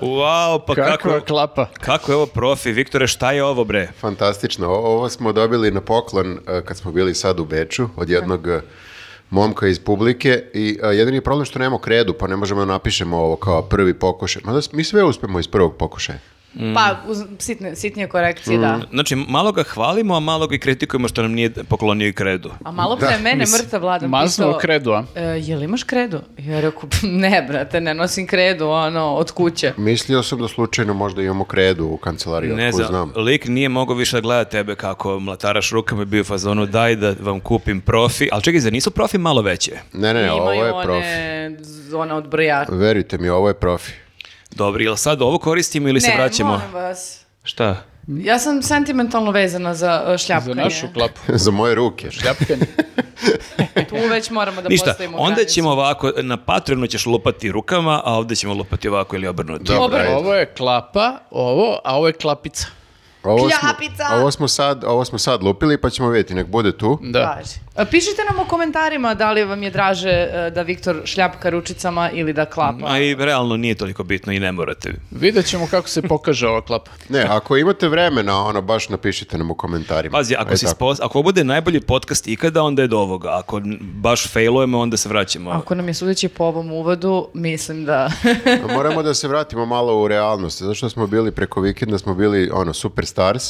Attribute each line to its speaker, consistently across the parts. Speaker 1: Wow, pa kako,
Speaker 2: Kakva
Speaker 1: kako,
Speaker 2: klapa.
Speaker 1: je ovo profi, Viktore, šta je ovo bre?
Speaker 3: Fantastično. O- Ovo smo dobili na poklon e, kad smo bili sad u Beču od
Speaker 4: Da.
Speaker 3: jednog e, momka iz publike i e, jedini problem što nemamo kredu, pa ne možemo da napišemo ovo kao prvi pokušaj. Mada s- mi sve uspemo iz prvog pokušaja.
Speaker 4: Pa, uz sitne, sitnije korekcije, da.
Speaker 1: Znači, malo ga hvalimo, a malo ga i kritikujemo što nam nije poklonio i kredu.
Speaker 4: A malo pre mene
Speaker 2: Mislim,
Speaker 4: mrtav vladan
Speaker 2: Maznuo
Speaker 4: pisao...
Speaker 2: kredu, a?
Speaker 4: "E, jel imaš kredu? Ja rekao, "Pf, ne brate, ne nosim kredu, ono, od kuće.
Speaker 3: Mislio sam da slučajno možda imamo kredu u kancelariji,
Speaker 1: Ne
Speaker 3: ne
Speaker 1: znam,
Speaker 3: znam.
Speaker 1: lik nije mogao više da gleda tebe kako mlataraš rukama i bio u fazonu daj da vam kupim profi, ali čekaj, zar nisu profi malo veće?
Speaker 3: Ne, ne, ne, ovo
Speaker 4: Imaju
Speaker 3: je profi.
Speaker 4: one, z- one odbrojače.
Speaker 3: Verujte mi, ovo je profi.
Speaker 1: Dobri, jel sad ovo koristimo ili se
Speaker 4: Ne,
Speaker 1: vraćamo?
Speaker 4: molim vas.
Speaker 1: Šta?
Speaker 4: Ja sam sentimentalno vezana za e,
Speaker 2: Za
Speaker 4: šljapkanje.
Speaker 2: našu klapu.
Speaker 3: Za moje ruke.
Speaker 2: Šljapkanje.
Speaker 4: Tu već moramo da
Speaker 1: Ništa,
Speaker 4: postavimo
Speaker 1: onda
Speaker 4: granicu.
Speaker 1: ćemo ovako, na Patreonu ćeš lupati rukama, a ovdje ćemo lupati ovako ili obrnuto.
Speaker 3: Dobro,
Speaker 4: Dobro.
Speaker 3: ajde.
Speaker 2: Ovo je klapa, ovo, a ovo je klapica.
Speaker 3: Ovo
Speaker 4: Kljapica!
Speaker 3: smo, ovo, smo sad, ovo smo sad lupili, pa ćemo vidjeti, nek bude tu.
Speaker 2: Da.
Speaker 4: Važi. A, E, Pišite nam u komentarima da li vam je draže e, da Viktor šljapka ručicama ili da klapa.
Speaker 1: A i realno nije toliko bitno i ne morate.
Speaker 2: Vidjet ćemo kako se pokaže ova klapa.
Speaker 1: Da
Speaker 3: Ne, ako imate vremena, ono, baš napišite nam u komentarima.
Speaker 1: Pazi, ako,
Speaker 3: Ajde
Speaker 1: si
Speaker 3: E, tako.
Speaker 1: spos- ako ovo bude najbolji podcast ikada, onda je do ovoga. Ako n- baš failujemo, onda se vraćamo.
Speaker 4: Ako nam je sudeći po ovom uvodu, mislim da...
Speaker 3: Moramo da se vratimo malo u realnost. Zato što smo bili preko vikenda, smo bili ono, superstars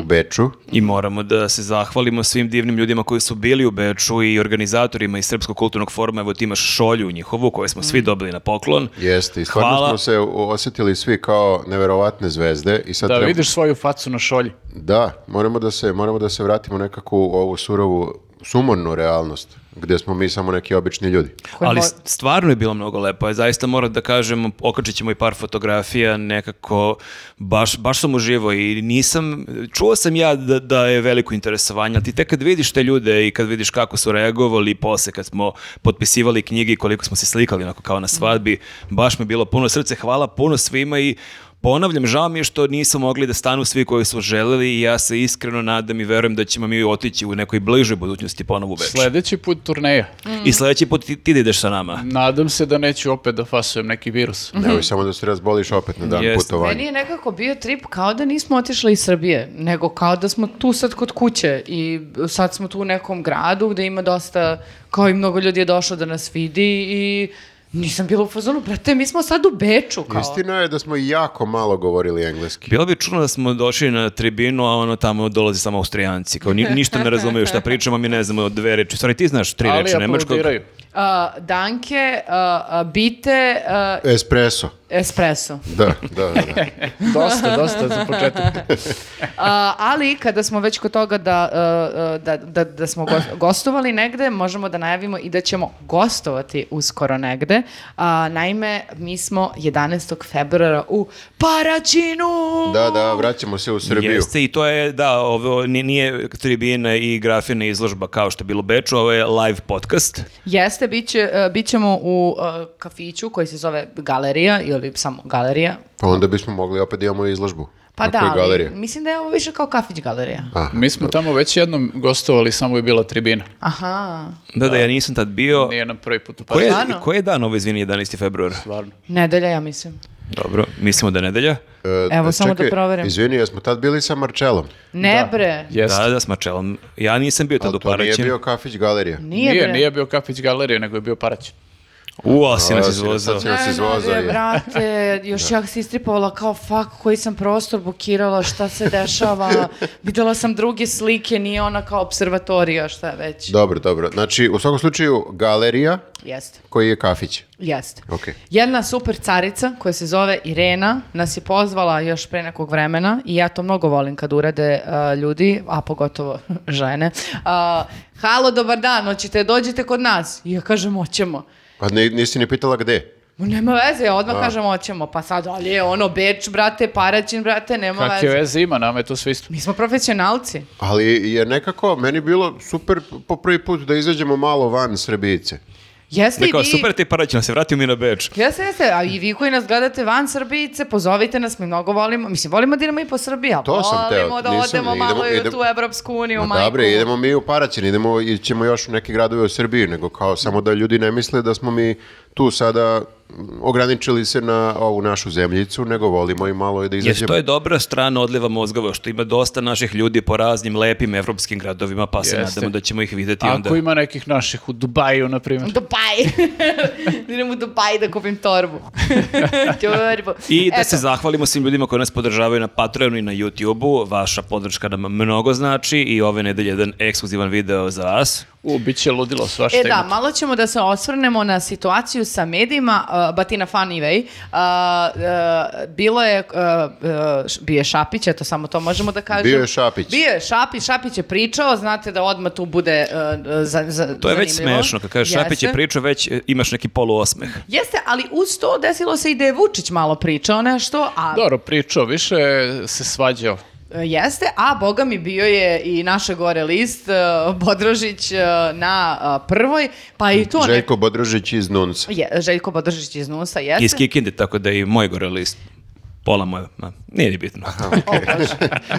Speaker 3: u Beču.
Speaker 1: I moramo da se zahvalimo svim divnim ljudima koji su bili u Beču i organizatorima iz Srpskog kulturnog foruma. Evo ti imaš šolju njihovu koju smo svi dobili na poklon.
Speaker 3: Jeste, i stvarno
Speaker 1: Hvala.
Speaker 3: smo se u- osjetili svi kao neverovatne zvezde. I sad
Speaker 2: Da
Speaker 3: treba-
Speaker 2: vidiš svoju facu na šolji.
Speaker 3: Da, moramo da, se, moramo da se vratimo nekako u ovu surovu, sumornu realnost, gdje smo mi samo neki obični ljudi.
Speaker 4: koji
Speaker 1: Ali
Speaker 4: mo-
Speaker 1: s- stvarno je bilo mnogo lepo. Ja zaista moram da kažem, okačit ćemo i par fotografija nekako, baš, baš sam uživo i nisam, čuo sam ja da, da je veliko interesovanje, ali ti tek kad vidiš te ljude i kad vidiš kako su reagovali posle kad smo potpisivali knjige i koliko smo se slikali onako kao na svadbi, baš mi je bilo puno srce, hvala puno svima i Ponavljam, žao mi je što nisu mogli da stanu svi koji su želeli i ja se iskreno nadam i verujem da ćemo mi otići u nekoj bližoj budućnosti ponovo u Beč.
Speaker 2: Sljedeći put turneja.
Speaker 1: I sledeći put ti, ti da ideš sa nama.
Speaker 2: Nadam se da neću opet da fasujem neki virus.
Speaker 4: Mm.
Speaker 3: Evo, i samo da se razboliš opet na dan
Speaker 1: Mhm. Jeste.
Speaker 3: putovanja.
Speaker 4: Meni je nekako bio trip kao da nismo otišli iz Srbije, nego kao da smo tu sad kod kuće i sad smo tu u nekom gradu gde ima dosta, kao i mnogo ljudi je došlo da nas vidi i nisam bila u fazonu, brate, mi smo sad u Beču, kao.
Speaker 3: Istina je da smo jako malo govorili engleski.
Speaker 1: Bilo bi čudno da smo došli na tribinu, a ono tamo dolaze samo Austrijanci. Kao ni- ništa ne razumeju šta pričamo, mi ne znamo dve reči. Stvari, ti znaš tri
Speaker 2: Ali
Speaker 1: reči nemačkog.
Speaker 2: aplaudiraju.
Speaker 4: A, danke, a, a, bite, a,
Speaker 3: Espresso.
Speaker 4: espresso.
Speaker 3: Da, da, da. da.
Speaker 2: Dosta, dosta za početak.
Speaker 4: A, ali kada smo već kod toga da, e, e, da, da, da smo go- gostovali negde, možemo da najavimo i da ćemo gostovati uskoro negde. A, naime, mi smo 11. februara u Paraćinu!
Speaker 3: Da, da, vraćamo se u Srbiju.
Speaker 1: Jeste i to je, da, ovo ni- nije tribina i grafina izložba kao što je bilo u Beču, ovo je live podcast.
Speaker 4: Jeste, bit, će, e, bit ćemo u e, kafiću koji se zove Galerija ili samo Galerija.
Speaker 3: Pa onda bismo mogli opet da imamo izložbu.
Speaker 4: Pa
Speaker 3: Na
Speaker 4: da,
Speaker 3: kojoj
Speaker 4: ali
Speaker 3: galeriji?
Speaker 4: mislim da je ovo više kao kafić galerija.
Speaker 3: Aha.
Speaker 2: Mi smo tamo već jednom gostovali, samo je bila tribina.
Speaker 4: Aha,
Speaker 1: Da, da, ja nisam tad bio.
Speaker 2: Nije nam prvi put u
Speaker 1: Koji je,
Speaker 2: Parizu.
Speaker 1: koji je dan ovo, izvini, 11. februar?
Speaker 2: Stvarno.
Speaker 4: nedelja ja mislim.
Speaker 1: Dobro, mislimo da je nedelja.
Speaker 3: E,
Speaker 4: Evo, samo da proverim.
Speaker 3: Izvini, jesmo tad bili sa Marčelom.
Speaker 4: Ne bre,
Speaker 2: Jeste.
Speaker 1: Da, da, s Mačelom. Ja nisam bio tad
Speaker 3: Ali
Speaker 1: u
Speaker 3: to nije
Speaker 1: Paraćinu.
Speaker 3: bio kafić galerija.
Speaker 4: nije,
Speaker 2: Nije, nije,
Speaker 4: bre.
Speaker 2: bio kafić galerije, nego je bio parać.
Speaker 1: U, a si nas
Speaker 3: A, si nas-
Speaker 1: izvozao.
Speaker 3: sad si Da. nas
Speaker 4: Ne,
Speaker 3: izvozao,
Speaker 4: ne,
Speaker 3: je.
Speaker 4: brate, još ja se istripovala kao fuck koji sam prostor bukirala, šta se dešava, videla sam druge slike, nije ona kao observatorija, šta je već.
Speaker 3: Dobro, dobro. Znači, u svakom slučaju, galerija
Speaker 4: Jeste,
Speaker 3: koji je kafić.
Speaker 4: jeste.
Speaker 3: Ok.
Speaker 4: Jedna super carica koja se zove Irena nas je pozvala još pre nekog vremena i ja to mnogo volim kad urade uh, ljudi, a pogotovo žene. Uh, Halo, dobar dan, hoćete, dođite kod nas. I ja kažem, hoćemo.
Speaker 3: Pa ni- nisi ni pitala gde.
Speaker 4: Ma nema veze, ja
Speaker 3: Da.
Speaker 4: odmah kažem hoćemo, pa sad, ali je ono Beč, brate, Paraćin, brate, nema
Speaker 2: Kakve
Speaker 4: veze.
Speaker 2: veze ima, nama je to sve isto.
Speaker 4: Mi smo profesionalci.
Speaker 3: Ali je nekako, meni bilo super po prvi put da izađemo malo van Srbijice.
Speaker 4: Jeste i
Speaker 1: Rekao,
Speaker 4: vi...
Speaker 1: super ti Paraćin, se vratio mi na Beč.
Speaker 4: Jeste, jeste, a i vi koji nas gledate van Srbijice, pozovite nas, mi mnogo volimo, mislim, volimo da idemo i po Srbiji, ali
Speaker 3: To sam teo,
Speaker 4: volimo da
Speaker 3: nisam,
Speaker 4: odemo
Speaker 3: idemo-
Speaker 4: malo i u
Speaker 3: idemo-
Speaker 4: tu Evropsku uniju,
Speaker 3: Ma
Speaker 4: majku.
Speaker 3: dobre, idemo mi u Paraćin, idemo, ćemo još u neke gradove u Srbiji, nego kao samo da ljudi ne misle da smo mi tu sada mm, ograničili se na ovu našu zemljicu, nego volimo i malo i da
Speaker 1: Jer
Speaker 2: Znači,
Speaker 3: izađemo.
Speaker 1: to je dobra strana odleva mozgova, što ima dosta naših ljudi po raznim lepim evropskim gradovima, pa se
Speaker 2: Jeste.
Speaker 1: nadamo da ćemo ih videti onda.
Speaker 2: Ako ima nekih naših u Dubaju, na primjer.
Speaker 4: Dubaj. Idem u Dubaj da kupim torbu. torbu.
Speaker 1: I da
Speaker 4: Eto.
Speaker 1: se zahvalimo svim ljudima koji nas podržavaju na Patreonu i na YouTubeu. Vaša podrška nam mnogo znači i ove nedelje jedan ekskluzivan video za vas.
Speaker 2: U, bit će ludilo svašta.
Speaker 4: E da,
Speaker 2: ima.
Speaker 4: malo ćemo da se osvrnemo na situaciju sa medijima, uh, Batina Fan Ivej. Uh, uh, bilo je, uh, uh, š- bio je Šapić, eto samo to možemo da kažemo.
Speaker 3: Bio je Šapić.
Speaker 4: Bio je Šapić, Šapić je pričao, znate da odmah tu bude uh, za, za,
Speaker 1: To je već
Speaker 4: zanimljivo.
Speaker 1: smešno, kad kažeš Šapić je
Speaker 4: Jeste.
Speaker 1: pričao, već e, imaš neki poluosmeh.
Speaker 4: Jeste, ali uz to desilo se i da je Vučić malo pričao nešto, a
Speaker 2: Dobro, pričao, više se svađao.
Speaker 4: E, Jeste, a boga mi bio je i naše gore list, e, Bodrožić e, na e, prvoj, pa i to... ne-
Speaker 3: Željko Bodrožić iz Nunca.
Speaker 4: Je, Željko Bodrožić iz Nusa, jeste.
Speaker 1: Iz Kikinde, tako da i moj gore list. Pola moje, ma, nije ni bitno.
Speaker 4: O, Bože.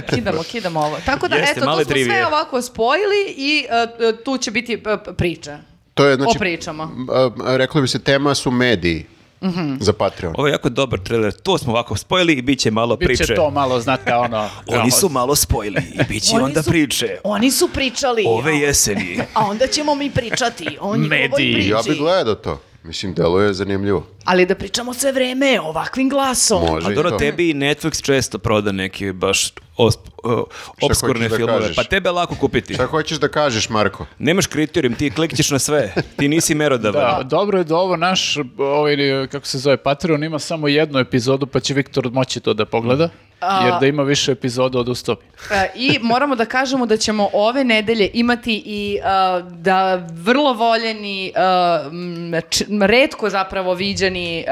Speaker 4: kidamo, kidamo ovo. Tako da,
Speaker 1: Jeste,
Speaker 4: eto,
Speaker 1: male
Speaker 4: to smo sve
Speaker 1: trivije.
Speaker 4: ovako spojili i e, e, tu će biti e, p- priča.
Speaker 3: To je, znači,
Speaker 4: o pričama.
Speaker 3: m, a, a, reklo bi se, tema su mediji
Speaker 4: Mhm.
Speaker 3: za Patreon.
Speaker 1: Ovo je jako dobar trailer, to smo ovako spojili i bit će malo
Speaker 2: Biće
Speaker 1: priče.
Speaker 2: to malo, znate, ono...
Speaker 1: Oni su malo spojili i bit će
Speaker 4: Oni
Speaker 1: onda
Speaker 4: su-
Speaker 1: priče.
Speaker 4: Oni su pričali. a-
Speaker 1: Ove jeseni.
Speaker 4: A onda ćemo mi pričati o njihovoj
Speaker 2: Mediji.
Speaker 4: priči.
Speaker 3: Ja bi gledao to. Mislim, delo je zanimljivo.
Speaker 4: Ali da pričamo sve vreme ovakvim glasom.
Speaker 3: Može
Speaker 1: A
Speaker 3: i
Speaker 1: dobro,
Speaker 3: to.
Speaker 1: tebi i Netflix često proda neke baš os, o, obskurne
Speaker 3: hoćeš da
Speaker 1: filmove,
Speaker 3: kažeš?
Speaker 1: pa tebe je lako kupiti.
Speaker 3: Šta hoćeš da kažeš, Marko?
Speaker 1: Nemaš kriterijum, ti klikćeš na sve. Ti nisi merodavan.
Speaker 2: Da, dobro je da ovo naš, ovaj, kako se zove, Patreon ima samo jednu epizodu, pa će Viktor moći to da pogleda,
Speaker 4: Mm.
Speaker 2: jer da ima više epizoda od ustopi.
Speaker 4: E, I moramo da kažemo da ćemo ove nedelje imati i e, da vrlo voljeni, e, m, č- m, redko zapravo viđeni e,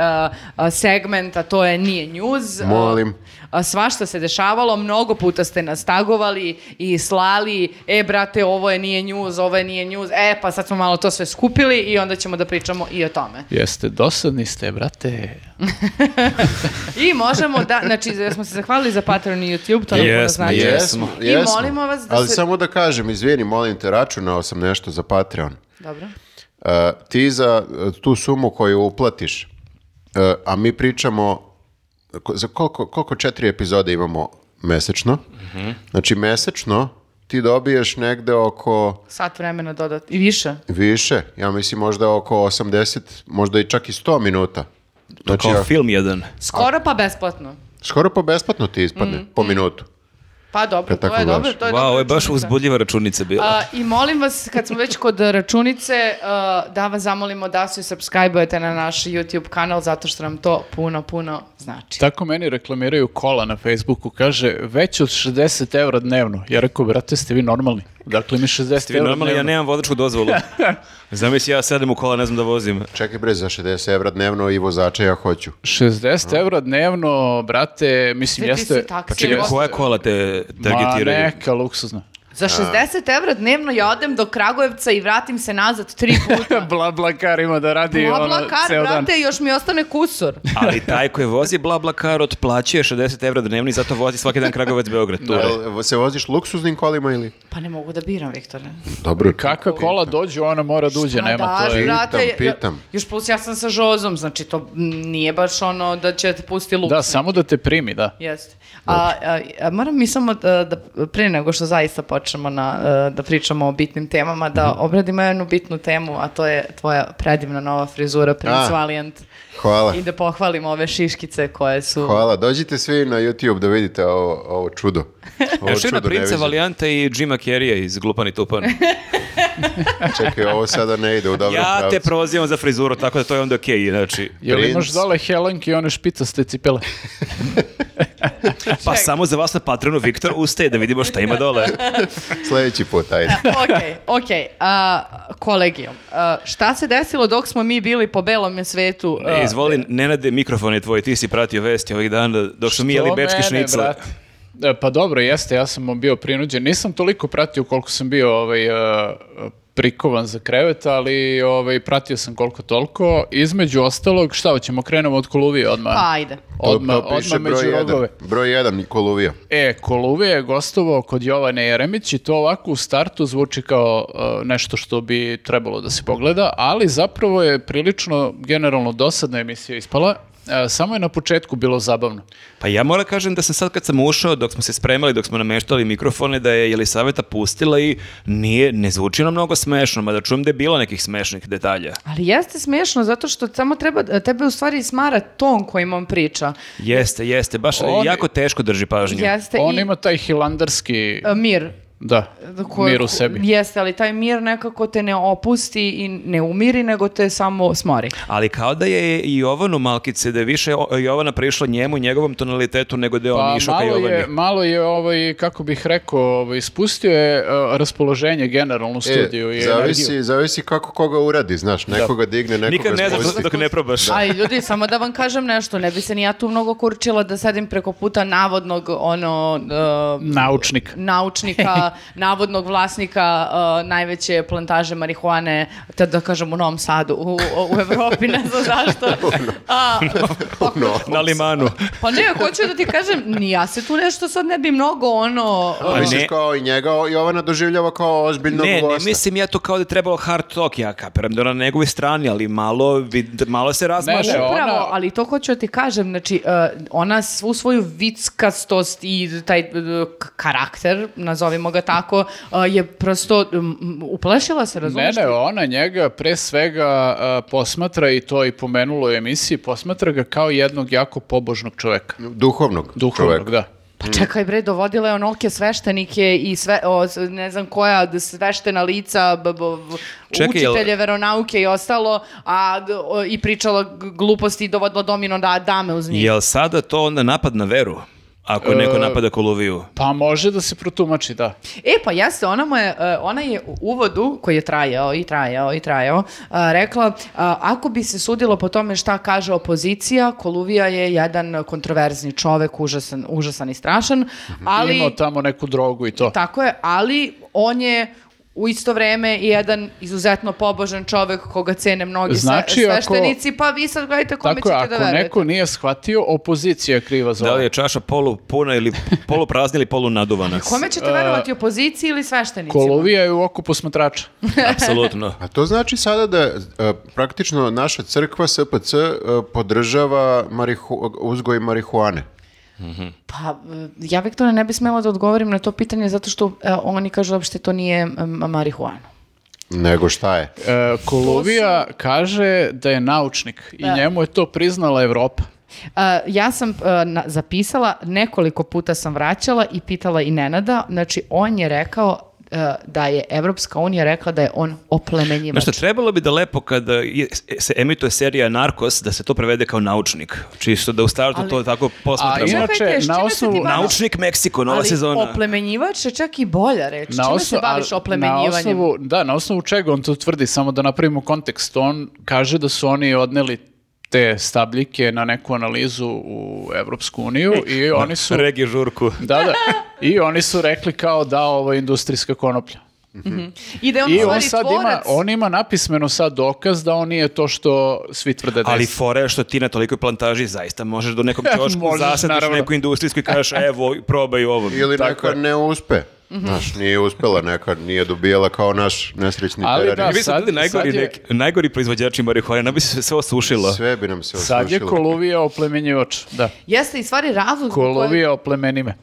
Speaker 4: a, segment, a to je Nije News. E,
Speaker 3: Molim.
Speaker 4: A, Svašta se dešavalo, mnogo puta ste nas tagovali i slali, e brate, ovo je Nije News, ovo je Nije News, e pa sad smo malo to sve skupili i onda ćemo da pričamo i o tome.
Speaker 2: Jeste, dosadni ste, brate.
Speaker 4: I možemo da, znači, da smo se zahvalili za Patreon i YouTube, to nam puno
Speaker 1: Jesmo,
Speaker 4: znači.
Speaker 1: jesmo. Jesmo.
Speaker 4: I molimo vas da
Speaker 3: Ali
Speaker 4: se-
Speaker 3: samo da kažem, izvini, molim te, računao sam nešto za Patreon.
Speaker 4: Dobro.
Speaker 3: Uh, ti za uh, tu sumu koju uplatiš, uh, a mi pričamo ko- za koliko, koliko četiri epizode imamo mesečno. Znači, mesečno ti dobiješ negde oko
Speaker 4: Sat vremena dodat i više.
Speaker 3: više, ja mislim možda oko 80, možda i čak i 100 minuta.
Speaker 1: To
Speaker 3: Znači,
Speaker 1: kao
Speaker 3: ja-
Speaker 1: film jedan.
Speaker 4: Skoro pa besplatno.
Speaker 3: skoro pa besplatno ti ispadne, po minutu.
Speaker 4: Pa dobro,
Speaker 3: Kad tako
Speaker 4: to je
Speaker 3: gledaš.
Speaker 4: dobro. To je
Speaker 1: Wow,
Speaker 4: dobra
Speaker 1: ovo je baš
Speaker 4: računica.
Speaker 1: uzbudljiva računica bila.
Speaker 4: A, I molim vas, kad smo već kod računice, a, da vas zamolimo da se subscribe-ujete na naš YouTube kanal, zato što nam to puno, puno znači.
Speaker 2: Tako meni reklamiraju kola na Facebooku, kaže već od 60 evra dnevno. Ja rekao, brate, ste vi normalni. Dakle, mi 60
Speaker 1: Ti
Speaker 2: evra
Speaker 1: normalno, ja
Speaker 2: dnevno.
Speaker 1: nemam vodačku dozvolu. Zamisli, ja sedem u kola, ne znam da vozim.
Speaker 3: Čekaj bre, za 60 evra dnevno i vozača ja hoću.
Speaker 2: 60 evra dnevno, brate, mislim,
Speaker 4: Sve ti
Speaker 2: jeste...
Speaker 4: si taksi,
Speaker 2: Pa
Speaker 4: Čekaj,
Speaker 2: jeste-
Speaker 1: Koja kola te
Speaker 2: Ma
Speaker 1: targetiraju?
Speaker 2: neka, luksuzna.
Speaker 3: Da.
Speaker 4: Za 60 evra dnevno ja odem do Kragujevca i vratim se nazad tri puta.
Speaker 2: Bla, ima da radi ono,
Speaker 4: Blablakar,
Speaker 2: ceo dan.
Speaker 4: brate, još mi ostane kusur.
Speaker 1: Ali taj koji vozi BlaBlaCar otplaćuje 60 evra dnevno i zato vozi svaki dan Kragovec Beograd. Tu.
Speaker 3: Jel se voziš luksuznim kolima ili?
Speaker 4: Pa ne mogu da biram, Viktore.
Speaker 3: Dobro.
Speaker 2: Kakva kola dođu, ona mora da uđe,
Speaker 4: Pa
Speaker 2: nema
Speaker 4: daš,
Speaker 2: to. je-
Speaker 3: Pitam,
Speaker 4: brate, ja-
Speaker 3: pitam.
Speaker 4: Još plus ja sam sa Žozom, znači to mm, nije baš ono da će te pusti luk.
Speaker 2: Da, samo da te primi, da.
Speaker 4: Jeste. A, a, a moram mi samo da, da pre nego što zaista počnemo na, e, da pričamo o bitnim temama, da obradimo jednu bitnu temu, a to je tvoja predivna nova frizura Prince
Speaker 3: A.
Speaker 4: Valiant.
Speaker 3: Hvala.
Speaker 4: I da pohvalimo ove šiškice koje su...
Speaker 3: Hvala, dođite svi na YouTube da vidite ovo, ovo čudo. Ovo
Speaker 1: Još jedna princa
Speaker 3: neviđeno.
Speaker 1: Valijanta i Jima Carrey iz Glupani Tupan.
Speaker 3: Čekaj, ovo sada ne ide u dobro
Speaker 1: ja te prozivam za frizuru, tako da to je onda okej. znači,
Speaker 2: Jel
Speaker 3: Princ.
Speaker 2: imaš dole Helenke i one špicaste cipele?
Speaker 1: pa samo za vas na patronu Viktor ustaje da vidimo šta ima dole.
Speaker 3: Sljedeći put, ajde.
Speaker 4: ok, ok. A, kolegijom, a, šta se desilo dok smo mi bili po belom svetu?
Speaker 1: E, izvoli, Nenade, mikrofon je tvoj, ti si pratio vesti ovih dana, dok su mi jeli
Speaker 2: To
Speaker 1: bečki
Speaker 2: mene,
Speaker 1: šnicl.
Speaker 2: brate. E, Pa dobro, jeste, ja sam bio prinuđen. Nisam toliko pratio koliko sam bio ovaj, e, e, prikovan za krevet, ali ovaj, pratio sam koliko toliko. Između ostalog, šta hoćemo, krenemo od Koluvije odmah.
Speaker 4: Pa, ajde.
Speaker 2: Odmah,
Speaker 3: To- to piše
Speaker 2: odmah među
Speaker 3: jedan.
Speaker 2: rogove.
Speaker 3: Broj 1, Nikoluvija.
Speaker 2: E, Koluvije je gostovao kod Jovane Jeremić i to ovako u startu zvuči kao e, nešto što bi trebalo da se pogleda, ali zapravo je prilično generalno dosadna emisija ispala. E, samo je na početku bilo zabavno.
Speaker 1: Pa ja moram kažem da sam sad kad sam ušao, dok smo se spremali, dok smo nameštali mikrofone, da je Jelisaveta pustila i nije, ne zvuči nam mnogo smešno, mada čujem da je bilo nekih smešnih detalja.
Speaker 4: Ali jeste smiješno zato što samo treba, tebe u stvari smara ton kojim on priča.
Speaker 1: Jeste, jeste, baš
Speaker 2: On-
Speaker 1: jako teško drži pažnju.
Speaker 4: Jeste
Speaker 2: On
Speaker 4: i
Speaker 2: ima taj hilandarski
Speaker 4: e, mir.
Speaker 2: da,
Speaker 4: koje-
Speaker 2: mir u sebi.
Speaker 4: Jeste, ali taj mir nekako te ne opusti i ne umiri, nego te samo smori.
Speaker 1: Ali kao da je i Jovanu malkice, da je više o- Jovana prišla njemu, njogovom tonalitetu, nego da je on
Speaker 2: Pa
Speaker 1: išao ka
Speaker 2: malo
Speaker 1: Jovani.
Speaker 2: je, malo je ovaj, kako bih rekao, ovaj, spustio je e, raspoloženje generalno u studiju i
Speaker 3: E,
Speaker 2: energiju.
Speaker 3: zavisi, zavisi kako koga uradi, znaš, nekoga digne, nekoga
Speaker 1: Nikad ne znaš
Speaker 3: spusti.
Speaker 1: dok ne probaš.
Speaker 4: Ali ljudi, samo da vam kažem nešto, ne bi se ni ja tu mnogo kurčila da sedim preko puta navodnog ono e,
Speaker 2: Naučnik.
Speaker 4: naučnika, navodnog vlasnika e, najveće plantaže marihuane, te da kažem u Novom Sadu, u, u Evropi, ne znam zašto. A,
Speaker 3: No.
Speaker 1: Na limanu.
Speaker 4: pa ne, hoću da ti kažem, ni ja se tu nešto sad ne bi mnogo ono...
Speaker 1: Pa
Speaker 3: A misliš
Speaker 1: ne.
Speaker 3: kao i njega, o- Jovana doživljava kao ozbiljnog
Speaker 1: Ne, ne
Speaker 3: gosta.
Speaker 1: mislim ja to kao da je trebalo hard talk, ja kapiram da je ona na njegovoj strani, ali malo, vid- malo se razmaže.
Speaker 2: Ne, ne,
Speaker 4: Pa Upravo,
Speaker 2: ona-
Speaker 4: ali to hoću da ti kažem, znači, e, ona svu svoju vickastost i taj e, k- karakter, nazovimo ga tako, e, je prosto um, uplašila se,
Speaker 2: Ne,
Speaker 4: razumiješ?
Speaker 2: ne, ona njega pre svega a, posmatra i to i pomenulo je u emisiji, posmatra ga kao jednog jako pobožnog čoveka.
Speaker 3: Duhovnog,
Speaker 2: Duhovnog,
Speaker 3: čoveka.
Speaker 2: da.
Speaker 4: Pa čekaj bre, dovodila je onolike sveštenike i sve, o, s- ne znam koja, d- sveštena lica, b, b, v-
Speaker 1: Čekaj, jel-
Speaker 4: učitelje veronauke i ostalo, a, d- o, i pričala g- gluposti i dovodila domino da dame uz njih.
Speaker 1: Jel sada to onda napad na veru? Ako
Speaker 2: E,
Speaker 1: neko napada Koluviju.
Speaker 2: Pa može da se protumači, da.
Speaker 4: E pa jeste, ona, mu je, e, ona je u uvodu koji je trajao i trajao i trajao a, rekla a, ako bi se sudilo po tome šta kaže opozicija, Koluvija je jedan kontroverzni čovek, užasan, užasan i strašan,
Speaker 2: Mhm.
Speaker 4: ali
Speaker 2: Imao tamo neku drogu i to.
Speaker 4: tako je, ali on je u isto vreme i jedan izuzetno pobožan čovek koga cene mnogi sve-
Speaker 2: Znači, ako-
Speaker 4: sveštenici, pa vi sad gledajte kome
Speaker 2: Tako je,
Speaker 4: ćete da
Speaker 2: ako
Speaker 4: verujete.
Speaker 2: neko nije shvatio, opozicija je kriva za
Speaker 1: Da
Speaker 2: ovo.
Speaker 1: li je čaša polu puna ili polu prazna ili polu naduvana?
Speaker 4: Kome ćete
Speaker 2: E,
Speaker 4: verovati, opoziciji ili sveštenicima?
Speaker 2: Kolovija je u oku posmatrača.
Speaker 1: Apsolutno.
Speaker 3: A to znači sada da e, praktično naša crkva SPC e, podržava marihu, uzgoj marihuane.
Speaker 4: Pa, e, ja Viktore ne bi smela da odgovorim na to pitanje zato što e, oni kažu uopšte to nije e, marihuana.
Speaker 3: Nego šta je?
Speaker 2: E, Kolovija kaže da je naučnik i
Speaker 4: Da.
Speaker 2: njemu je to priznala Evropa.
Speaker 4: E, ja sam e, na- zapisala, nekoliko puta sam vraćala i pitala i Nenada, znači on je rekao e, da je Evropska unija rekla da je on oplemenjivač.
Speaker 1: Znaš šta, trebalo bi da lepo kada je- se emituje serija Narkos, da se to prevede kao naučnik. Čisto da u startu to tako
Speaker 2: A
Speaker 1: posmatramo.
Speaker 4: Čekajte, s čime
Speaker 2: inače,
Speaker 4: se ti
Speaker 2: na osnovu,
Speaker 4: baviš?
Speaker 1: Naučnik Meksiko, nova
Speaker 4: Ali
Speaker 1: sezona.
Speaker 4: oplemenjivač je čak i bolja reč. Čime se
Speaker 2: osno-
Speaker 4: baviš
Speaker 2: a,
Speaker 4: oplemenjivanjem?
Speaker 2: Na osnovu, da, na osnovu čega on to tvrdi, samo da napravimo kontekst. On kaže da su oni odneli te stabljike na neku analizu u Evropsku uniju i oni su...
Speaker 1: Regi žurku.
Speaker 2: Da, da. I oni su rekli kao da ovo je industrijska konoplja.
Speaker 4: I da je on
Speaker 2: I
Speaker 4: u
Speaker 2: on
Speaker 4: stvari
Speaker 2: sad ima,
Speaker 4: tvorac.
Speaker 2: on ima napismeno sad dokaz da on nije to što svi tvrde da
Speaker 1: Ali
Speaker 2: je.
Speaker 1: fora je što ti na tolikoj plantaži zaista možeš do nekom čošku
Speaker 2: Možeš,
Speaker 1: zasadniš
Speaker 2: naravno.
Speaker 1: neku industrijsku i kažeš "E, evo probaj ovo.
Speaker 3: Ili
Speaker 2: Tako
Speaker 3: neka
Speaker 2: je. Mhm.
Speaker 3: ne uspe. Znaš, nije uspela neka, nije dobijala kao naš nesrećni
Speaker 2: Ali
Speaker 3: terarij.
Speaker 2: da,
Speaker 1: Mi smo
Speaker 2: sad-
Speaker 1: bili najgori,
Speaker 2: sad je-
Speaker 1: neki- najgori proizvođači marihuane, nam bi se sve osušilo.
Speaker 3: Sve bi nam se oslušilo.
Speaker 2: da. Sad je Koluvija oplemenjivač, da.
Speaker 4: Jeste i stvari razlog... zbog kojeg-
Speaker 2: Koluvija oplemeni me.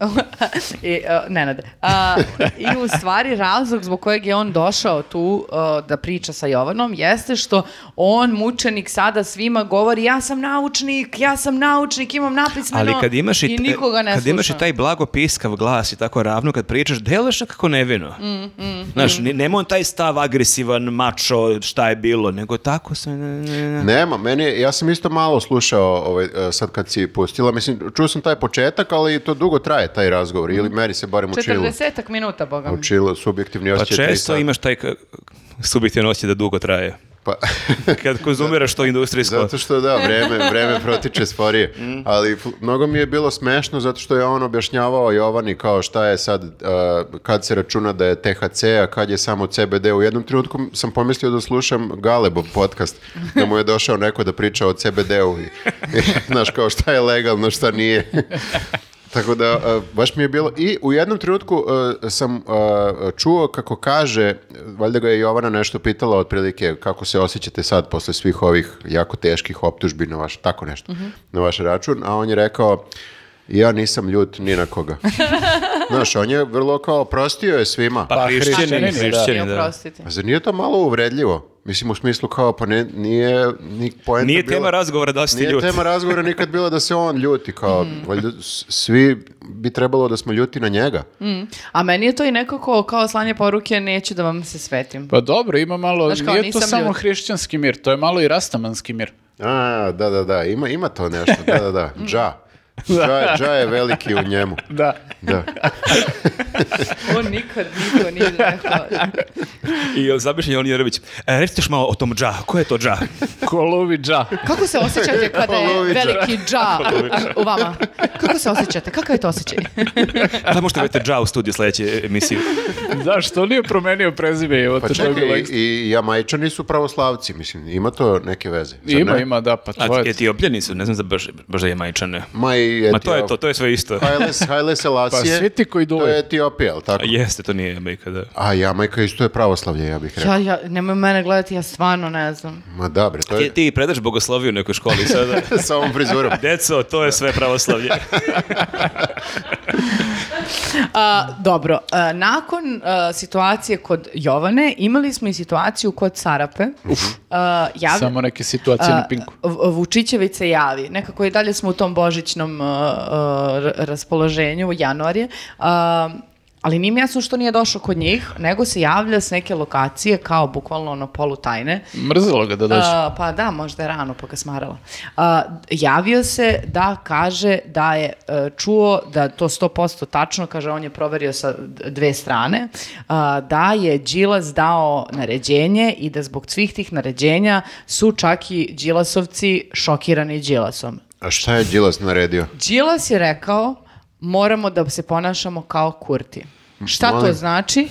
Speaker 4: I, uh, Nenade. A, I u stvari razlog zbog kojeg je on došao tu uh, da priča sa Jovanom jeste što on, mučenik, sada svima govori ja sam naučnik, ja sam naučnik, imam napismeno
Speaker 1: Ali kad imaš i,
Speaker 4: i nikoga ne
Speaker 1: kad imaš i
Speaker 4: sluša.
Speaker 1: taj blago piskav glas i tako ravno kad pričaš, deluješ kako nevino.
Speaker 4: Mm,
Speaker 1: Znaš, ne- nema on taj stav agresivan, mačo, šta je bilo, nego tako se... Ne, ne, ne.
Speaker 3: Nema, meni, je- ja sam isto malo slušao ovaj, e, sad kad si pustila, mislim, čuo sam taj početak, ali to dugo traje taj razgovor, ili meni se barem učilo.
Speaker 4: 40 minuta, boga mi.
Speaker 3: Učilo, subjektivni
Speaker 1: Pa
Speaker 3: osjećaj. tri
Speaker 1: često
Speaker 3: sata.
Speaker 1: imaš taj k- subjektivan osjećaj da dugo traje.
Speaker 3: Pa,
Speaker 1: kad konzumiraš to industrijsko.
Speaker 3: zato što da, vreme, vreme protiče sporije.
Speaker 1: Mm.
Speaker 3: Ali fl- mnogo mi je bilo smešno zato što je on objašnjavao Jovani kao šta je sad, uh, kad se računa da je THC, a kad je samo CBD. U jednom trenutku sam pomislio da slušam Galebov podcast, da mu je došao neko da priča o CBD-u. i- Znaš kao šta je legalno, šta nije. Tako da, e, baš mi je bilo... I u jednom trenutku e, sam e, čuo kako kaže, valjda ga je Jovana nešto pitala otprilike kako se osjećate sad posle svih ovih jako teških optužbi na vaš, tako nešto,
Speaker 1: Mhm.
Speaker 3: na vaš račun, a on je rekao, ja nisam ljut ni na koga. Znaš, on je vrlo kao, prostio je svima.
Speaker 1: Pa,
Speaker 2: Pa,
Speaker 1: hrišćanin,
Speaker 2: hrišćanin, da.
Speaker 1: hrišćanin, da.
Speaker 4: Oprostite.
Speaker 3: A zar nije to malo uvredljivo? Mislim, u smislu kao, pa ne, nije ni poenta
Speaker 1: Nije
Speaker 3: bila-
Speaker 1: tema razgovora da li si ti
Speaker 3: Nije
Speaker 1: ljut.
Speaker 3: tema razgovora nikad bila da se on ljuti, kao,
Speaker 2: Mm.
Speaker 3: valjda s- svi bi trebalo da smo ljuti na njega.
Speaker 2: Mm.
Speaker 4: A meni je to i nekako kao slanje poruke neću da vam se svetim.
Speaker 2: Pa dobro, ima malo,
Speaker 4: Znaš kao,
Speaker 2: nije to
Speaker 4: nisam
Speaker 2: samo
Speaker 4: ljut.
Speaker 2: hrišćanski mir, to je malo i rastamanski mir.
Speaker 3: A, da, da, da, ima, ima to nešto, da, da, da,
Speaker 2: Mm.
Speaker 3: dža. Dža, dža je veliki u njemu.
Speaker 2: Da.
Speaker 3: Da.
Speaker 4: On nikad, niko nije rekao.
Speaker 1: I zamišljen je on Jerović. E, recite još malo o tom dža. Ko je to dža?
Speaker 2: Kolovi dža.
Speaker 4: Kako se osjećate kada je
Speaker 3: Polovičar.
Speaker 4: veliki dža u vama? Kako se osjećate? Kakav je to osjećaj?
Speaker 1: Da možete vidjeti dža u studiju sledeće emisije.
Speaker 2: Zašto nije promenio prezime? Evo,
Speaker 3: Pa
Speaker 2: to je bilo
Speaker 3: čekaj, i,
Speaker 2: ekstra.
Speaker 3: i jamajčani su pravoslavci, mislim, ima to neke veze. zar
Speaker 2: Ima,
Speaker 3: ne?
Speaker 2: ima, da, pa to
Speaker 1: A
Speaker 2: je.
Speaker 1: etiopljani su, ne znam za baš, baš da je majčane.
Speaker 3: Ma i
Speaker 1: Ma to je
Speaker 3: Etiop-
Speaker 1: to, to je sve isto.
Speaker 3: Haile, Haile Selassie,
Speaker 2: Pa svi ti koji
Speaker 3: to
Speaker 2: duvaju.
Speaker 3: je Etiopija, ali
Speaker 1: A
Speaker 3: tako?
Speaker 1: Jeste, to nije Amerika, da.
Speaker 3: A Jamajka isto je pravoslavlje, ja bih rekao.
Speaker 4: Ja, ja, nemoj mene gledati, ja stvarno ne znam.
Speaker 3: Ma da, bre, to
Speaker 1: Ti,
Speaker 3: je
Speaker 1: ti predaš bogosloviju u nekoj školi sada.
Speaker 3: sa ovom frizurom.
Speaker 1: Deco, to je sve pravoslavlje.
Speaker 4: A, dobro, a, nakon a, situacije kod Jovane, imali smo i situaciju kod Sarape. A, jav-
Speaker 2: Samo neke situacije
Speaker 4: a,
Speaker 2: na pinku.
Speaker 4: V- Vučićević se javi. Nekako i dalje smo u tom božićnom a, a, r- raspoloženju u januar je. A, ali nije mi jasno što nije došao kod njih, nego se javlja s neke lokacije kao bukvalno ono polutajne.
Speaker 2: Mrzelo ga da dođe.
Speaker 4: A, pa da, možda je rano pa ga smarala. A, javio se da kaže da je e, čuo da to 100% tačno, kaže on je proverio sa d- dve strane, a, da je Đilas dao naređenje i da zbog svih tih naređenja su čak i Đilasovci šokirani Đilasom.
Speaker 3: A šta je Đilas naredio?
Speaker 4: Đilas je rekao moramo da se ponašamo kao Kurti. Šta to
Speaker 3: Molim.
Speaker 4: znači?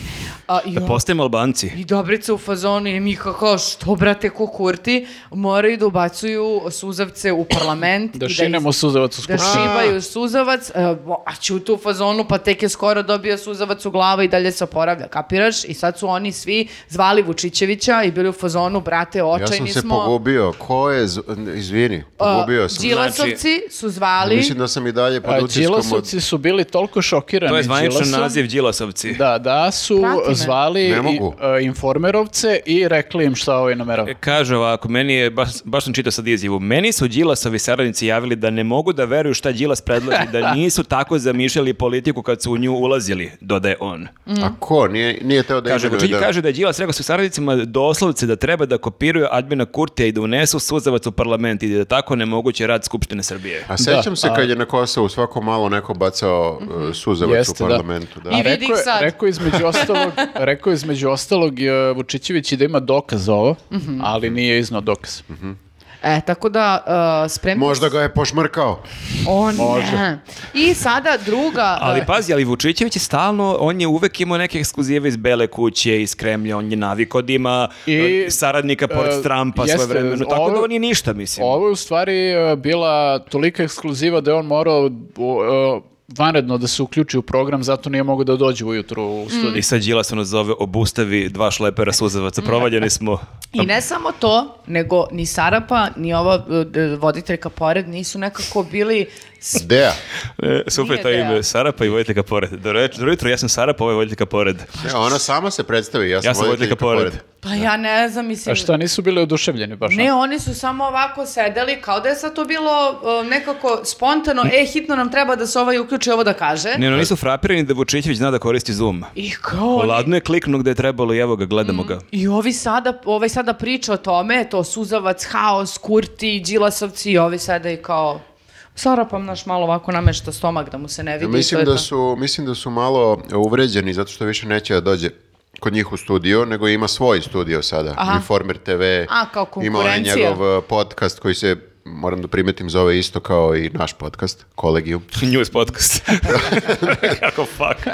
Speaker 4: A, i
Speaker 1: Da
Speaker 4: on-
Speaker 1: postajemo Albanci.
Speaker 4: i Dobrica u fazonu "E, i Mika kao što brate ko kurti moraju da ubacuju suzavce u parlament
Speaker 2: Da
Speaker 4: i
Speaker 2: šinemo
Speaker 4: iz-
Speaker 2: suzavac u
Speaker 4: da
Speaker 2: skupštini.
Speaker 4: šibaju suzavac, e, bo- a Ćuta u fazonu, pa tek je skoro dobio suzavac u glavu i dalje se oporavlja, kapiraš? I sad su oni svi zvali Vučićevića i bili u fazonu, brate,
Speaker 3: Ja sam
Speaker 4: očajni
Speaker 3: se
Speaker 4: smo.
Speaker 3: pogubio. Ko je, z- izvini,
Speaker 4: A,
Speaker 3: pogubio sam. Znači,
Speaker 4: Đilasovci su zvali.
Speaker 3: Mislim da sam i dalje pod
Speaker 2: A
Speaker 3: utiskom od...
Speaker 2: Pa, Đilasovci su bili toliko šokirani
Speaker 1: To je zvaničan
Speaker 2: Đilasom,
Speaker 1: naziv Đilasovci.
Speaker 2: Da, da su
Speaker 4: Prati me.
Speaker 2: zvali
Speaker 3: Ne
Speaker 2: i-
Speaker 3: mogu.
Speaker 2: e, informerovce i rekli im šta ovaj namerava.
Speaker 1: E, Kaže ovako, meni je, baš, baš sam čitao sad izjavu, meni su Đilasovi saradnici javili da ne mogu da veruju šta Đilas predlaži, da nisu tako zamišljali politiku kad su u nju ulazili, dodaje on.
Speaker 3: A ko? Nije, nije teo da
Speaker 1: Kaže,
Speaker 3: imenuje
Speaker 1: Vučić
Speaker 3: da-
Speaker 1: kaže da je Đilas rekao su saradnicima doslovce da treba da kopiraju Admina Kurtija i da unesu suzavac u parlament i da je tako nemoguće rad Skupštine Srbije.
Speaker 3: A sećam
Speaker 2: Da,
Speaker 3: se kad je na Kosovu svako malo neko bacao e, suzavac
Speaker 2: Jeste,
Speaker 3: u
Speaker 2: da.
Speaker 3: parlamentu. Da.
Speaker 4: I
Speaker 2: A
Speaker 4: vidi
Speaker 2: rekao,
Speaker 4: ih
Speaker 2: je-
Speaker 4: sad.
Speaker 2: rekao je između ostalog, rekao je između ostalog e, Vučićević i da ima dokaz za ovo,
Speaker 4: Mhm.
Speaker 2: ali nije iznao dokaz.
Speaker 4: E, tako da, e, spremni
Speaker 3: Možda ga je pošmrkao.
Speaker 4: O, ne. I sada druga...
Speaker 1: Ali
Speaker 2: Da.
Speaker 4: e,
Speaker 1: pazi, ali Vučićević je stalno, on je uvek imao neke ekskluzive iz Bele kuće, iz Kremlja, on je navikao da ima
Speaker 2: I,
Speaker 1: eh, saradnika pored
Speaker 2: e,
Speaker 1: Trumpa
Speaker 2: jeste,
Speaker 1: svoje vremeno, tako
Speaker 2: ovo-
Speaker 1: da on nije ništa, mislim.
Speaker 2: Ovo je u stvari e, bila tolika ekskluziva da je on morao u- e, vanredno da se uključi u program, zato nije mogao da dođe ujutru u
Speaker 4: Hmm.
Speaker 2: studiju.
Speaker 1: I sad Đilas ono zove obustavi dva šlepera suzavaca, provaljeni smo.
Speaker 4: I ne samo to, nego ni Sarapa, ni ova e, d- voditeljka pored nisu nekako bili... s-
Speaker 3: Deja.
Speaker 1: E, super
Speaker 4: Nije da.
Speaker 1: to ime,
Speaker 4: ideja.
Speaker 1: Sarapa i Vojteka pored. Dobro več- dobro jutro, ja sam Sarapa, ovo je Vojteka pored.
Speaker 3: Ne, ona sama se predstavi. Ja sam, da
Speaker 1: Ja sam Vojteka pored.
Speaker 4: Pa ja ne znam, mislim...
Speaker 2: A šta, nisu bili oduševljeni baš?
Speaker 4: Ne, oni su samo ovako sedeli, kao da je sad to bilo e, nekako spontano, e, hitno nam treba da se ovaj uključi ovo da kaže.
Speaker 1: Ne, no, nisu frapirani da Vučićević zna da koristi Zoom.
Speaker 4: I kao oni- Mm.
Speaker 1: Ladno je kliknuo gde je trebalo i evo ga, gledamo ga.
Speaker 4: I ovi sada, ovaj sada priča o tome, to suzavac, haos, kurti, đilasovci i ovi sada i kao... Sarapam naš malo ovako namešta stomak da mu se ne vidi. i to
Speaker 3: Mislim
Speaker 4: je
Speaker 3: da,
Speaker 4: to.
Speaker 3: su, mislim da su malo uvređeni zato što više neće da dođe kod njih u studio, nego ima svoj studio sada.
Speaker 4: Aha.
Speaker 3: Informer TV.
Speaker 4: A, kao
Speaker 3: Ima onaj
Speaker 4: konkurencija.
Speaker 3: njegov uh, podcast koji se, moram da primetim, zove isto kao i naš podcast, Kolegium.
Speaker 1: News podcast. Kako fuck.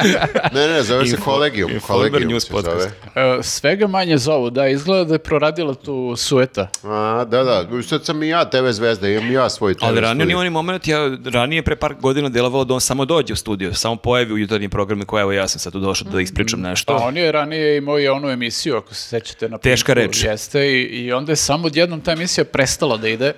Speaker 3: Ne, ne, zove se
Speaker 1: Info-
Speaker 3: Kolegium.
Speaker 1: Informer
Speaker 3: Kolegium
Speaker 1: News
Speaker 3: se
Speaker 1: podcast.
Speaker 3: zove.
Speaker 2: E, svega manje zovu, da, izgleda da je proradila tu sueta.
Speaker 3: A, da, da, sad sam i ja TV zvezda, imam i ja svoj TV
Speaker 1: Ali ranije on
Speaker 3: studio.
Speaker 1: ima onaj moment, ja ranije pre par godina delovao da on samo dođe u studio, samo pojavi u jutarnjim programima koja evo ja sam sad tu došao da ispričam nešto.
Speaker 2: Pa on je ranije imao i onu emisiju, ako se sećate na
Speaker 1: Teška
Speaker 2: Pinku,
Speaker 1: reč.
Speaker 2: Jeste, i, i onda je samo odjednom ta emisija prestala da ide.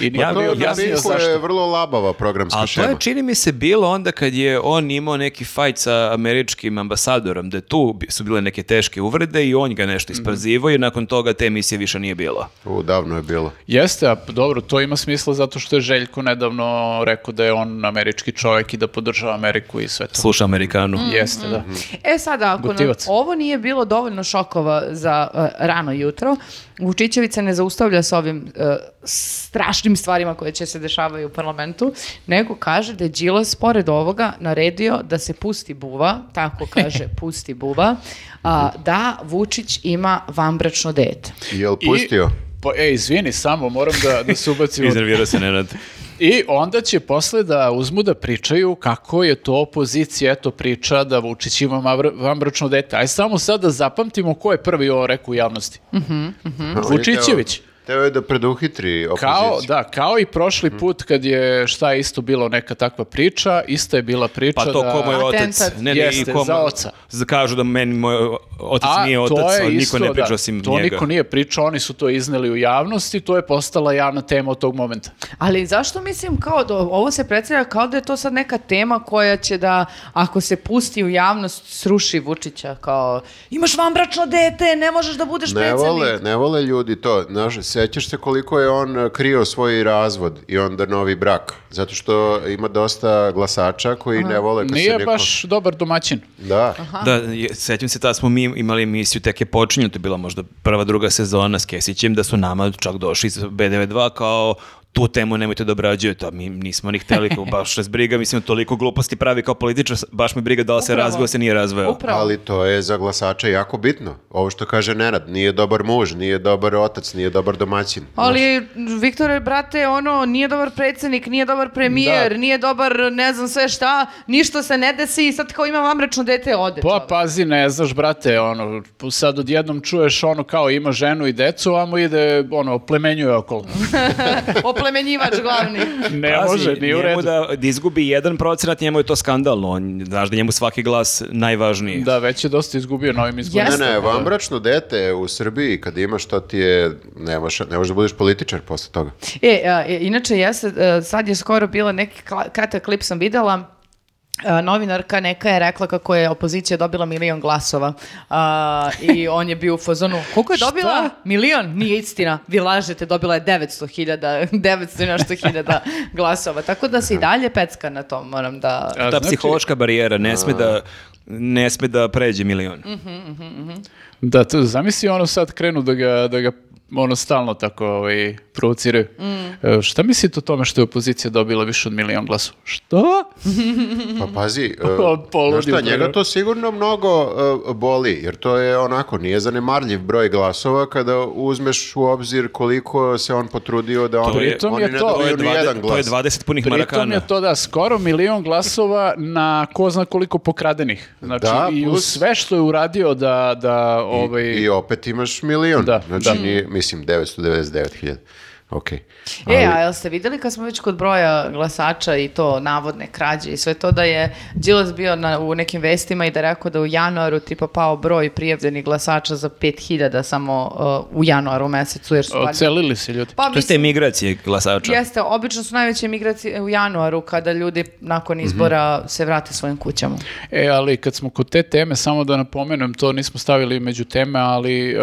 Speaker 2: I niko
Speaker 1: Ja
Speaker 3: To
Speaker 1: bio-
Speaker 2: nije
Speaker 3: je
Speaker 1: ja da sam
Speaker 2: objasnio
Speaker 1: bio
Speaker 3: Pinku
Speaker 2: zašto.
Speaker 3: da je vrlo labava programska
Speaker 1: A to
Speaker 3: šema.
Speaker 1: je čini mi se bilo onda kad je on imao neki fajt sa američkim ambasadorom, da tu bi- su bile neke teške uvrede i on ga nešto
Speaker 2: Mhm.
Speaker 1: isprozivao i nakon toga te emisije više nije bilo.
Speaker 3: U, davno je bilo.
Speaker 2: Jeste, a p- dobro, to ima smisla zato što je Željko nedavno rekao da je on američki čovjek i da podržava Ameriku i sve to.
Speaker 1: Sluša Amerikanu.
Speaker 3: Mhm.
Speaker 2: Jeste, da.
Speaker 4: E sada, ako nam
Speaker 2: Gotivac.
Speaker 4: ovo nije bilo dovoljno šokova za e, rano jutro, Vučićević se ne zaustavlja s ovim e, strašnim stvarima koje će se dešavaju u parlamentu, nego kaže da je Đilas pored ovoga naredio da se pusti buva, tako kaže pusti buva, a, da Vučić ima vanbračno dete.
Speaker 3: Jel
Speaker 2: I-
Speaker 3: pustio?
Speaker 2: Pa, e, izvini, samo moram da, da se ubacim. u-
Speaker 1: Iznervirao se Nenad.
Speaker 2: I onda će posle da uzmu da pričaju kako je to opozicija, eto priča da Vučić ima mavr- vanbračno dete. Aj samo sad da zapamtimo ko je prvi ovo rekao u javnosti.
Speaker 3: Mhm. On je teo-
Speaker 2: Vučićević.
Speaker 3: Hm. Teo je da preduhitri opoziciju.
Speaker 2: Kao, da, kao i
Speaker 3: Mhm.
Speaker 2: prošli put kad je šta isto bilo neka takva priča, ista je bila priča
Speaker 1: Pa to
Speaker 2: da...
Speaker 1: ko moj otac.
Speaker 4: Atentat.
Speaker 1: Ne, ne,
Speaker 2: Jeste,
Speaker 1: i ko
Speaker 2: za
Speaker 1: moj-
Speaker 2: oca.
Speaker 1: za- Kažu da meni moj otac
Speaker 2: A
Speaker 1: nije
Speaker 2: to
Speaker 1: otac,
Speaker 2: je
Speaker 1: ali niko
Speaker 2: isto,
Speaker 1: ne priča
Speaker 2: da,
Speaker 1: osim
Speaker 2: To
Speaker 1: njega.
Speaker 2: niko nije pričao, oni su to izneli u javnosti, to je postala javna tema od tog momenta.
Speaker 4: Ali zašto mislim kao da ovo se predstavlja kao da je to sad neka tema koja će da ako se pusti u javnost sruši Vučića kao imaš vanbračno dete, ne možeš da budeš
Speaker 3: Ne
Speaker 4: predsednik.
Speaker 3: vole, ne vole ljudi to. Znaš, sećaš se koliko je on e, krio svoj razvod i onda novi brak. Zato što ima dosta glasača koji ne vole kad se
Speaker 2: Nije
Speaker 3: neko...
Speaker 2: baš dobar domaćin.
Speaker 3: Da.
Speaker 1: Da, je- sećam se, tad smo mi imali emisiju, tek je počinjeno, to je bila možda prva, druga sezona s Kesićem, da su nama čak došli iz B92 kao tu temu nemojte da obrađujete, a mi nismo ni hteli, kao, baš nas briga, mislim, toliko gluposti pravi kao političar, baš me briga da li se
Speaker 4: Upravo.
Speaker 1: razveo, se nije razveo.
Speaker 4: Upravo.
Speaker 3: Ali to je za glasača jako bitno. Ovo što kaže Nenad, nije dobar muž, nije dobar otac, nije dobar domaćin.
Speaker 4: Ali, Viktore, brate, ono, nije dobar predsjednik, nije dobar premijer,
Speaker 2: Da.
Speaker 4: nije dobar ne znam sve šta, ništa se ne desi i sad kao imam vamrečno dete, ode.
Speaker 2: Pa
Speaker 4: čovek.
Speaker 2: pazi, ne znaš, brate, ono, sad odjednom čuješ ono kao ima ženu i decu, a mu ide, ono, plemenjuje okolo.
Speaker 4: Oplemenjivač glavni.
Speaker 2: Ne
Speaker 1: Pazi,
Speaker 2: može, nije u
Speaker 1: njemu
Speaker 2: redu. Da...
Speaker 1: Da, da izgubi jedan procenat, njemu je to skandalno, on, znaš da je njemu svaki glas najvažniji.
Speaker 2: Da, već je dosta izgubio na ovim izborima.
Speaker 4: Jeste.
Speaker 3: Ne, ne, vanbračno dete u Srbiji kad imaš to ti je, ne možeš, ne možeš da budeš političar posle toga.
Speaker 4: E, a, e, inače, ja se, e, sad je skoro bila neki kla- kratak klip sam videla, a, novinarka neka je rekla kako je opozicija dobila milion glasova a, i on je bio u fazonu koliko je dobila? Milion? Nije istina vi lažete, dobila je 900 hiljada 900 i nešto hiljada glasova tako da se i dalje pecka na tom moram da...
Speaker 1: Ta
Speaker 2: A, znači-
Speaker 1: psihološka barijera ne sme da ne sme da pređe milion.
Speaker 2: Da, to, zamisli ono sad krenu da ga, da ga ono stalno tako ovaj, provociraju. E, šta mislite o tome što je opozicija dobila više od milion glasova? Što?
Speaker 3: Pa
Speaker 2: Mm-hmm.
Speaker 3: pazi, e,
Speaker 2: On poludi
Speaker 3: znaš šta,
Speaker 2: u prvom.
Speaker 3: njega to sigurno mnogo e, boli, jer to je onako, nije zanemarljiv broj glasova kada uzmeš u obzir koliko se on potrudio da on,
Speaker 1: je-
Speaker 2: Pritom
Speaker 3: oni
Speaker 2: je
Speaker 3: ne
Speaker 2: to-
Speaker 1: To je,
Speaker 3: dobiju ni
Speaker 1: 20,
Speaker 3: jedan
Speaker 1: to je
Speaker 3: glas.
Speaker 1: 20 punih
Speaker 2: Pritom
Speaker 1: marakana.
Speaker 2: je to da skoro milion glasova na ko zna koliko pokradenih. Znači
Speaker 3: Da,
Speaker 2: i u
Speaker 3: plus-
Speaker 2: sve što je uradio da, da ovaj...
Speaker 3: I opet imaš milion,
Speaker 2: Da,
Speaker 3: znači
Speaker 2: da.
Speaker 3: nije, mislim 999.000, okej.
Speaker 4: E, a jel ste vidjeli kad smo već kod broja glasača i to navodne krađe i sve to da je Đilas bio na, u nekim vestima i da je rekao da u januaru tipa pao broj prijavljenih glasača za 5000 samo uh, u januaru mesecu jer su valjda-
Speaker 2: Ocelili se ljudi.
Speaker 4: Pa
Speaker 1: To su te
Speaker 4: mislim,
Speaker 1: migracije glasača.
Speaker 4: jeste, obično su najveće migracije u januaru kada ljudi nakon izbora se vrate svojim kućama.
Speaker 2: E, ali kad smo kod te teme, samo da napomenem, to nismo stavili među teme, ali e,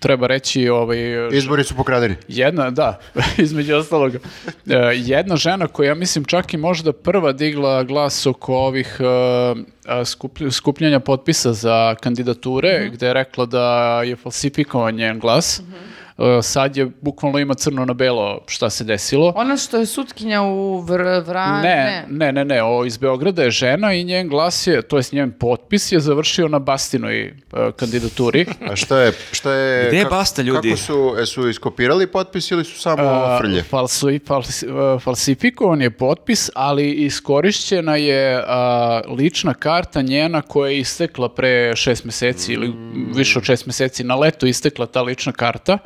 Speaker 2: treba reći ovaj,
Speaker 3: Izbori su pokradeni.
Speaker 2: Jedna, da, između ostaloga. E, jedna žena koja, ja mislim, čak i možda prva digla glas oko ovih e, a, skuplj- skupljanja potpisa za kandidature, gde je rekla da je falsifikovan njen glas, e, sad je bukvalno ima crno na belo šta se desilo.
Speaker 4: Ona što je sutkinja u vr, Vran,
Speaker 2: Ne,
Speaker 4: ne.
Speaker 2: ne, ne, ne, o, iz Beograda je žena i njen glas je, to jest njen potpis je završio na Bastinoj e, kandidaturi.
Speaker 3: A šta je... Šta je
Speaker 1: Gde je Basta, ljudi?
Speaker 3: Kako su, e, su iskopirali potpis ili su samo
Speaker 2: A,
Speaker 3: frlje?
Speaker 2: falsi- falsi- e, falsifikovan je potpis, ali iskorišćena je a, lična karta njena koja je istekla pre šest meseci ili
Speaker 3: Mm.
Speaker 2: više od šest meseci na leto istekla ta lična karta.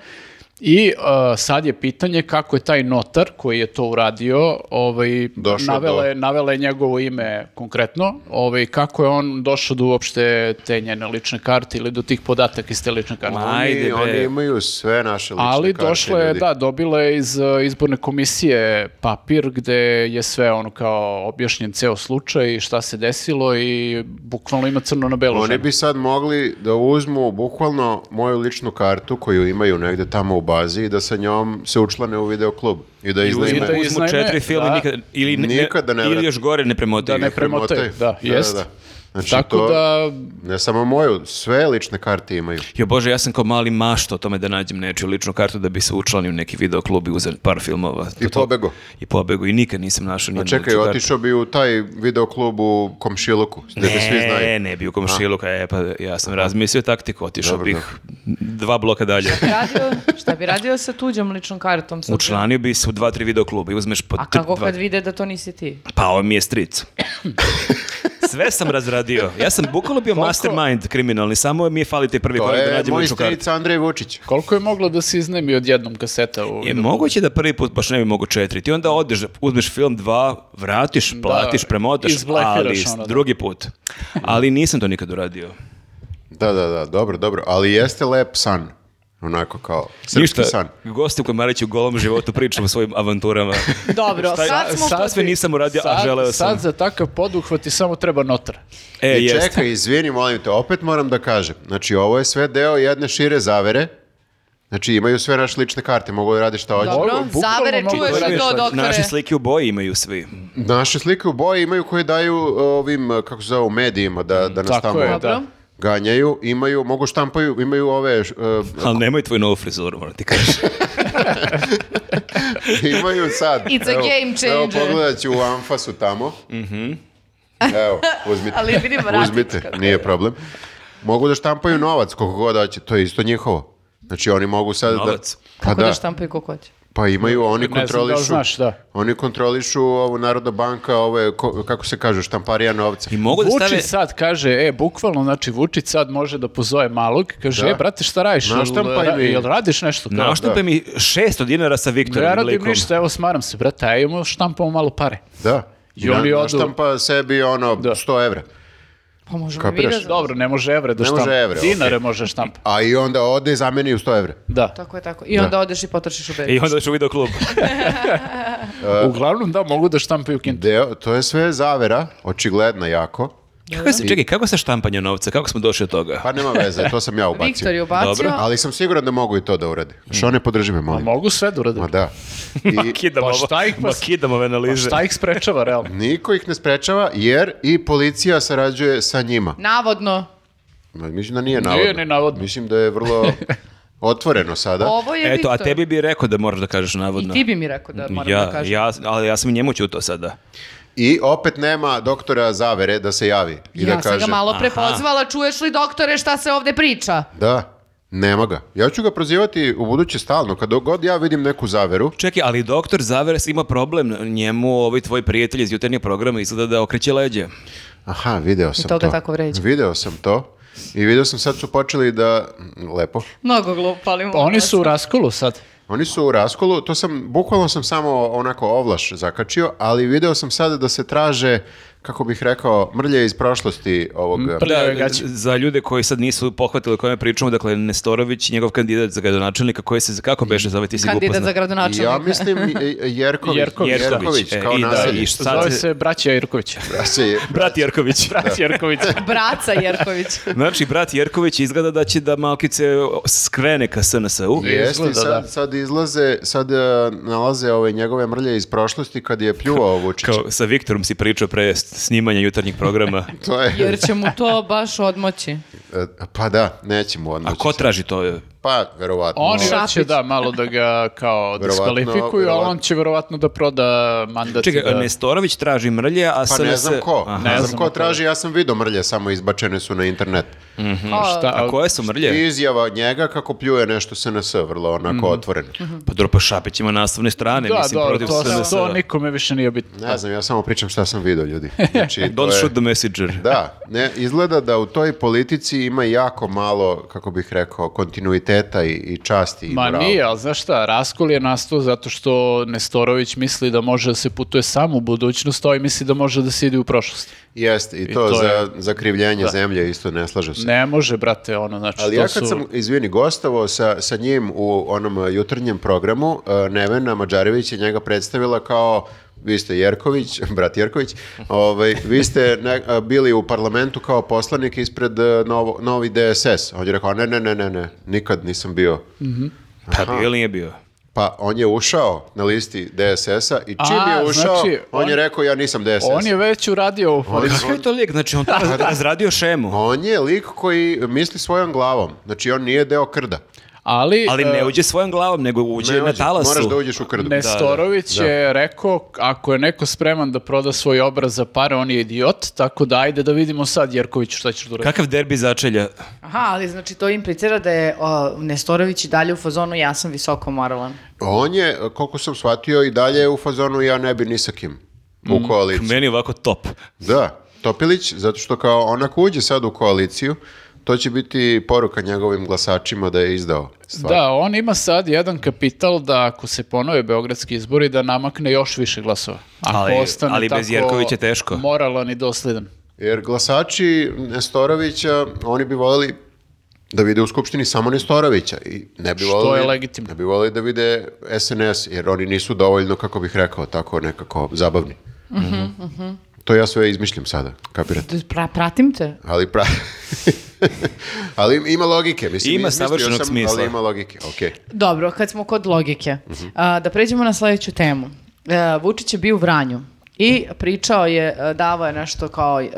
Speaker 2: I a, sad je pitanje kako je taj notar koji je to uradio, ovaj,
Speaker 3: Došao
Speaker 2: navela,
Speaker 3: do-
Speaker 2: je, navela je njegovo ime konkretno, ovaj, kako je on došao do uopšte te njene lične karte ili do tih podataka iz te lične karte.
Speaker 1: Ma,
Speaker 3: Oni-
Speaker 1: ajde,
Speaker 3: oni,
Speaker 1: bre.
Speaker 3: imaju sve naše lične
Speaker 2: Ali
Speaker 3: karte,
Speaker 2: došla je,
Speaker 3: ljudi.
Speaker 2: da, dobila je iz e, izborne komisije papir gde je sve ono kao objašnjen ceo slučaj i šta se desilo i bukvalno ima crno na belo
Speaker 3: Oni
Speaker 2: ženu.
Speaker 3: bi sad mogli da uzmu bukvalno moju ličnu kartu koju imaju negde tamo u bazi i da sa njom se učlane u videoklub i da
Speaker 1: Uzmu,
Speaker 2: I da
Speaker 3: iznajme.
Speaker 1: uzmu
Speaker 2: iznajme,
Speaker 1: četiri filma
Speaker 2: da.
Speaker 1: nikad, ili, ne-
Speaker 3: Nikad da ne
Speaker 1: ili
Speaker 3: vrate.
Speaker 1: još gore ne premotaju.
Speaker 2: Da ne premotaju, da, jest.
Speaker 3: Znači,
Speaker 2: Tako
Speaker 3: to-
Speaker 2: da,
Speaker 3: Ne samo moju, sve lične karte imaju.
Speaker 1: Jo bože, ja sam kao mali mašto o tome da nađem nečiju ličnu kartu da bi se učlanio u neki videoklub i uzeo par filmova.
Speaker 3: I pobego.
Speaker 1: I pobegu i nikad nisam našao nijednu
Speaker 3: Čekaj,
Speaker 1: ličnu kartu.
Speaker 3: otišao bi u taj videoklub u Komšiluku, gde te svi znaju.
Speaker 1: Ne, ne, bio komšiluka, e, pa ja sam razmislio taktiku, otišao
Speaker 3: Dobro,
Speaker 1: bih dva bloka dalje.
Speaker 4: Radio, šta bi radio sa tuđom ličnom kartom? slučajno?
Speaker 1: Učlanio bi se u dva, tri videokluba i uzmeš po...
Speaker 4: A
Speaker 1: t-
Speaker 4: kako
Speaker 1: dva-
Speaker 4: kad vide da to nisi ti?
Speaker 1: Pa ovo mi je stric. Sve sam razradio. Ja sam bukvalo bio mastermind kriminalni, samo mi je fali taj prvi
Speaker 3: To
Speaker 1: korak da
Speaker 3: je
Speaker 1: nađem
Speaker 3: moj
Speaker 1: ličnu kartu.
Speaker 3: stric Andrej Vučić.
Speaker 2: koliko je moglo da se iznajmi od jednom kaseta? U...
Speaker 1: Je moguće da prvi put baš ne bi mogo četiri. Ti onda odeš, uzmeš film dva, vratiš, platiš, premotaš, ali
Speaker 2: Da, izblefiraš ono, da.
Speaker 1: drugi put. Ali nisam to nikad uradio.
Speaker 3: Da, da, da, dobro, dobro. Ali jeste lep san. Onako kao srpski
Speaker 1: Ništa,
Speaker 3: san.
Speaker 1: gosti u Kamariću u golom životu pričam o svojim avanturama.
Speaker 4: Dobro,
Speaker 1: Šta-
Speaker 4: sad smo...
Speaker 1: sad
Speaker 4: kod-
Speaker 1: sve nisam uradio, a
Speaker 2: sad,
Speaker 1: želeo sam.
Speaker 2: Sad za takav poduhvat ti samo treba notar.
Speaker 1: E,
Speaker 3: I
Speaker 1: jeste.
Speaker 3: čekaj, izvini, molim te, opet moram da kažem. Znači, ovo je sve deo jedne šire zavere. Znači, imaju sve naše lične karte, mogu da radi šta hoće.
Speaker 4: Dobro,
Speaker 2: Mogu, bukvalno
Speaker 4: zavere,
Speaker 2: mogu
Speaker 4: čuješ
Speaker 2: da
Speaker 4: li to,
Speaker 2: razmišljam.
Speaker 4: doktore?
Speaker 1: Naše slike u boji imaju svi.
Speaker 3: Naše slike u boji imaju koje daju uh, ovim, kako se zove, u medijima da, da nas
Speaker 2: Tako
Speaker 3: tamo
Speaker 2: je, da.
Speaker 4: Dobro.
Speaker 3: ganjaju. Imaju, mogu štampaju, imaju ove... š- e,
Speaker 1: Ali nemoj tvoju novu frizuru, moram ti kažem.
Speaker 3: Imaju sad.
Speaker 4: It's a
Speaker 3: Evo-
Speaker 4: game changer.
Speaker 3: Evo, pogledat ću u Anfasu tamo.
Speaker 2: Mhm.
Speaker 3: Evo, uzmite.
Speaker 4: Ali vidim vratit
Speaker 3: Uzmite,
Speaker 4: kako
Speaker 3: nije problem. Mogu da štampaju novac koliko god hoće, to je isto njihovo. Znači oni mogu sad
Speaker 1: Novac?
Speaker 3: da... Pa
Speaker 4: Kako da
Speaker 3: da,
Speaker 4: štampaju kako hoće?
Speaker 3: pa imaju, oni
Speaker 2: znam da li
Speaker 3: kontrolišu...
Speaker 2: znaš, da.
Speaker 3: Oni kontrolišu ovu Narodna banka, ove, ko- kako se kaže, štamparija novca.
Speaker 1: I mogu da
Speaker 2: Vučić
Speaker 1: stave...
Speaker 2: sad kaže, e, bukvalno, znači, Vučić sad može da pozove malog, kaže,
Speaker 3: Da.
Speaker 2: e, brate, šta radiš? Jel-
Speaker 3: Naštampaj
Speaker 2: ra-
Speaker 3: mi.
Speaker 2: Jel radiš nešto? Kao,
Speaker 1: Naštampe Da. mi 600 dinara sa
Speaker 2: "Da, Ja
Speaker 1: Viktorom
Speaker 2: radim
Speaker 1: likom.
Speaker 2: ništa, evo, smaram se, brate, ajmo štampamo malo pare.
Speaker 3: Da.
Speaker 2: I oni
Speaker 3: Na-
Speaker 2: odu- Da.
Speaker 3: naštampa sebi ono 100 evra.
Speaker 4: Pa možemo
Speaker 3: Kapiraš?
Speaker 4: vidjeti.
Speaker 2: Dobro, ne može evre da
Speaker 3: Ne može
Speaker 2: štampa.
Speaker 3: evre,
Speaker 2: Dinare može štampa.
Speaker 3: A i onda ode i zameni u 100 evra.
Speaker 2: Da.
Speaker 4: Tako je, tako. I onda odeš i potrošiš u bebi.
Speaker 1: I onda još u video klub. E,
Speaker 2: Uglavnom, da, mogu da štampaju kinta.
Speaker 3: Deo, to je sve zavera, očigledna jako.
Speaker 1: Kako se, čekaj, kako se štampanje novca? Kako smo došli do toga?
Speaker 3: Pa nema veze, to sam ja ubacio.
Speaker 4: Viktor je ubacio.
Speaker 1: Dobro.
Speaker 3: Ali sam siguran da mogu i to da urade. Što ne podrži me, molim.
Speaker 2: Mm. Mogu sve da urade.
Speaker 3: Ma da. I
Speaker 1: kidamo
Speaker 2: pa
Speaker 1: ovo-
Speaker 2: šta ih
Speaker 1: ma
Speaker 2: vas-
Speaker 1: kidamo ove analize.
Speaker 2: Šta ih sprečava, realno?
Speaker 3: niko ih ne sprečava jer i policija sarađuje sa njima.
Speaker 4: Navodno,
Speaker 3: Ma, Mislim da nije navodno.
Speaker 2: ni navodno.
Speaker 3: Mislim da je vrlo otvoreno sada.
Speaker 4: ovo je
Speaker 1: E, Eto,
Speaker 4: Viktor.
Speaker 1: a tebi bi rekao da moraš da kažeš
Speaker 4: I
Speaker 1: navodno.
Speaker 4: ti bi mi rekao da moram
Speaker 1: ja,
Speaker 4: da kažem.
Speaker 1: ja, ali ja sam i njemu to sada.
Speaker 3: I opet nema doktora zavere da se javi i
Speaker 4: ja
Speaker 3: da
Speaker 4: sam
Speaker 3: kaže.
Speaker 4: ga malo pre
Speaker 1: Aha.
Speaker 4: pozvala, čuješ li doktore šta se ovde priča?
Speaker 3: Da, nema ga. Ja ću ga prozivati u buduće stalno. Kada god ja vidim neku zaveru,
Speaker 1: Čekaj, ali doktor Zaveres ima problem. Njemu ovaj tvoj prijatelj iz jutarnjeg programa izgleda da okreće leđe.
Speaker 3: aha, video sam
Speaker 4: to ga
Speaker 3: to.
Speaker 4: tako vređa.
Speaker 3: Video sam to. I video sam sad su počeli da, lepo,
Speaker 4: Mnogo glupo, ali...
Speaker 2: Pa oni su u raskolu sad.
Speaker 3: Oni su u raskolu, to sam, bukvalno sam samo onako ovlaš zakačio, ali video sam sada da se traže, kako bih rekao, mrlje iz prošlosti ovog...
Speaker 1: Da,
Speaker 2: Prljave gaće.
Speaker 1: za ljude koji sad nisu pohvatili o kome pričamo, dakle Nestorović, njegov kandidat za gradonačelnika koji se kako beše zove ti si ga
Speaker 4: Kandidat za
Speaker 1: upoznao?
Speaker 4: gradonačelnika.
Speaker 3: Ja mislim i- i Jerković,
Speaker 2: Jerković.
Speaker 3: Jerković,
Speaker 1: E,
Speaker 3: kao
Speaker 1: i da,
Speaker 3: naselje.
Speaker 1: i šta
Speaker 2: Zove
Speaker 1: se-
Speaker 2: se braća Jerković.
Speaker 3: Naselje.
Speaker 1: Brat Jerković. Da.
Speaker 2: Braća Jerković.
Speaker 4: Braca Jerković.
Speaker 1: Znači, brat Jerković izgleda da će da malkice skrene ka SNS-u.
Speaker 3: Jeste, i
Speaker 2: Izgleda,
Speaker 3: sad,
Speaker 2: da.
Speaker 3: sad izlaze, sad e, nalaze ove njegove mrlje iz prošlosti kad je pljuvao Vučića.
Speaker 1: Kao sa Viktorom si pričao pre snimanja jutarnjeg programa.
Speaker 3: To je,
Speaker 4: Jer će mu to baš odmoći.
Speaker 3: e, pa da, nećemo odmoći.
Speaker 1: A ko
Speaker 3: se.
Speaker 1: traži to?
Speaker 3: Pa, verovatno.
Speaker 2: Oni
Speaker 4: Šapić.
Speaker 2: hoće da malo da ga kao
Speaker 3: Verovatno,
Speaker 2: diskvalifikuju, ali on
Speaker 3: verovatno.
Speaker 2: će verovatno da proda mandat. i
Speaker 1: Čekaj,
Speaker 2: da...
Speaker 1: Nestorović traži mrlje, Znači a
Speaker 3: Pa
Speaker 1: SNS...
Speaker 3: ne znam ko,
Speaker 1: Aha.
Speaker 3: ne
Speaker 2: znam
Speaker 3: znam ko
Speaker 2: ko.
Speaker 3: traži, ja sam vidio mrlje, samo izbačene su na internet.
Speaker 4: A,
Speaker 2: Šta,
Speaker 1: A koje su mrlje?
Speaker 3: Izjava od njega kako pljuje nešto SNS, vrlo onako otvoreno.
Speaker 1: Pa dobro, pa Šapić ima naslovne strane,
Speaker 2: Da,
Speaker 1: mislim,
Speaker 2: dobro,
Speaker 1: protiv
Speaker 2: to,
Speaker 1: SNS.
Speaker 2: to nikome više nije bitno.
Speaker 3: Ne znam, ja samo pričam šta sam vidio, ljudi. Znači, to
Speaker 1: Don't
Speaker 3: je-
Speaker 1: shoot the messenger.
Speaker 3: Da, ne, izgleda da u toj politici ima jako malo, kako bih rekao, kontinuiteta i, i časti i
Speaker 2: Ma
Speaker 3: morala.
Speaker 2: nije, ali znaš šta, raskol je nastao zato što Nestorović misli da može da se putuje sam u budućnost, a ovaj misli da može da se ide u prošlost.
Speaker 3: Jeste, i to,
Speaker 2: to
Speaker 3: za,
Speaker 2: je-
Speaker 3: za krivljenje zemlje isto ne slažem se.
Speaker 2: Ne može, brate, ono, znači,
Speaker 3: Ali
Speaker 2: to
Speaker 3: ja kad
Speaker 2: su-
Speaker 3: sam, izvini, gostovao sa, sa njim u onom e, jutarnjem programu, e, Nevena Mađarević je njega predstavila kao vi ste Jerković, brat Jerković, ovaj, vi ste ne- e, bili u parlamentu kao poslanik ispred e, novo, novi DSS. On je rekao, ne, ne, ne, ne, ne, nikad nisam bio.
Speaker 1: Pa bio ili nije bio?
Speaker 3: Pa on je ušao na listi DSS-a i čim
Speaker 2: A,
Speaker 3: je ušao,
Speaker 2: znači,
Speaker 3: on,
Speaker 2: on-
Speaker 3: je rekao, ja nisam DSS.
Speaker 2: On je već uradio ovu
Speaker 3: On-
Speaker 1: Kakav je to lik? Znači, on
Speaker 2: Da.
Speaker 1: to raz- razradio šemu.
Speaker 3: On je lik koji misli svojom glavom. Znači, on nije deo krda.
Speaker 2: ali,
Speaker 1: Ali
Speaker 2: e,
Speaker 1: ne uđe svojom glavom, nego uđe
Speaker 3: Ne,
Speaker 1: na
Speaker 3: uđi,
Speaker 1: talasu.
Speaker 3: Moraš da uđeš u krdu.
Speaker 2: Nestorović
Speaker 3: Da, da.
Speaker 2: je rekao, ako je neko spreman da proda svoj obraz za pare, on je idiot, tako da ajde da vidimo sad, Jerković, šta ćeš da uradiš.
Speaker 1: Kakav derbi začelja?
Speaker 4: Aha, ali znači to implicira da je o, Nestorović i dalje u fazonu ja sam visoko moralan.
Speaker 3: On je, koliko sam shvatio, i dalje u fazonu ja ne bi ni sa kim
Speaker 2: Mm,
Speaker 3: u koaliciju.
Speaker 1: Meni je ovako top.
Speaker 3: Da, Topilić, zato što kao onako uđe sad u koaliciju, to će biti poruka njegovim glasačima da je izdao stvar.
Speaker 2: Da, on ima sad jedan kapital da ako se ponove beogradski izbori da namakne još više glasova. Ako
Speaker 1: Ali-
Speaker 2: ostane
Speaker 1: ali bez
Speaker 2: tako
Speaker 1: Jerkovića teško.
Speaker 2: Moralan i dosledan.
Speaker 3: Jer glasači Nestorovića, oni bi voljeli da vide u Skupštini samo Nestorovića. I ne bi
Speaker 2: Što
Speaker 3: voljeli-
Speaker 2: je legitimno.
Speaker 3: Ne bi voljeli da vide SNS, jer oni nisu dovoljno, kako bih rekao, tako nekako zabavni. To ja sve izmišljam sada, kapirate?
Speaker 4: Da, Pra- pratim te.
Speaker 3: Ali pra... ali ima logike, mislim.
Speaker 1: Ima
Speaker 3: izmislio
Speaker 1: savršenog
Speaker 3: sam,
Speaker 1: smisla.
Speaker 3: Ali ima logike, okej.
Speaker 4: Dobro, kad smo kod logike,
Speaker 3: Mhm.
Speaker 4: a, da pređemo na sledeću temu. E, Vučić je bio u Vranju i pričao je, e, davao je nešto kao e,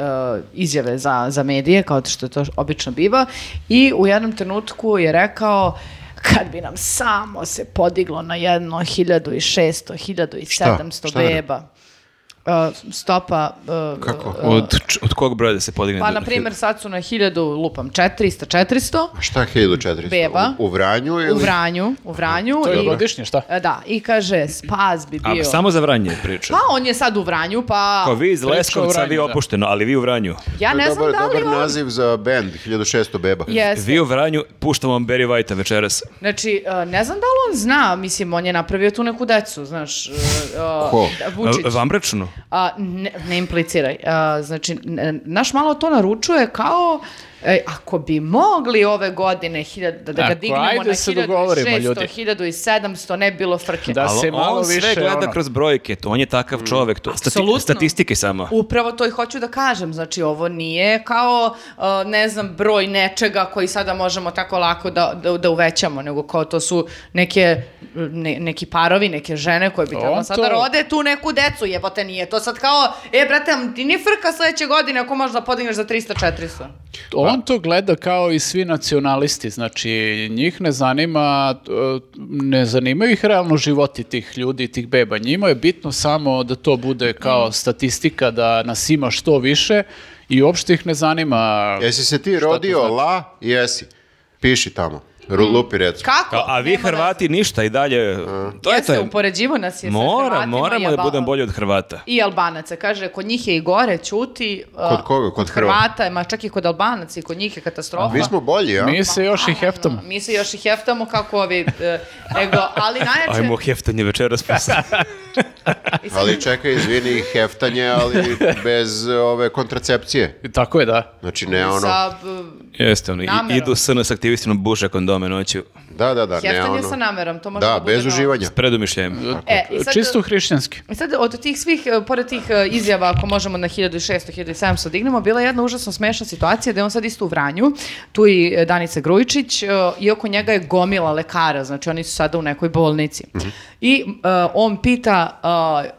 Speaker 4: izjave za, za medije, kao što to obično biva, i u jednom trenutku je rekao kad bi nam samo se podiglo na jedno 1600, 1700
Speaker 3: Šta je?
Speaker 4: beba. E, stopa e,
Speaker 3: Kako?
Speaker 1: Od, č- od kog broja da se podigne?
Speaker 4: Pa,
Speaker 1: do-
Speaker 4: na primjer, sad su na 1000, lupam, 400, 400
Speaker 3: A Šta je 1400?
Speaker 4: Beba.
Speaker 3: U, u Vranju ili...
Speaker 4: u Vranju, u Vranju.
Speaker 2: To je
Speaker 4: i-
Speaker 2: godišnje, šta?
Speaker 4: E, Da, i kaže, spas bi bio.
Speaker 1: A samo za Vranje priča.
Speaker 4: Pa on je sad u Vranju, pa
Speaker 1: Kao vi iz
Speaker 2: Priča o
Speaker 1: Leskovca, vi
Speaker 2: Vranju, da.
Speaker 1: opušteno, ali vi u Vranju.
Speaker 4: ja
Speaker 3: To je
Speaker 4: ne znam
Speaker 3: dobar,
Speaker 4: da li
Speaker 3: dobar
Speaker 4: on...
Speaker 3: naziv za band, 1600 beba.
Speaker 4: Jeste.
Speaker 1: Vi u Vranju, puštamo vam Barry White-a večeras.
Speaker 4: Znači, e, ne znam da li on zna, mislim, on je napravio tu neku decu, znaš. e, e,
Speaker 3: Ko?
Speaker 4: da, Vučić.
Speaker 1: A, Vambračnu?
Speaker 4: A, ne, ne impliciraj. A, znači, n- naš malo to naručuje kao e, ako bi mogli ove godine hiljad- da, da ga
Speaker 2: Ako,
Speaker 4: dignemo na
Speaker 2: ajde se dogovorimo,
Speaker 4: 1600,
Speaker 2: ljudi.
Speaker 4: 1700 ne bi bilo frke.
Speaker 2: Da
Speaker 1: Ali
Speaker 2: se malo
Speaker 1: on sve
Speaker 2: više,
Speaker 1: gleda
Speaker 2: ono- Mm.
Speaker 1: kroz brojke, to on je takav čovek, to stati-
Speaker 4: Apsolutno.
Speaker 1: statistike samo.
Speaker 4: Upravo to i hoću da kažem, znači ovo nije kao, uh, ne znam, broj nečega koji sada možemo tako lako da, da, da uvećamo, nego kao to su neke, ne, neki parovi, neke žene koje bi trebalo
Speaker 2: On
Speaker 4: sada
Speaker 2: to-
Speaker 4: da rode tu neku decu, jebote nije to sad kao, e brate, am ti ni frka sledeće godine ako možeš da podigneš za 300-400.
Speaker 2: On to gleda kao i svi nacionalisti, znači njih ne zanima, e, ne zanimaju ih realno životi tih ljudi, tih beba. Njima je bitno samo da to bude kao statistika, da nas ima što više i uopšte ih ne zanima.
Speaker 3: Jesi se ti rodio
Speaker 1: znači?
Speaker 3: la? Jesi. Piši tamo.
Speaker 4: Mm.
Speaker 3: Ru- Lupi recu.
Speaker 4: Kako?
Speaker 1: A, a vi
Speaker 4: Nema
Speaker 1: Hrvati ništa i dalje. To
Speaker 2: Mm.
Speaker 4: veze.
Speaker 1: je to.
Speaker 4: Jeste,
Speaker 1: je-
Speaker 4: upoređivo nas je sa
Speaker 1: Mora,
Speaker 4: Hrvatima
Speaker 1: moramo
Speaker 4: i
Speaker 1: da
Speaker 4: Alba-
Speaker 1: budemo bolji od Hrvata.
Speaker 4: I Albanaca, kaže, kod njih je i gore, ćuti. uh,
Speaker 3: Kod koga? Kod Hrvata?
Speaker 4: Hrvata, ma čak i kod Albanaca i kod njih je katastrofa.
Speaker 3: Mi smo bolji, a?
Speaker 2: Mi se još i heftamo.
Speaker 4: Mi se još i heftamo kako ovi, e, nego, ali najjače...
Speaker 1: Ajmo heftanje večeras posle.
Speaker 4: i sad-
Speaker 3: Ali čekaj, izvini, heftanje, ali bez e, ove kontracepcije.
Speaker 2: Tako je, da.
Speaker 3: Znači ne ono...
Speaker 4: Sa, b-
Speaker 1: Jeste, ono, i-
Speaker 4: Namera.
Speaker 1: idu SNS aktivistima buše kondome noću.
Speaker 3: Da, da, da, ne
Speaker 4: heftanje
Speaker 3: ono.
Speaker 4: sa namerom, to može
Speaker 3: Da,
Speaker 4: da bude
Speaker 3: bez
Speaker 4: na-
Speaker 3: uživanja.
Speaker 1: S predumišljajem.
Speaker 4: E, i sad,
Speaker 2: Čisto hrišćanski.
Speaker 4: I sad od tih svih, e, pored tih e, izjava, ako možemo na 1600, 1700 dignemo, bila je jedna užasno smešna situacija da je on sad isto u Vranju, tu i e, Danica Grujičić, e, i oko njega je gomila lekara, znači oni su sada u nekoj bolnici. I e, on pita,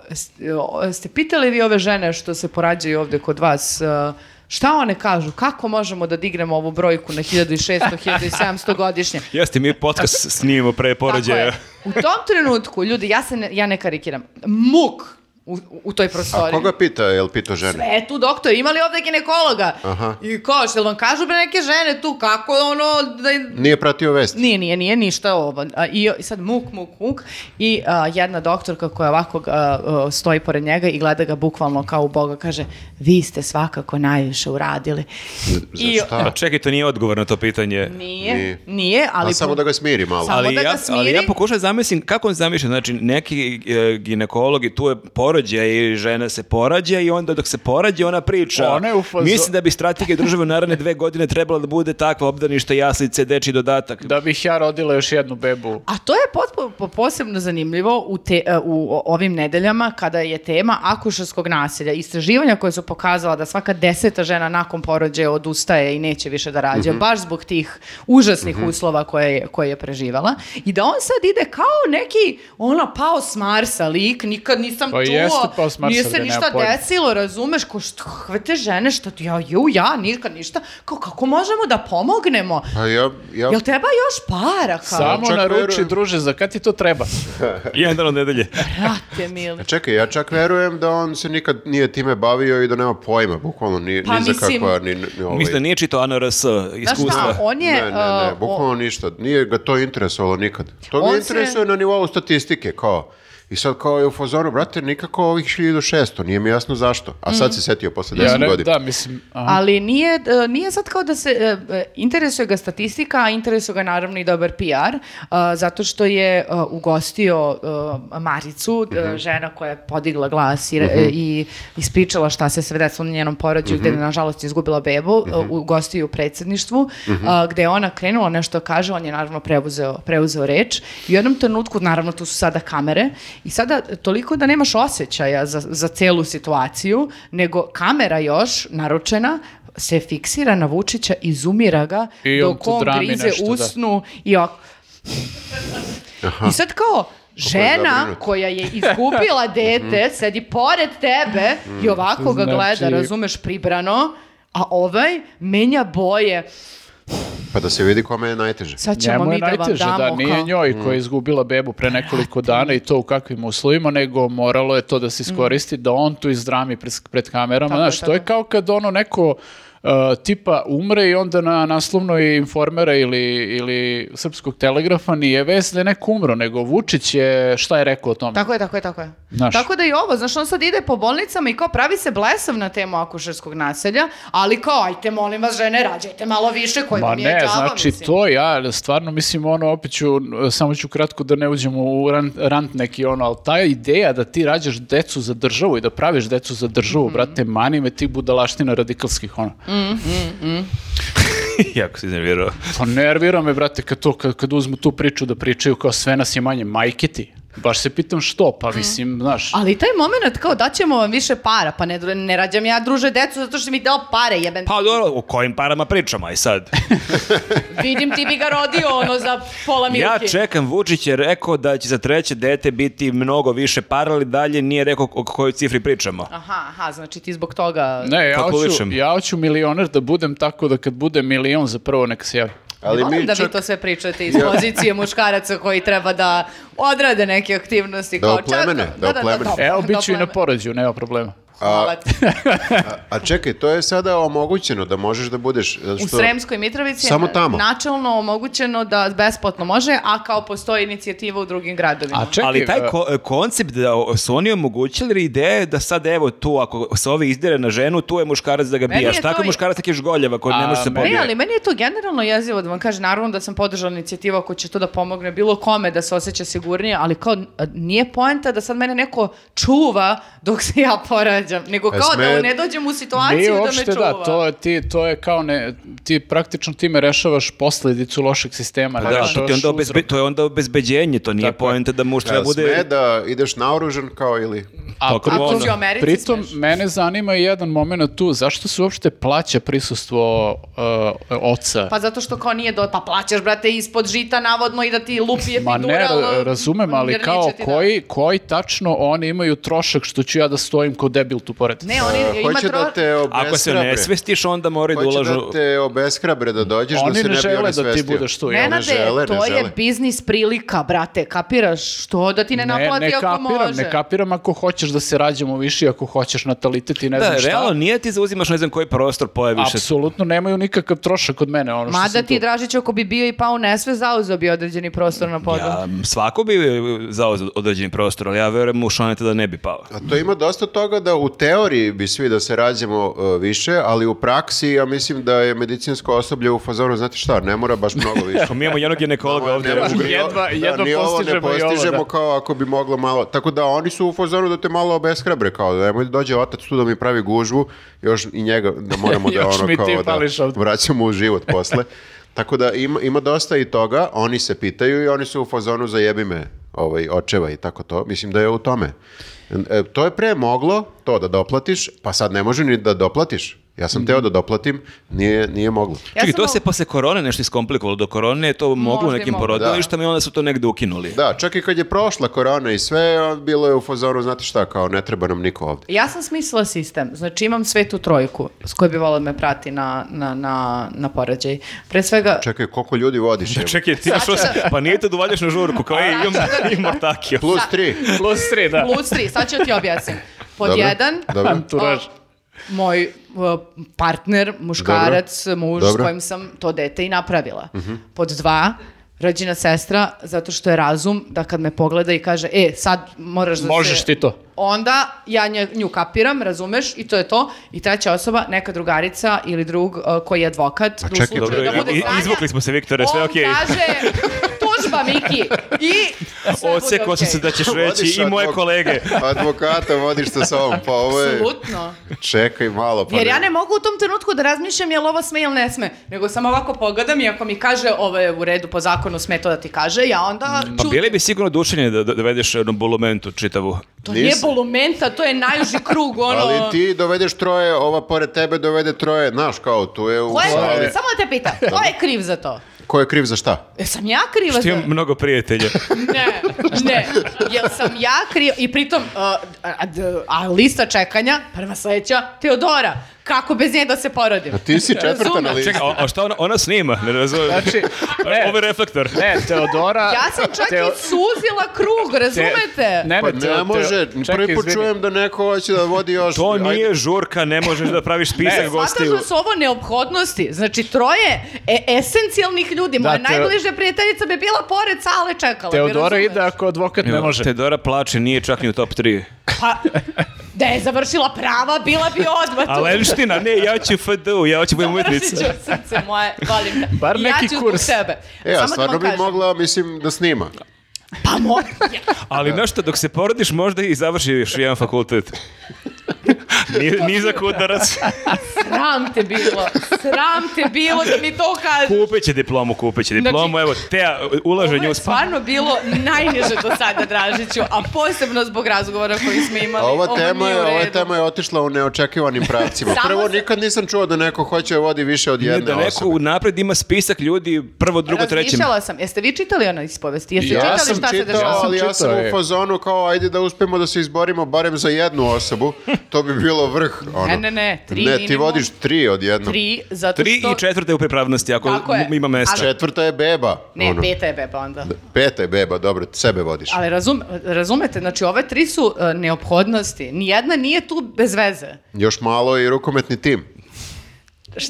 Speaker 4: e, s- e, o- ste pitali vi ove žene što se porađaju ovde kod vas, e, Šta one kažu? Kako možemo da dignemo ovu brojku na 1600, 1700 godišnje?
Speaker 1: Jeste, mi podcast snimimo pre
Speaker 4: Tako
Speaker 1: porođaja.
Speaker 4: je. U tom trenutku, ljudi, ja, se ne, ja ne karikiram, muk u, u toj
Speaker 3: A
Speaker 4: prostoriji.
Speaker 3: koga pita, jel pita žene?
Speaker 4: E tu doktor, ima li ovde ginekologa?
Speaker 3: Aha.
Speaker 4: I kao, jel vam kažu bre neke žene tu, kako ono, da,
Speaker 3: Nije pratio vesti.
Speaker 4: Nije, nije, nije ništa ovo. A, I, i sad muk, muk, muk. I a, jedna doktorka koja ovako a, a, stoji pored njega i gleda ga bukvalno kao u Boga, kaže, vi ste svakako najviše uradili.
Speaker 3: Za
Speaker 4: I-
Speaker 2: Da.
Speaker 3: šta?
Speaker 1: A Pa čekaj, to nije odgovor na to pitanje.
Speaker 4: Nije,
Speaker 3: Nije.
Speaker 4: nije, ali...
Speaker 3: A samo da ga smiri malo.
Speaker 4: Samo
Speaker 1: ali
Speaker 4: da ga
Speaker 1: ja, ali ja
Speaker 4: smiri.
Speaker 1: pokušam zamislim kako on zamišlja, znači neki e, ginekolog i tu je porođaj i žena se porađa i onda dok se porađa ona priča.
Speaker 2: Ona je u fazo-
Speaker 1: Mislim da bi strategija države u naredne dve godine trebala da bude takva obdanište, jaslice, deči dodatak.
Speaker 2: Da bih ja rodila još jednu bebu.
Speaker 4: A to je potpuno po- posebno zanimljivo u, te, e, u o- ovim nedeljama kada je tema akušarskog nasilja. Istraživanja koje su pokazala da svaka deseta žena nakon porođaja odustaje i neće više da rađa,
Speaker 2: Mhm.
Speaker 4: baš zbog tih užasnih uslova koje je, koje je preživala. I da on sad ide kao neki ono pao s Marsa lik, nikad nisam
Speaker 2: Pa
Speaker 4: čuo,
Speaker 2: jeste pao s Marsa,
Speaker 4: nije
Speaker 2: bre,
Speaker 4: se
Speaker 2: nema
Speaker 4: ništa
Speaker 2: pojma.
Speaker 4: desilo, razumeš, ko što hvete žene, što ti, ja, ju, ja, nikad ništa, kao kako možemo da pomognemo?
Speaker 3: Pa ja, ja,
Speaker 4: Jel treba još para? Kao?
Speaker 2: Samo
Speaker 3: čak
Speaker 2: naruči,
Speaker 3: verujem.
Speaker 2: druže, za kad ti to treba?
Speaker 1: Jedan dan od nedelje.
Speaker 4: Brate mili.
Speaker 3: čekaj, ja čak verujem da on se nikad nije time bavio i da nema pojma, bukvalno ni,
Speaker 4: Pa
Speaker 3: ni za
Speaker 4: mislim-
Speaker 3: kakva, ni, ni ovaj.
Speaker 1: Mislim da nije čitao ANRS
Speaker 4: Znaš
Speaker 1: iskustva.
Speaker 4: šta, on je...
Speaker 3: ne, ne, ne,
Speaker 4: uh,
Speaker 3: bukvalno ništa. Nije ga to interesovalo nikad. To ga
Speaker 4: On se-
Speaker 3: interesuje na nivou statistike, kao. I sad kao je u fazonu, brate, nikako ovih 1600, nije mi jasno zašto. A
Speaker 4: Mm.
Speaker 3: sad se setio posle 10
Speaker 2: Ja ne,
Speaker 3: godina.
Speaker 2: da, mislim... aha.
Speaker 4: Ali nije, e, nije sad kao da se e, e, interesuje ga statistika, a interesuje ga naravno i dobar PR, a, zato što je a, ugostio e, Maricu, e,
Speaker 3: Mhm.
Speaker 4: žena koja je podigla glas i, re- i ispričala šta se sve desilo na njenom porođaju,
Speaker 3: Mhm.
Speaker 4: gde je nažalost izgubila bebu, e, ugostio je u predsjedništvu, a, gde je ona krenula nešto da kaže, on je naravno preuzeo, preuzeo reč. I u jednom trenutku, naravno tu su sada kamere, i sada toliko da nemaš osjećaja za, za celu situaciju, nego kamera još naručena se fiksira na Vučića i zoomira ga
Speaker 2: I on
Speaker 4: dok
Speaker 2: tu
Speaker 4: on
Speaker 2: drami
Speaker 4: grize
Speaker 2: nešto, da.
Speaker 4: usnu i ovako. I sad kao, žena
Speaker 3: zabrinut.
Speaker 4: koja je izgubila dete, sedi pored tebe i ovako ga
Speaker 2: Znači-
Speaker 4: gleda, razumeš, pribrano, a ovaj menja boje.
Speaker 3: Pa da se vidi kome je najteže.
Speaker 4: Sad ćemo
Speaker 2: Njemu je
Speaker 4: mi da vam
Speaker 2: najteže,
Speaker 4: damo
Speaker 2: da, nije
Speaker 4: kao-
Speaker 2: njoj
Speaker 3: Mm.
Speaker 2: koja je izgubila bebu pre nekoliko dana i to u kakvim uslovima, nego moralo je to da se iskoristi, da on tu izdrami pred, pred kamerama,
Speaker 4: Mm. Tako je,
Speaker 2: znaš, to je
Speaker 4: tako.
Speaker 2: kao kad ono neko uh, tipa umre i onda na naslovnoj informera ili, ili srpskog telegrafa nije vest da je neko umro, nego Vučić je šta je rekao o tome.
Speaker 4: Tako je, tako je, tako je.
Speaker 2: Znaš.
Speaker 4: Tako da i ovo, znaš, on sad ide po bolnicama i kao pravi se blesav na temu akušarskog naselja, ali kao, ajte, molim vas, žene, rađajte malo više, koji
Speaker 2: Ma
Speaker 4: vam je
Speaker 2: ne,
Speaker 4: Pa džaba,
Speaker 2: znači
Speaker 4: mislim.
Speaker 2: to ja stvarno mislim ono opet ću, samo ću kratko da ne uđemo u rant, rant neki ono, ali ta ideja da ti rađaš decu za državu i da praviš decu za
Speaker 4: Mhm.
Speaker 2: državu, brate, mani me tih budalaština radikalskih ono.
Speaker 1: jako si iznervirao.
Speaker 2: Pa nervira me brate kad to, kad, kad uzmu tu priču da pričaju kao sve nas je manje, majke ti. Baš se pitam što,
Speaker 4: Mhm.
Speaker 2: pa mislim, znaš.
Speaker 4: Ali taj moment kao daćemo vam više para, pa ne, ne rađam ja druže decu zato što mi dao pare, jebem.
Speaker 1: Pa dobro, o kojim parama pričamo aj sad?
Speaker 4: Vidim ti bi ga rodio ono za pola milke.
Speaker 1: Ja čekam, Vučić je rekao da će za treće dete biti mnogo više para, ali dalje nije rekao o kojoj cifri pričamo.
Speaker 4: Aha, aha, znači ti zbog toga...
Speaker 2: Ne, ja hoću,
Speaker 1: kalkulišem.
Speaker 2: ja hoću milioner da budem tako da kad bude milion za prvo neka se javi.
Speaker 3: Ali
Speaker 4: Volim
Speaker 3: mi
Speaker 4: da
Speaker 3: čak
Speaker 4: vi to sve pričate iz pozicije muškaraca koji treba da odrade neke aktivnosti.
Speaker 3: Da
Speaker 4: kao čak-
Speaker 3: oplemene, da oplemene.
Speaker 2: Evo, E, bit ću i na
Speaker 4: opleme.
Speaker 2: porođaju, nema problema.
Speaker 4: Hvala ti.
Speaker 3: A čekaj, to je sada omogućeno da možeš da budeš... zato
Speaker 4: U
Speaker 3: što-
Speaker 4: Sremskoj Mitrovici
Speaker 3: Samo
Speaker 4: je
Speaker 3: tamo.
Speaker 4: načelno omogućeno da besplatno može, a kao postoji inicijativa u drugim gradovima.
Speaker 2: A čekaj,
Speaker 1: ali taj
Speaker 2: e,
Speaker 1: ko- koncept da o- su oni omogućili ili ideja je da sad evo tu ako se ovi izdere na ženu, tu je muškarac da ga
Speaker 4: Meni
Speaker 1: bijaš.
Speaker 4: je
Speaker 1: Tako
Speaker 4: to-
Speaker 1: je muškarac tako još goljeva koji ne
Speaker 2: A,
Speaker 1: može se
Speaker 2: meni-
Speaker 1: pobijati.
Speaker 4: Ne, ali meni je to generalno jezivo da vam kaže, naravno da sam podržala inicijativu ako će to da pomogne bilo kome da se osjeća sigurnije, ali kao a, nije poenta da sad mene neko čuva dok se ja porađam, nego kao da
Speaker 3: sme-
Speaker 4: ne dođem u
Speaker 2: Nije
Speaker 4: situaciju da me
Speaker 2: uopšte
Speaker 4: čuva.
Speaker 2: da, to je, ti, to je kao ne, ti praktično time rešavaš posledicu lošeg sistema. ne
Speaker 1: Da,
Speaker 2: rešavaš
Speaker 1: to, ti onda
Speaker 2: uzrok.
Speaker 1: obezbe- to je onda obezbeđenje, to nije
Speaker 2: Tako je.
Speaker 1: poenta da muš treba
Speaker 3: Da, Sme
Speaker 1: bude...
Speaker 3: da ideš naoružan kao ili...
Speaker 2: A
Speaker 1: Tako
Speaker 4: Ako
Speaker 1: ono.
Speaker 4: si u Americi
Speaker 2: Pritom,
Speaker 4: smeš.
Speaker 2: mene zanima i jedan moment tu, zašto se uopšte plaća prisustvo uh, oca?
Speaker 4: Pa zato što kao nije do... Pa plaćaš, brate, ispod žita navodno i da ti lupi
Speaker 2: Ma
Speaker 4: epidural.
Speaker 2: ne, ra- razumem, ali
Speaker 4: jer
Speaker 2: kao
Speaker 4: neće ti da-
Speaker 2: koji, koji tačno oni imaju trošak što ću ja da stojim ko debil Lidl tu pored.
Speaker 4: Ne, oni ima
Speaker 3: Hoće
Speaker 4: tro...
Speaker 3: da te obeskrabre.
Speaker 1: Ako se ne svestiš, onda moraju da
Speaker 3: Hoće
Speaker 1: ulažu...
Speaker 3: da te obeshrabre da dođeš da
Speaker 2: Oni
Speaker 3: se ne,
Speaker 2: ne
Speaker 3: bi
Speaker 2: žele
Speaker 3: oni
Speaker 2: da ti
Speaker 3: svestio.
Speaker 2: budeš tu. jel?
Speaker 4: Nenade,
Speaker 3: žele, ne
Speaker 4: to
Speaker 3: žele.
Speaker 4: je biznis prilika, brate, kapiraš? Što da ti ne, naplati
Speaker 2: ne
Speaker 4: ako
Speaker 2: kapiram,
Speaker 4: može?
Speaker 2: ne kapiram ako hoćeš da se rađamo više, i ako hoćeš natalitet i ne
Speaker 1: Da,
Speaker 2: znam šta.
Speaker 1: realno, nije ti zauzimaš ne znam koji prostor pojaviš se.
Speaker 2: Apsolutno nemaju nikakav trošak od mene. Ono što
Speaker 4: Mada
Speaker 2: sam
Speaker 4: ti,
Speaker 2: tu.
Speaker 4: Dražić, ako bi bio i pao u nesve, zauzeo bi određeni prostor na podu.
Speaker 1: Ja, svako bi e, zauzeo određeni prostor, ali ja verujem u Šoneta da ne bi pao.
Speaker 3: A to ima dosta toga da u teoriji bi svi da se rađamo uh, više, ali u praksi ja mislim da je medicinsko osoblje u fazonu, znate šta, ne mora baš mnogo više.
Speaker 1: Mi imamo jednog ginekologa ovdje.
Speaker 3: Ne mogu,
Speaker 2: Jedva-
Speaker 3: da,
Speaker 2: jedva
Speaker 3: ni ovo ne
Speaker 2: postižemo i ovo,
Speaker 3: postižemo
Speaker 2: da.
Speaker 3: kao ako bi moglo malo. Tako da oni su u fazonu da te malo obeshrabre, kao da nemoj da dođe otac tu da mi pravi gužvu, još i njega da moramo da
Speaker 2: Još
Speaker 3: ono
Speaker 2: mi ti
Speaker 3: kao
Speaker 2: fališ
Speaker 3: da
Speaker 2: ovdje.
Speaker 3: vraćamo u život posle. Tako da ima, ima dosta i toga, oni se pitaju i oni su u fazonu zajebi me ovaj, očeva i tako to. Mislim da je u tome. E, to je pre moglo, to da doplatiš, pa sad ne može ni da doplatiš. Ja sam
Speaker 2: Mhm.
Speaker 3: teo da doplatim, nije, nije moglo.
Speaker 4: Ja
Speaker 1: Čekaj,
Speaker 4: sam
Speaker 1: to
Speaker 4: o-
Speaker 1: se posle korone nešto iskomplikovalo. Do korone je to moglo u
Speaker 4: Možda je
Speaker 1: nekim
Speaker 4: moglo, da.
Speaker 1: porodilištama i onda su to negde ukinuli.
Speaker 3: Da, čak i kad je prošla korona i sve, a, bilo je u fazoru, znate šta, kao ne treba nam niko ovdje.
Speaker 4: Ja sam smislila sistem. Znači imam svetu trojku s kojoj bi volao da me prati na, na, na, na porađaj. Pre svega...
Speaker 3: Čekaj, koliko ljudi vodiš? Da,
Speaker 1: Čekaj, ti što Pa nije te dovaljaš na žurku, kao ej, imam,
Speaker 4: da-
Speaker 1: imam takio.
Speaker 3: Plus tri.
Speaker 2: Plus tri, da.
Speaker 4: Plus tri, sad ću ti objasnim. Pod
Speaker 3: Dobro,
Speaker 4: jedan,
Speaker 3: Dobro.
Speaker 2: Anturaž.
Speaker 4: o, moj o, partner, muškarac, muž
Speaker 3: Dobro.
Speaker 4: s kojim sam to dete i napravila. Pod dva, rođena sestra, zato što je razum da kad me pogleda i kaže, e, sad moraš da se-
Speaker 2: Možeš ti to.
Speaker 4: onda ja nje- nju kapiram, razumeš, i to je to. I treća osoba, neka drugarica ili drug uh, koji je advokat, da u
Speaker 3: čekaj,
Speaker 4: slučaju
Speaker 1: Pa Dobro,
Speaker 4: da bude
Speaker 1: i-
Speaker 4: kranja,
Speaker 1: izvukli smo se, Viktore, sve
Speaker 4: on
Speaker 1: okej.
Speaker 4: kaže, da tužba Miki, i sve
Speaker 1: Osekao sam
Speaker 4: bude
Speaker 1: se da
Speaker 4: okej.
Speaker 1: ćeš
Speaker 3: Vodiš
Speaker 1: reći i moje
Speaker 3: advok-
Speaker 1: kolege.
Speaker 3: Advokata vodiš sa sobom, pa ovo je...
Speaker 4: Apsolutno.
Speaker 3: Čekaj malo, pa
Speaker 4: Jer ja ne mogu u tom trenutku da razmišljam jel ovo sme ili ne sme, nego sam ovako pogledam i ako mi kaže ovo je u redu po zakonu sme to da ti kaže, ja onda
Speaker 1: Pa
Speaker 4: ćutim.
Speaker 1: bili bi sigurno dušenje da, da dovedeš jednu bulumentu čitavu.
Speaker 4: To nije
Speaker 3: nisam.
Speaker 4: bolumenta, to je najuži krug, ono...
Speaker 3: Ali ti dovedeš troje, ova pored tebe dovede troje, znaš kao, tu je u
Speaker 4: Ko je-
Speaker 3: sali.
Speaker 4: samo da te pitam, ko je kriv za to?
Speaker 3: Ko je kriv za šta?
Speaker 4: E, sam ja kriva
Speaker 1: Što
Speaker 4: za...
Speaker 1: imam mnogo prijatelja.
Speaker 4: Ne, ne. Jel sam ja kriva? I pritom, uh, a, d- a lista čekanja, prva sledeća, Teodora. Kako bez nje da se porodim?
Speaker 3: A ti si četvrta na
Speaker 4: Razumem.
Speaker 3: listi.
Speaker 1: Čekaj, a, a šta ona, ona snima? Ne razumijem.
Speaker 2: Znači, ne.
Speaker 1: Ovo je reflektor.
Speaker 2: Ne, Teodora...
Speaker 4: Ja sam čak
Speaker 2: Teo-
Speaker 4: i suzila krug,
Speaker 2: Te-
Speaker 4: razumete?
Speaker 2: Ne,
Speaker 3: Pa
Speaker 2: ne, Teo-
Speaker 3: ne
Speaker 2: Teo-
Speaker 3: može,
Speaker 2: čekaj,
Speaker 3: prvi put
Speaker 2: izvini.
Speaker 3: čujem da neko hoće da vodi još...
Speaker 1: To
Speaker 3: Ajde.
Speaker 1: nije žurka, ne možeš da praviš
Speaker 2: Ne.
Speaker 1: spisak
Speaker 4: Smatraš
Speaker 1: gostiju.
Speaker 4: da su ovo neophodnosti. Znači, troje e, esencijalnih ljudi. Moja
Speaker 2: Da, Teo-
Speaker 4: najbliža prijateljica bi bila pored sale čekala. bi,
Speaker 2: Teodora
Speaker 4: razumeš?
Speaker 2: ide ako advokat ne može.
Speaker 1: Teodora plače, nije čak ni u top 3.
Speaker 4: Pa, da je završila prava, bila bi odmah tu.
Speaker 1: A lenština, ne, ja ću FD-u, ja ću budem
Speaker 4: Završit
Speaker 1: umetnica.
Speaker 4: ću srce moje, volim te.
Speaker 2: Bar
Speaker 4: I
Speaker 2: neki
Speaker 4: ja ću zbog
Speaker 2: kurs.
Speaker 4: tebe.
Speaker 3: E,
Speaker 4: Samo
Speaker 3: a
Speaker 4: da
Speaker 3: stvarno
Speaker 4: vam
Speaker 3: bi
Speaker 4: kažem.
Speaker 3: mogla, mislim, da snima.
Speaker 4: Pa mo- ja.
Speaker 1: Ali nešto, dok se porodiš, možda i završiš jedan fakultet. Ni, nizak udarac.
Speaker 4: Sram te bilo. Sram te bilo da mi to kažeš.
Speaker 1: Kupit će diplomu, kupit će diplomu.
Speaker 4: Znači-
Speaker 1: Evo, Teja ulaže
Speaker 4: Ovo
Speaker 1: nju
Speaker 4: je
Speaker 1: spa.
Speaker 4: stvarno bilo najniže do sada, Dražiću, a posebno zbog razgovora koji smo imali.
Speaker 3: A ova tema, je,
Speaker 4: nije u
Speaker 3: ova
Speaker 4: redu.
Speaker 3: tema je otišla u neočekivanim pravcima.
Speaker 4: Samo
Speaker 3: Prvo,
Speaker 4: se-
Speaker 3: nikad nisam čuo da neko hoće da vodi više od jedne
Speaker 1: Da neko
Speaker 3: osobe.
Speaker 1: unapred ima spisak ljudi, prvo, drugo, treće.
Speaker 4: Razmišljala sam. Jeste vi čitali ono ispovesti? Jeste
Speaker 3: Ja
Speaker 4: čitali
Speaker 3: sam
Speaker 4: šta se
Speaker 3: čitao,
Speaker 4: dešava?
Speaker 3: ali ja sam
Speaker 2: čitao, je.
Speaker 3: u fazonu kao ajde da uspemo da se izborimo barem za jednu osobu. To bi bilo vrh. Ono.
Speaker 4: Ne, ne, ne, tri
Speaker 3: Ne, ti
Speaker 4: minimum.
Speaker 3: vodiš tri od jednog.
Speaker 4: Tri, zato
Speaker 1: Tri
Speaker 4: što...
Speaker 1: i četvrte u pripravnosti, ako
Speaker 4: Tako je.
Speaker 1: mu- ima mesta.
Speaker 4: Ali-
Speaker 3: Četvrta je beba.
Speaker 4: Ne,
Speaker 3: ono.
Speaker 4: peta je beba onda.
Speaker 3: Peta je beba, dobro, sebe vodiš.
Speaker 4: Ali razum, razumete, znači ove tri su uh, neophodnosti. Nijedna nije tu bez veze.
Speaker 3: Još malo i rukometni tim.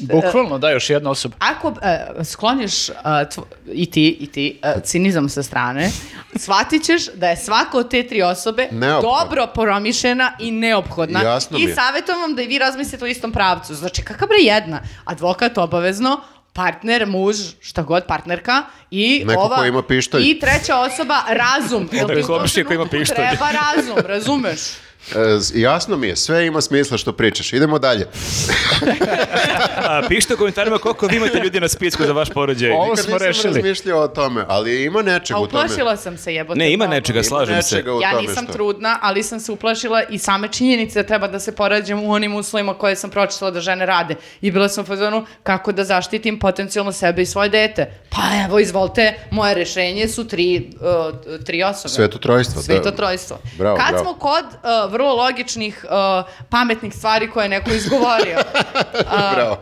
Speaker 2: Bukvalno, da, još jedna osoba.
Speaker 4: Ako e, skloniš e, tvo- i ti, i ti e, cinizam sa strane, shvatit ćeš da je svaka od te tri osobe
Speaker 3: Neophodna.
Speaker 4: dobro promišljena i neophodna.
Speaker 3: Jasno mi
Speaker 4: I
Speaker 3: je.
Speaker 4: savjetujem vam da i vi razmislite u istom pravcu. Znači, kakav bre jedna? Advokat obavezno, partner, muž, šta god, partnerka i
Speaker 3: Neko
Speaker 4: ova...
Speaker 3: ko ima pištolj.
Speaker 4: I treća osoba, razum. Jer ti u tom
Speaker 1: komšija koji ima
Speaker 4: trenutku
Speaker 1: pištolj.
Speaker 4: Treba razum, razumeš?
Speaker 3: E, z- jasno mi je, sve ima smisla što pričaš. Idemo dalje.
Speaker 1: A, pišite u komentarima koliko vi imate ljudi na spisku za vaš porođaj.
Speaker 2: Ovo
Speaker 3: Nikad
Speaker 2: smo
Speaker 3: nisam
Speaker 2: rešili.
Speaker 3: razmišljao o tome, ali ima nečeg
Speaker 4: A
Speaker 3: u tome.
Speaker 4: Pa uplašila sam se jebote. pa,
Speaker 1: Ne, ima
Speaker 4: pravo.
Speaker 1: nečega,
Speaker 3: Ima
Speaker 1: slažem se.
Speaker 3: nečega u
Speaker 4: Ja
Speaker 3: tome
Speaker 4: nisam
Speaker 3: što-
Speaker 4: trudna, ali sam se uplašila i same činjenice da treba da se porađam u onim uslovima koje sam pročitala da žene rade. I bila sam u fazonu kako da zaštitim potencijalno sebe i svoje dete. Pa evo, izvolite, moje rešenje su tri, uh, tri osobe.
Speaker 3: Sveto trojstvo, da.
Speaker 4: Sveto trojstvo.
Speaker 3: Bravo,
Speaker 4: Kad
Speaker 3: bravo.
Speaker 4: smo kod uh, vrlo logičnih, uh, pametnih stvari koje je neko izgovorio. A,
Speaker 3: Bravo.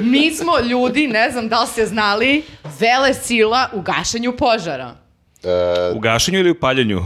Speaker 4: mi smo ljudi, ne znam da li ste znali, vele sila u gašenju požara.
Speaker 1: U gašenju ili u paljenju?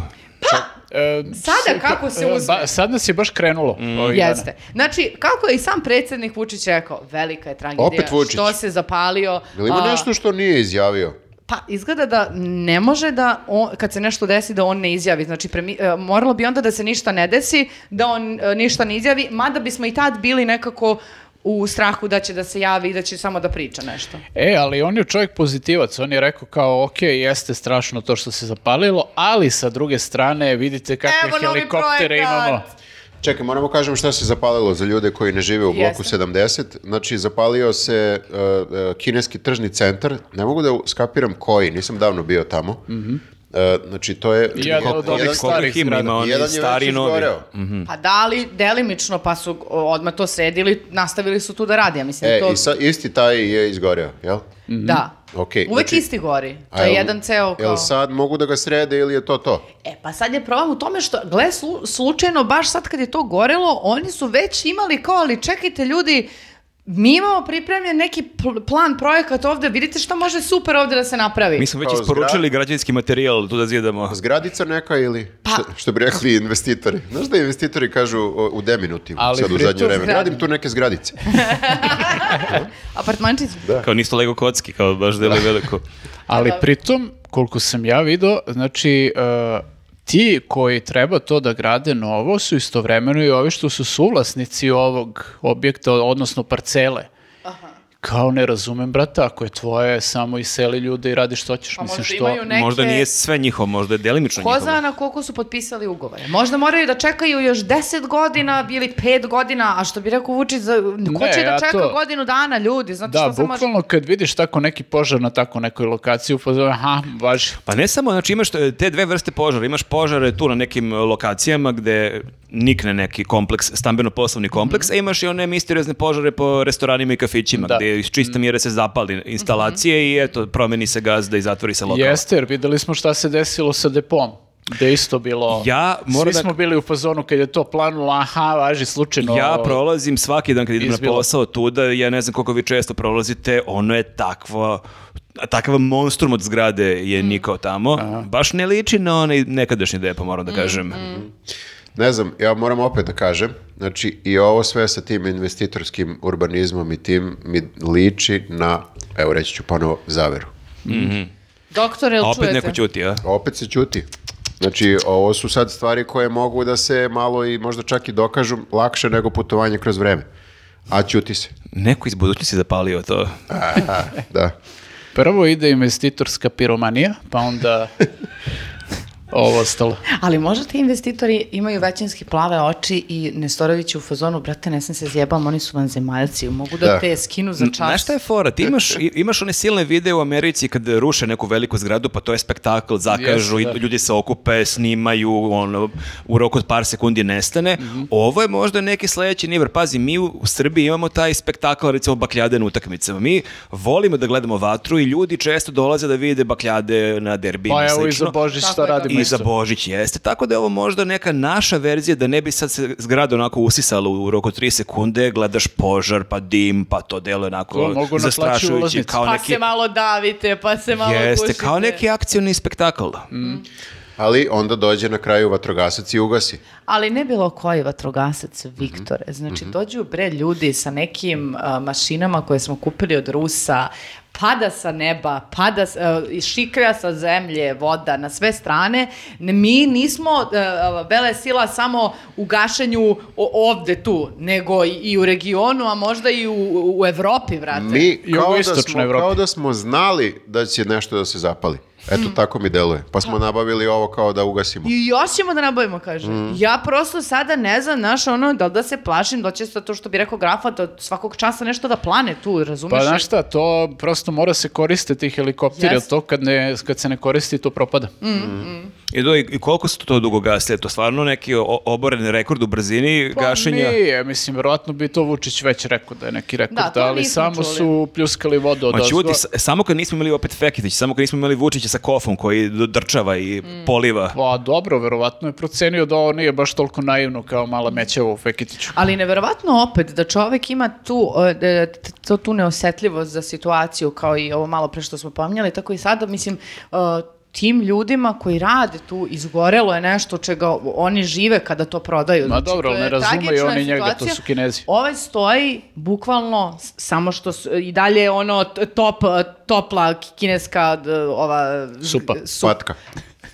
Speaker 2: E,
Speaker 4: Sada kako se
Speaker 2: e,
Speaker 4: uzme?
Speaker 2: ba- sad nas je baš krenulo. ovih dana.
Speaker 4: Jeste. Znači, kako je i sam predsjednik Vučić rekao, velika je tragedija.
Speaker 3: Opet Vučić.
Speaker 4: Što se zapalio.
Speaker 3: Jel ima
Speaker 4: a,
Speaker 3: nešto što nije izjavio?
Speaker 4: Pa, izgleda da ne može da, on, kad se nešto desi, da on ne izjavi. Znači, premi, e, moralo bi onda da se ništa ne desi, da on e, ništa ne izjavi, mada bismo i tad bili nekako u strahu da će da se javi i da će samo da priča nešto.
Speaker 2: E, ali on je čovjek pozitivac. On je rekao kao, ok, jeste strašno to što se zapalilo, ali sa druge strane vidite kakve
Speaker 4: Evo novi
Speaker 2: helikoptere
Speaker 4: projekat!
Speaker 2: imamo.
Speaker 3: Čekaj, moramo kažem šta se zapalilo za ljude koji ne žive u bloku
Speaker 4: Jeste.
Speaker 3: 70. Znači, zapalio se uh, uh, kineski tržni centar. Ne mogu da skapiram koji, nisam davno bio tamo.
Speaker 4: Mhm.
Speaker 3: Uh, znači, to je...
Speaker 2: Jedan od onih
Speaker 3: jedan-
Speaker 1: Koliko
Speaker 2: starih
Speaker 1: ima,
Speaker 2: zgrada.
Speaker 1: ima oni
Speaker 3: jedan je
Speaker 1: stari i
Speaker 3: već
Speaker 1: novi.
Speaker 3: izgoreo.
Speaker 4: Pa da li, delimično, pa su o, odmah to sredili, nastavili su tu da radi, ja mislim
Speaker 3: E,
Speaker 4: da to...
Speaker 3: i sa, isti taj je izgoreo, jel?
Speaker 4: Da.
Speaker 3: Ok,
Speaker 4: Uvek
Speaker 3: znači-
Speaker 4: isti gori. To
Speaker 3: A
Speaker 4: je
Speaker 3: jel-
Speaker 4: jedan ceo kao...
Speaker 3: Jel sad mogu da ga srede ili je to to?
Speaker 4: E, pa sad je problem u tome što, gle, slu- slučajno, baš sad kad je to gorelo, oni su već imali kao, ali čekajte ljudi, mi imamo pripremljen neki pl- plan, projekat ovde, vidite šta može super ovde da se napravi.
Speaker 1: Mi smo već
Speaker 3: Kao
Speaker 1: isporučili građevinski materijal tu da zidamo.
Speaker 3: Zgradica neka ili,
Speaker 4: Pa-
Speaker 3: što, što bi rekli investitori. Znaš da investitori kažu o, u deminuti
Speaker 2: Ali
Speaker 3: sad u
Speaker 2: pritom
Speaker 3: zadnje vreme.
Speaker 4: zgrada-
Speaker 3: Gradim tu neke zgradice.
Speaker 4: Apartmančić.
Speaker 2: Da.
Speaker 1: Kao nisu Lego kocki, kao baš delo veliko.
Speaker 2: Ali pritom, koliko sam ja vidio, znači e, ti koji treba to da grade novo su istovremeno i ovi što su suvlasnici ovog objekta, odnosno parcele. Kao ne razumem, brata, ako je tvoje, samo iseli ljude i radi što ćeš.
Speaker 4: Pa
Speaker 2: Mislim,
Speaker 4: možda
Speaker 2: što...
Speaker 4: imaju neke...
Speaker 1: Možda nije sve njihovo, možda je delimično
Speaker 4: Ko
Speaker 1: njihovo.
Speaker 4: zna na koliko su potpisali ugovore. Možda moraju da čekaju još 10 godina ili 5 godina, a što bi rekao Vučić, za, ko
Speaker 2: Ne,
Speaker 4: će da
Speaker 2: ja
Speaker 4: čeka
Speaker 2: to-
Speaker 4: godinu dana, ljudi? Znate
Speaker 2: Da,
Speaker 4: što se može...
Speaker 2: bukvalno kad vidiš tako neki požar na tako nekoj lokaciji, upozove, aha, važi.
Speaker 1: Pa ne samo, znači imaš e, te dve vrste požara. Imaš požare tu na nekim e, lokacijama gde nikne neki kompleks, stambeno-poslovni kompleks,
Speaker 4: Mhm.
Speaker 1: a imaš i one misteriozne požare po restoranima i kafićima,
Speaker 2: Da.
Speaker 1: gde iz
Speaker 4: Mhm.
Speaker 1: čiste mjere se zapali instalacije i eto, promeni se gazda i zatvori se lokal.
Speaker 2: Jeste, jer videli smo šta se desilo sa depom. Da je isto bilo...
Speaker 1: Ja
Speaker 2: Svi
Speaker 1: moram da-
Speaker 2: smo bili u fazonu kad je to planulo, aha, važi slučajno.
Speaker 1: Ja prolazim svaki dan kad idem
Speaker 2: Izbilo.
Speaker 1: na posao tuda, ja ne znam koliko vi često prolazite, ono je takva takav monstrum od zgrade je nikao tamo. Baš ne liči na onaj nekadašnji depo, moram da kažem.
Speaker 3: Ne znam, ja moram opet da kažem, znači i ovo sve sa tim investitorskim urbanizmom i tim mi liči na, evo reći ću ponovo, zaveru.
Speaker 4: Doktore,
Speaker 1: A
Speaker 4: jel
Speaker 1: opet
Speaker 4: čujete?
Speaker 1: neko ćuti, a?
Speaker 3: Opet se ćuti. Znači, ovo su sad stvari koje mogu da se malo i možda čak i dokažu lakše nego putovanje kroz vreme. A ćuti se.
Speaker 1: Neko iz budućnosti zapalio to.
Speaker 3: A, da.
Speaker 2: Prvo ide investitorska piromanija, pa onda ovo ostalo.
Speaker 4: Ali možda ti investitori imaju većinski plave oči i Nestorović je u fazonu, brate, ne sam se zjebam, oni su vanzemaljci, mogu da,
Speaker 3: Da.
Speaker 4: te skinu za čas.
Speaker 1: Znaš šta je fora? Ti imaš, i- imaš one silne videe u Americi kad ruše neku veliku zgradu, pa to je spektakl, zakažu,
Speaker 2: Jeste, da.
Speaker 1: i ljudi se okupe, snimaju, ono, u roku od par sekundi nestane.
Speaker 2: Mhm.
Speaker 1: Ovo je možda neki sledeći niver. Pazi, mi u, u Srbiji imamo taj spektakl, recimo, bakljade na utakmicama. Mi volimo da gledamo vatru i ljudi često dolaze da vide bakljade na derbiju.
Speaker 2: Pa evo i za Božić
Speaker 4: Tako
Speaker 2: što
Speaker 4: je to.
Speaker 2: radimo
Speaker 1: I za
Speaker 2: isto.
Speaker 1: Božić jeste. Tako da je ovo možda neka naša verzija da ne bi sad se zgrada onako usisala u roku od 3 sekunde, gledaš požar, pa dim, pa to delo je
Speaker 2: To
Speaker 1: onako
Speaker 2: mogu naplaćuju
Speaker 1: zastrašujući.
Speaker 2: ulaznicu.
Speaker 1: Kao
Speaker 4: Pa
Speaker 1: neki,
Speaker 4: se malo davite, pa se malo
Speaker 1: jeste,
Speaker 4: gušite.
Speaker 1: kao neki akcioni spektakl.
Speaker 3: Ali onda dođe na kraju vatrogasac i ugasi.
Speaker 4: Ali ne bilo koji vatrogasac, Viktore. Znači, dođu bre ljudi sa nekim a, mašinama koje smo kupili od Rusa, pada sa neba, pada, s- a, i šiklja sa zemlje, voda, na sve strane. Ne- Mi nismo e, a, vele sila samo u gašenju o- ovde tu, nego i, i u regionu, a možda i u, u- u Evropi, vrate.
Speaker 1: E,
Speaker 3: Mi kao da,
Speaker 2: Jugoistočnoj
Speaker 3: smo,
Speaker 2: Evropi.
Speaker 3: kao da smo znali da će nešto da se zapali. Eto,
Speaker 1: Mm.
Speaker 3: tako mi deluje. Pa smo nabavili ovo kao da ugasimo.
Speaker 4: I još ćemo da nabavimo, kaže.
Speaker 2: Mm.
Speaker 4: Ja prosto sada ne znam, znaš, ono, da li da se plašim, da li će to što bi rekao grafa, da svakog časa nešto da plane tu, razumeš?
Speaker 2: Pa znaš šta, to prosto mora se koristiti ti helikopteri,
Speaker 4: Jeste.
Speaker 2: Mm. jer to kad, ne, kad se ne koristi, to propada.
Speaker 1: I, do, I koliko su to dugo gasili? Je To stvarno neki o- oboren rekord u brzini gašenja?
Speaker 2: Pa nije, mislim, vjerojatno bi to Vučić već rekao da je neki rekord,
Speaker 4: Da, to
Speaker 2: ali
Speaker 4: nismo
Speaker 2: samo
Speaker 4: čuli.
Speaker 2: su pljuskali vodu od
Speaker 1: Ma
Speaker 2: ozgo.
Speaker 1: čuti, samo kad nismo imali opet Feketić, samo kad nismo imali Vučića sa kofom koji d- drčava i
Speaker 4: Mm.
Speaker 1: poliva.
Speaker 2: Pa dobro, verovatno je procenio da ovo nije baš toliko naivno kao mala mećava u Feketiću.
Speaker 4: Ali neverovatno opet da čovek ima tu, e, e, t- to, tu neosetljivost za situaciju kao i ovo malo pre što smo pominjali, tako i sada, mislim, e, tim ljudima koji rade tu izgorelo je nešto čega oni žive kada to prodaju. Znači,
Speaker 2: Ma dobro,
Speaker 4: to
Speaker 2: ne
Speaker 4: je
Speaker 2: razumeju
Speaker 4: tragična
Speaker 2: oni njega, to
Speaker 4: situacija.
Speaker 2: su Kinezi.
Speaker 4: Ovaj stoji bukvalno s- samo što su, i dalje je ono t- top, topla kineska d- ova...
Speaker 2: Supa.
Speaker 4: supa
Speaker 3: Patka.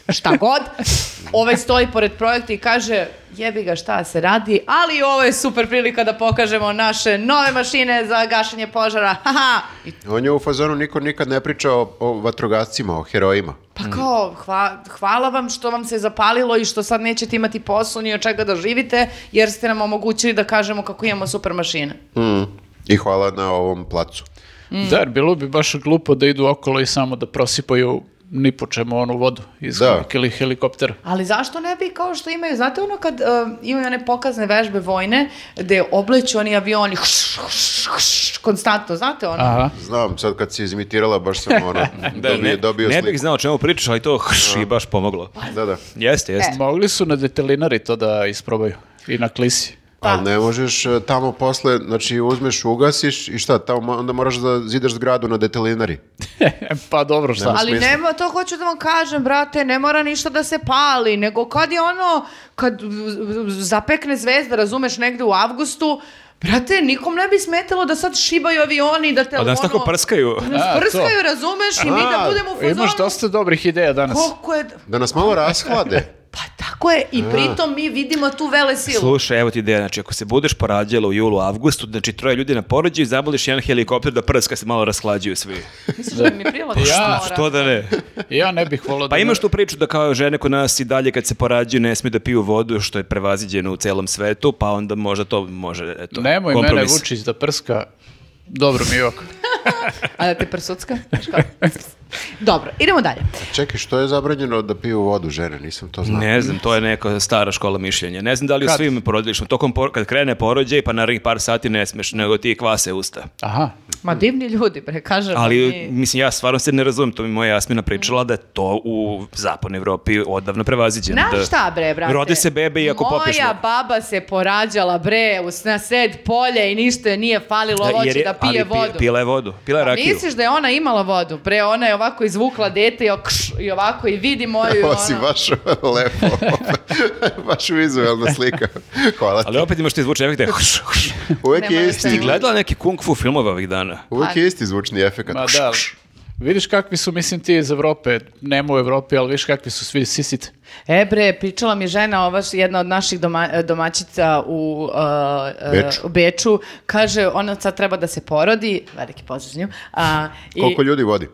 Speaker 4: šta god. Ovaj stoji pored projekta i kaže jebi ga šta se radi, ali ovo je super prilika da pokažemo naše nove mašine za gašenje požara. Haha. I
Speaker 3: On je u fazonu niko nikad ne priča o, o vatrogascima, o herojima.
Speaker 4: pa kao, hva- hvala vam što vam se zapalilo i što sad nećete imati posao ni od čega da živite, jer ste nam omogućili da kažemo kako imamo super mašine.
Speaker 3: Mm. I hvala na ovom placu.
Speaker 4: Mm.
Speaker 2: Da, jer bilo bi baš glupo da idu okolo i samo da prosipaju ni po čemu onu vodu iz
Speaker 3: Da.
Speaker 2: da. ili helikoptera.
Speaker 4: Ali zašto ne bi kao što imaju, znate ono kad um, imaju one pokazne vežbe vojne, gde obleću oni avioni, hš, hš, hš, konstantno, znate ono?
Speaker 2: Aha.
Speaker 3: Znam, sad kad si izimitirala, baš sam ono,
Speaker 1: Da,
Speaker 3: dobio,
Speaker 1: ne,
Speaker 3: dobio
Speaker 1: ne
Speaker 3: sliku.
Speaker 1: bih znao o čemu pričaš, ali to hrš, i baš pomoglo.
Speaker 3: Da, da.
Speaker 1: Jeste,
Speaker 4: E,
Speaker 1: jeste.
Speaker 2: Mogli su na detelinari to da isprobaju i na klisi.
Speaker 4: Pa.
Speaker 3: Ali ne možeš e, tamo posle, znači uzmeš, ugasiš i šta, tamo mo- onda moraš da zidaš zgradu na detelinari.
Speaker 2: pa dobro, šta?
Speaker 4: Ali
Speaker 3: smislu.
Speaker 4: nema, to hoću da vam kažem, brate, ne mora ništa da se pali, nego kad je ono, kad zapekne zvezda, razumeš, negde u avgustu, brate, nikom ne bi smetalo da sad šibaju avioni, da te
Speaker 1: A da nas tako prskaju.
Speaker 4: nas
Speaker 2: A, to.
Speaker 4: prskaju, razumeš, i mi da budemo u
Speaker 1: e,
Speaker 4: fazonu.
Speaker 2: Imaš dosta dobrih ideja danas.
Speaker 4: Koliko je,
Speaker 3: Da nas malo rashlade.
Speaker 4: pa tako je, i pritom mi vidimo tu vele silu.
Speaker 1: Slušaj, evo ti ideja, znači ako se budeš porađala u julu, avgustu, znači troje ljudi na porođaju, zamoliš jedan helikopter da prska se malo rashlađuju svi.
Speaker 4: Misliš da bi mi prilog?
Speaker 2: Ja-
Speaker 1: Što da ne?
Speaker 2: Ja ne bih volao da...
Speaker 1: Pa imaš tu priču da kao žene kod nas i dalje kad se porađuju ne smiju da piju vodu što je prevaziđeno u celom svetu, pa onda možda to može, eto,
Speaker 2: Nemoj mene
Speaker 1: kompromis.
Speaker 2: Vučić da prska. Dobro mi je ovako.
Speaker 4: A da te prsucka? Znaš kako? Dobro, idemo dalje.
Speaker 3: Čekaj, što je zabranjeno da piju vodu žene? Nisam to znao.
Speaker 1: Ne znam, to je neka stara škola mišljenja. Ne znam da li u
Speaker 2: Kad?
Speaker 1: svim porodilištima, tokom por- kad krene porođaj, pa narednih par sati ne smeš, nego ti kvase usta.
Speaker 2: Aha.
Speaker 4: Ma divni ljudi, bre, kažem.
Speaker 1: Ali,
Speaker 4: mi-
Speaker 1: mislim, ja stvarno se ne razumem, to mi moja Jasmina pričala da je to u zapadnoj Evropi odavno prevaziđeno.
Speaker 4: Znaš
Speaker 1: da
Speaker 4: šta bre, brate?
Speaker 1: Rodi se bebe i ako
Speaker 4: Moja
Speaker 1: popiješ vodu.
Speaker 4: baba se porađala bre u s- na sred polja i ništa joj nije falilo, da,
Speaker 1: jer je-
Speaker 4: da pije
Speaker 1: ali
Speaker 4: vodu.
Speaker 1: Pila je vodu, pila je
Speaker 4: Pa
Speaker 1: rakiju.
Speaker 4: Misliš da je ona imala vodu? Bre, ona je ovako izvukla dete i, okš, i ovako i vidi moju. i
Speaker 3: Ovo si
Speaker 4: ono-
Speaker 3: baš lepo, baš vizuelna slika. Hvala ti.
Speaker 1: Ali opet imaš ti zvučni efekt da je huš, huš.
Speaker 3: Uvijek
Speaker 4: Nema
Speaker 3: je
Speaker 4: veze.
Speaker 1: Ti
Speaker 3: isti,
Speaker 1: gledala neki kung fu filmove ovih dana?
Speaker 3: uvijek je isti zvučni efekt.
Speaker 2: Ma da, vidiš kakvi su, mislim, ti iz Evrope. Nema u Evropi, ali vidiš kakvi su svi sisite.
Speaker 4: E bre, pričala mi žena, ova š- jedna od naših doma, domaćica u, uh, uh,
Speaker 3: Beču.
Speaker 4: u Beču, kaže ona sad treba da se porodi, veliki pozdrav za nju, a, i-
Speaker 3: Koliko ljudi vodi?
Speaker 4: Uh,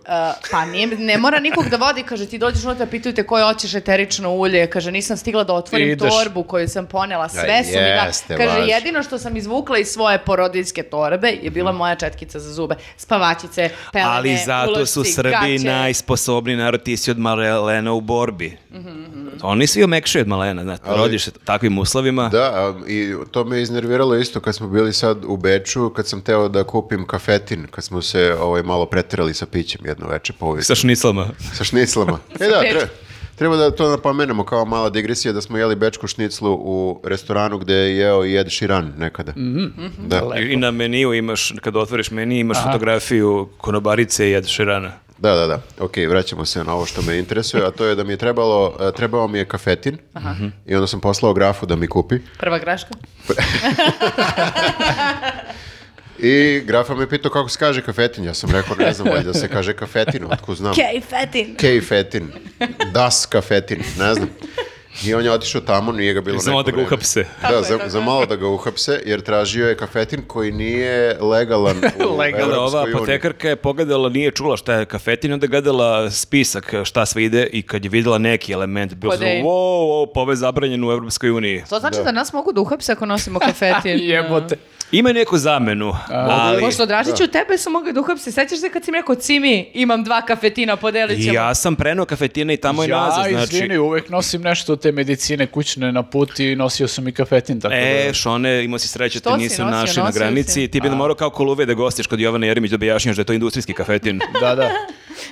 Speaker 4: pa nije, ne mora nikog da vodi, kaže ti dođeš unutra, pitaju te koje hoćeš eterično ulje, kaže nisam stigla da otvorim
Speaker 2: Ideš.
Speaker 4: torbu koju sam ponela,
Speaker 3: Da,
Speaker 4: sve su mi da,
Speaker 3: jeste,
Speaker 4: kaže
Speaker 3: važno.
Speaker 4: jedino što sam izvukla iz svoje porodiljske torbe je bila moja četkica za zube, spavačice, pelene,
Speaker 1: Mhm. Ali zato su
Speaker 4: ulošci,
Speaker 1: Srbi
Speaker 4: gaće.
Speaker 1: najsposobniji narod, ti si od malena u borbi.
Speaker 4: Mhm,
Speaker 1: Oni svi omekšaju od malena, znate, rodiš se takvim uslovima.
Speaker 3: Da, a, i to me iznerviralo isto kad smo bili sad u Beču, kad sam teo da kupim kafetin, kad smo se ovaj, malo preterali sa pićem jedno veče po ulici.
Speaker 1: Sa šniclama.
Speaker 3: Sa šniclama. e da,
Speaker 4: Beču.
Speaker 3: treba, treba da to napomenemo kao mala digresija da smo jeli bečku šniclu u restoranu gde je jeo i Ed Sheeran nekada. da,
Speaker 1: I na meniju imaš, kada otvoriš meniju, imaš fotografiju konobarice i Ed Sheerana.
Speaker 3: da, da, da. Ok, vraćamo se na ovo što me interesuje, a to je da mi je trebalo, e, trebao mi je kafetin Mhm. i onda sam poslao grafu da mi kupi
Speaker 4: Prva graška?
Speaker 3: i grafa me pitao kako se kaže kafetin, ja sam rekao ne znam, valjda se kaže kafetin, otko znam.
Speaker 4: Kej, fetin!
Speaker 3: Kej fetin, das kafetin, ne znam. I on je otišao tamo, nije ga bilo
Speaker 1: Samo
Speaker 3: neko
Speaker 1: da ga
Speaker 3: vreme.
Speaker 1: uhapse.
Speaker 3: Da,
Speaker 4: Tako je,
Speaker 3: za,
Speaker 4: tako
Speaker 3: za
Speaker 4: je.
Speaker 3: malo da ga uhapse, jer tražio je kafetin koji nije legalan
Speaker 2: Legalan,
Speaker 3: u
Speaker 1: Gledala, ova
Speaker 3: Evropskoj uniji.
Speaker 1: apotekarka je pogledala, nije čula šta je kafetin, onda je gledala spisak šta sve ide i kad je vidjela neki element, bilo
Speaker 4: Kod
Speaker 1: je
Speaker 4: ej.
Speaker 1: wow, wow, pa ovo je zabranjeno u Evropskoj uniji.
Speaker 4: To znači da. nas mogu da uhapse ako nosimo kafetin.
Speaker 2: Jebote.
Speaker 1: Ima neku zamenu, ali...
Speaker 4: Pošto Dražiću, tebe su mogli da uhapse. Sećaš se kad si mi rekao, Cimi, imam dva kafetina, podelit ćemo.
Speaker 1: Ja sam prenao kafetina i tamo je nazad,
Speaker 2: Ja,
Speaker 1: znači...
Speaker 2: izvini, uvek nosim nešto od te medicine kućne na put i nosio sam i kafetin, tako
Speaker 1: E,
Speaker 2: da...
Speaker 1: Šone, imao si sreće, te
Speaker 4: Što si
Speaker 1: nisu
Speaker 4: nosio?
Speaker 1: naši na
Speaker 4: Nosio
Speaker 1: granici.
Speaker 4: si.
Speaker 1: Ti bi nam morao kao koluve da gostiš kod Jovana Jeremić da objašnjaš da je to industrijski kafetin.
Speaker 2: Da, da.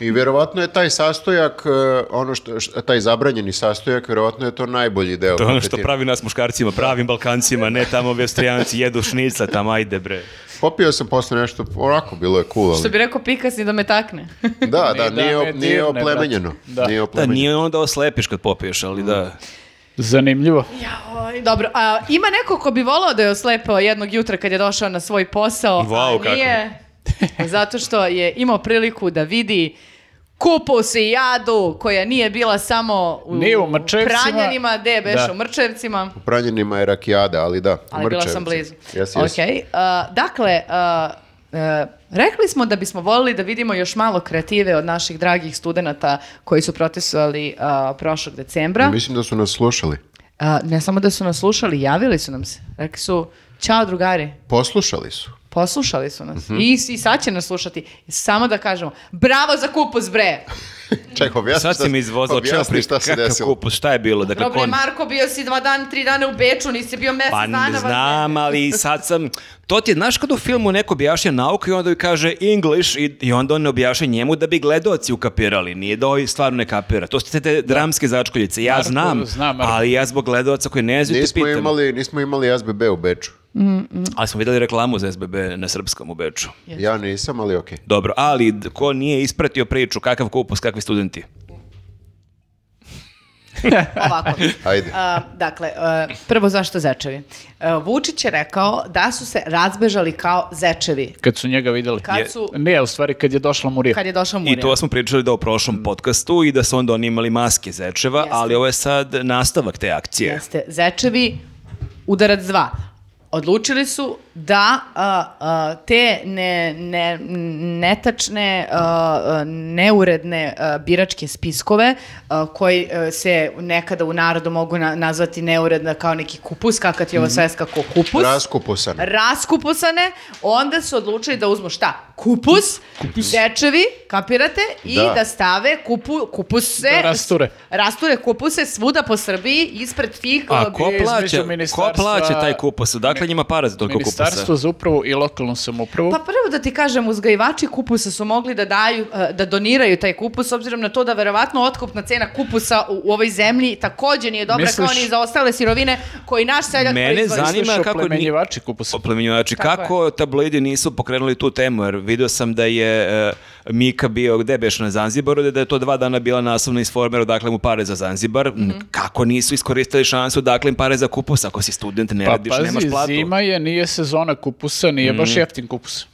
Speaker 3: I vjerovatno je taj sastojak, e, ono što, š- taj zabranjeni sastojak, vjerovatno je to najbolji deo.
Speaker 1: To je ono što
Speaker 3: kafetina.
Speaker 1: pravi nas muškarcima, pravim Balkancima, ne tamo vestrijanci, jedu šnicla, tamo ajde bre.
Speaker 3: Popio sam posle nešto, onako, bilo je cool, ali...
Speaker 4: Što bi rekao, pikas ni da me takne.
Speaker 3: Da, da,
Speaker 2: Ni da
Speaker 3: nije,
Speaker 2: me
Speaker 3: op- nije
Speaker 2: dirne,
Speaker 3: oplemenjeno.
Speaker 2: brate. Da.
Speaker 3: Nije
Speaker 1: Da,
Speaker 3: oplemenjeno.
Speaker 1: nije ono da oslepiš kad popiješ, ali da.
Speaker 2: Zanimljivo.
Speaker 4: Jaoj, dobro. A, ima neko ko bi volao da je oslepao jednog jutra kad je došao na svoj posao,
Speaker 1: Vau,
Speaker 4: a
Speaker 1: kako.
Speaker 4: nije. Pa Zato što je imao priliku da vidi kupu se jadu koja nije bila samo u,
Speaker 2: Nije u Mrčevcima.
Speaker 4: Pranjanima, gde je beš,
Speaker 2: Da.
Speaker 4: u Mrčevcima.
Speaker 3: U Pranjenima je rakijada, ali da.
Speaker 4: Ali bila sam
Speaker 3: mrčevci.
Speaker 4: blizu.
Speaker 3: Jesi, jesi.
Speaker 4: Okej, a, dakle, a, e, rekli smo da bismo volili da vidimo još malo kreative od naših dragih studenata koji su protestovali a, prošlog decembra.
Speaker 3: Mislim da su nas slušali.
Speaker 4: A, ne samo da su nas slušali, javili su nam se. Rekli su, čao drugari,
Speaker 3: Poslušali su.
Speaker 4: poslušali su nas.
Speaker 1: Mhm.
Speaker 4: I, I sad će nas slušati. Samo da kažemo, bravo za kupus bre!
Speaker 3: Čekaj, objasni
Speaker 1: Sad
Speaker 3: šta
Speaker 1: si
Speaker 3: se-
Speaker 1: mi izvozao čeo
Speaker 3: objasni
Speaker 1: pri
Speaker 3: šta se
Speaker 1: kakav
Speaker 3: desilo.
Speaker 1: kupus, šta je bilo? Dakle,
Speaker 4: Dobre,
Speaker 1: kon-
Speaker 4: Marko, bio si dva dana, tri dana u Beču, nisi bio mjesec
Speaker 1: Pa
Speaker 4: dana.
Speaker 1: ne znam, ali sad sam... To ti je, znaš kad u filmu neko objašnja nauku i onda joj kaže English i, i onda on ne objašnja njemu da bi gledoci ukapirali. Nije da ovaj stvarno ne kapira. To su te, te dramske začkoljice. Ja
Speaker 2: Marko,
Speaker 1: znam,
Speaker 2: zna, Marko.
Speaker 1: ali ja zbog gledovaca koji ne znaju te
Speaker 3: Nismo
Speaker 1: pitam.
Speaker 3: imali, nismo imali SBB u Beču.
Speaker 1: Ali smo vidjeli reklamu za SBB na srpskom u Beču.
Speaker 3: Ja nisam, ali okej.
Speaker 1: Dobro, ali d- ko nije ispratio priču, kakav kupus, kakvi studenti?
Speaker 4: Ovako.
Speaker 3: Ajde.
Speaker 4: A, dakle, e, prvo zašto zečevi? E, Vučić je rekao da su se razbežali kao zečevi.
Speaker 2: Kad su njega videli.
Speaker 4: Kad su-
Speaker 2: Ne, u stvari kad je došla Murija.
Speaker 4: Kad je došao Murija.
Speaker 1: I to smo pričali da u
Speaker 2: Mm.
Speaker 1: prošlom podcastu i da su onda oni imali maske zečeva, ali ovo je sad nastavak te akcije.
Speaker 4: Jeste, zečevi, udarac zva. Odlučili su da a, a, te ne, ne, netačne, a, a, neuredne a, biračke spiskove, a, koji a, se nekada u narodu mogu na- nazvati neuredna kao neki kupus, kakav ti je ovo sveska ko kupus.
Speaker 3: Raskuposan.
Speaker 4: raskupusane, onda su odlučili da uzmu šta? Kupus, dečevi, kapirate, i
Speaker 3: Da.
Speaker 4: da, stave kupu, kupuse.
Speaker 2: Da rasture.
Speaker 4: Rasture kupuse svuda po Srbiji, ispred tih... eh,
Speaker 1: A ko
Speaker 2: bi između
Speaker 1: plaća, ko
Speaker 2: ministarstva-
Speaker 1: plaća taj kupus? Dakle, njima para za toliko
Speaker 2: Ministarstvo
Speaker 1: kupusa.
Speaker 2: za upravu i lokalnu samoupravu.
Speaker 4: Pa prvo da ti kažem, uzgajivači kupusa su mogli da daju, e, da doniraju taj kupus, s obzirom na to da verovatno otkupna cena kupusa u, u ovoj zemlji takođe nije dobra kao
Speaker 2: Misliš-
Speaker 4: ni za ostale sirovine koji naš seljak
Speaker 1: Mene
Speaker 4: proizvodi.
Speaker 1: zanima-
Speaker 2: Slušao
Speaker 1: kako ni-
Speaker 2: plemenjivači kupusa.
Speaker 1: Oplemenjivači,
Speaker 4: Tako
Speaker 1: kako tabloidi nisu pokrenuli tu temu, jer vidio sam da je e, Mika bio gde beš na Zanzibaru, da je to dva dana bila naslovna iz formera, dakle mu pare za Zanzibar.
Speaker 2: Mhm.
Speaker 1: M, Kako nisu iskoristili šansu, dakle im pare za kupus, ako si student ne
Speaker 2: Pa
Speaker 1: radiš, nemaš
Speaker 2: pazi,
Speaker 1: platu. Mhm.
Speaker 2: zima je, nije sezona kupusa, nije baš jeftin kupus.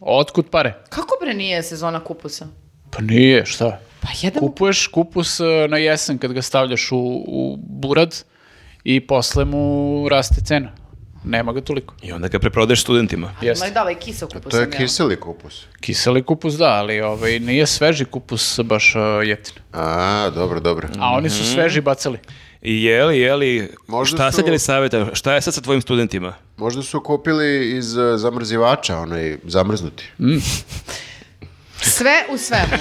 Speaker 2: Otkud pare?
Speaker 4: Kako bre nije sezona kupusa?
Speaker 2: Pa nije, šta?
Speaker 4: Pa jedan
Speaker 2: Kupuješ kupus e, na jesen kad ga stavljaš u, u burad i posle mu raste cena. Nema ga toliko.
Speaker 1: I onda ga preprodeš studentima.
Speaker 4: Ima i
Speaker 2: Jeste.
Speaker 4: da ovaj kiseo kupus.
Speaker 3: Pa To je
Speaker 4: sam ja.
Speaker 3: kiseli kupus.
Speaker 2: Kiseli kupus da, ali ovaj, nije sveži kupus baš e, jeftin.
Speaker 3: A, dobro, dobro.
Speaker 2: A oni su sveži bacali.
Speaker 1: I Jeli, jeli,
Speaker 3: Možda
Speaker 1: šta
Speaker 3: su-
Speaker 1: sad je li savjeta, šta je sad sa tvojim studentima?
Speaker 3: Možda su kupili iz e, zamrzivača, onaj zamrznuti.
Speaker 4: Da. Sve u svemu.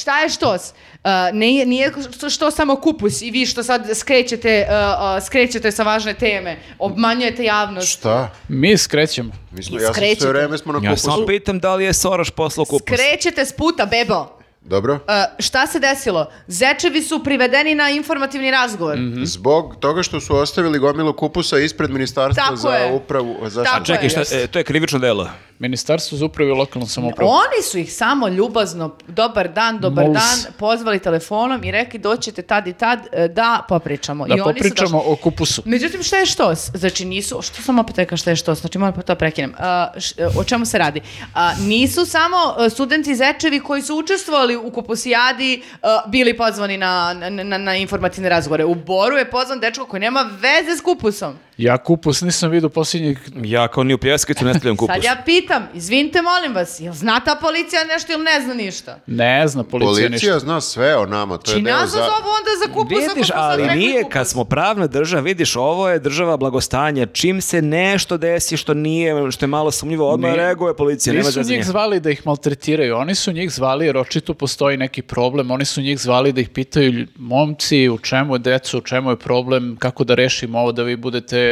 Speaker 4: Šta je štos? Uh, nije, nije što, što samo kupus i vi što sad skrećete, uh, uh, skrećete sa važne teme, obmanjujete javnost.
Speaker 3: Šta?
Speaker 2: Mi skrećemo.
Speaker 3: Mi smo, ja sam
Speaker 4: Skrećete.
Speaker 3: sve vreme smo na
Speaker 1: Ja
Speaker 3: kupusu.
Speaker 1: samo pitam da li je Soroš poslao kupus.
Speaker 4: Skrećete s puta, bebo.
Speaker 3: Dobro.
Speaker 4: Uh, šta se desilo? Zečevi su privedeni na informativni razgovor.
Speaker 2: Mhm,
Speaker 3: Zbog toga što su ostavili gomilu kupusa ispred ministarstva
Speaker 4: Tako
Speaker 3: za
Speaker 4: je.
Speaker 3: upravu. Zašto?
Speaker 4: Tako
Speaker 1: Čekaj, šta,
Speaker 4: Jeste.
Speaker 1: e, to je krivično delo.
Speaker 2: Ministarstvo za upravu i lokalnu samoupravu.
Speaker 4: Oni su ih samo ljubazno, dobar dan, dobar
Speaker 2: Mols.
Speaker 4: dan, pozvali telefonom i rekli doćete tad i tad e, da popričamo.
Speaker 2: Da
Speaker 4: I oni su
Speaker 2: popričamo o kupusu.
Speaker 4: Međutim, šta je štos? Znači nisu, što sam opet rekla šta je štos? Znači moram pa to da prekinem. A, š- o čemu se radi? A, nisu samo a, studenti zečevi koji su učestvovali u Koposijadi a, bili pozvani na, na, na, na informativne razgovore. U Boru je pozvan dečko koji nema veze s kupusom.
Speaker 2: Ja kupus nisam vidio posljednjih...
Speaker 1: Ja kao ni u pljeskavicu ne stavljam kupus.
Speaker 4: Sad ja pitam, izvinite molim vas, jel zna ta policija nešto ili ne zna ništa?
Speaker 2: Ne zna policija,
Speaker 3: Policija
Speaker 2: ništa.
Speaker 3: zna sve o nama, to je
Speaker 4: Či
Speaker 3: deo
Speaker 4: nas da
Speaker 3: za...
Speaker 4: zovu onda za kupus ako
Speaker 1: Vidiš,
Speaker 4: smo sad
Speaker 1: ali
Speaker 4: rekli
Speaker 1: nije,
Speaker 4: kupus.
Speaker 1: kad smo pravna država, vidiš, ovo je država blagostanja. Čim se nešto desi što nije, što je malo sumnjivo, odmah
Speaker 2: Ni-
Speaker 1: reaguje policija. Nema
Speaker 2: Nisu
Speaker 1: zezanja.
Speaker 2: njih zvali da ih maltretiraju, oni su njih zvali jer očito postoji neki problem, oni su njih zvali da ih pitaju "Lj- momci u čemu je decu, u čemu je problem, kako da rešimo ovo da vi budete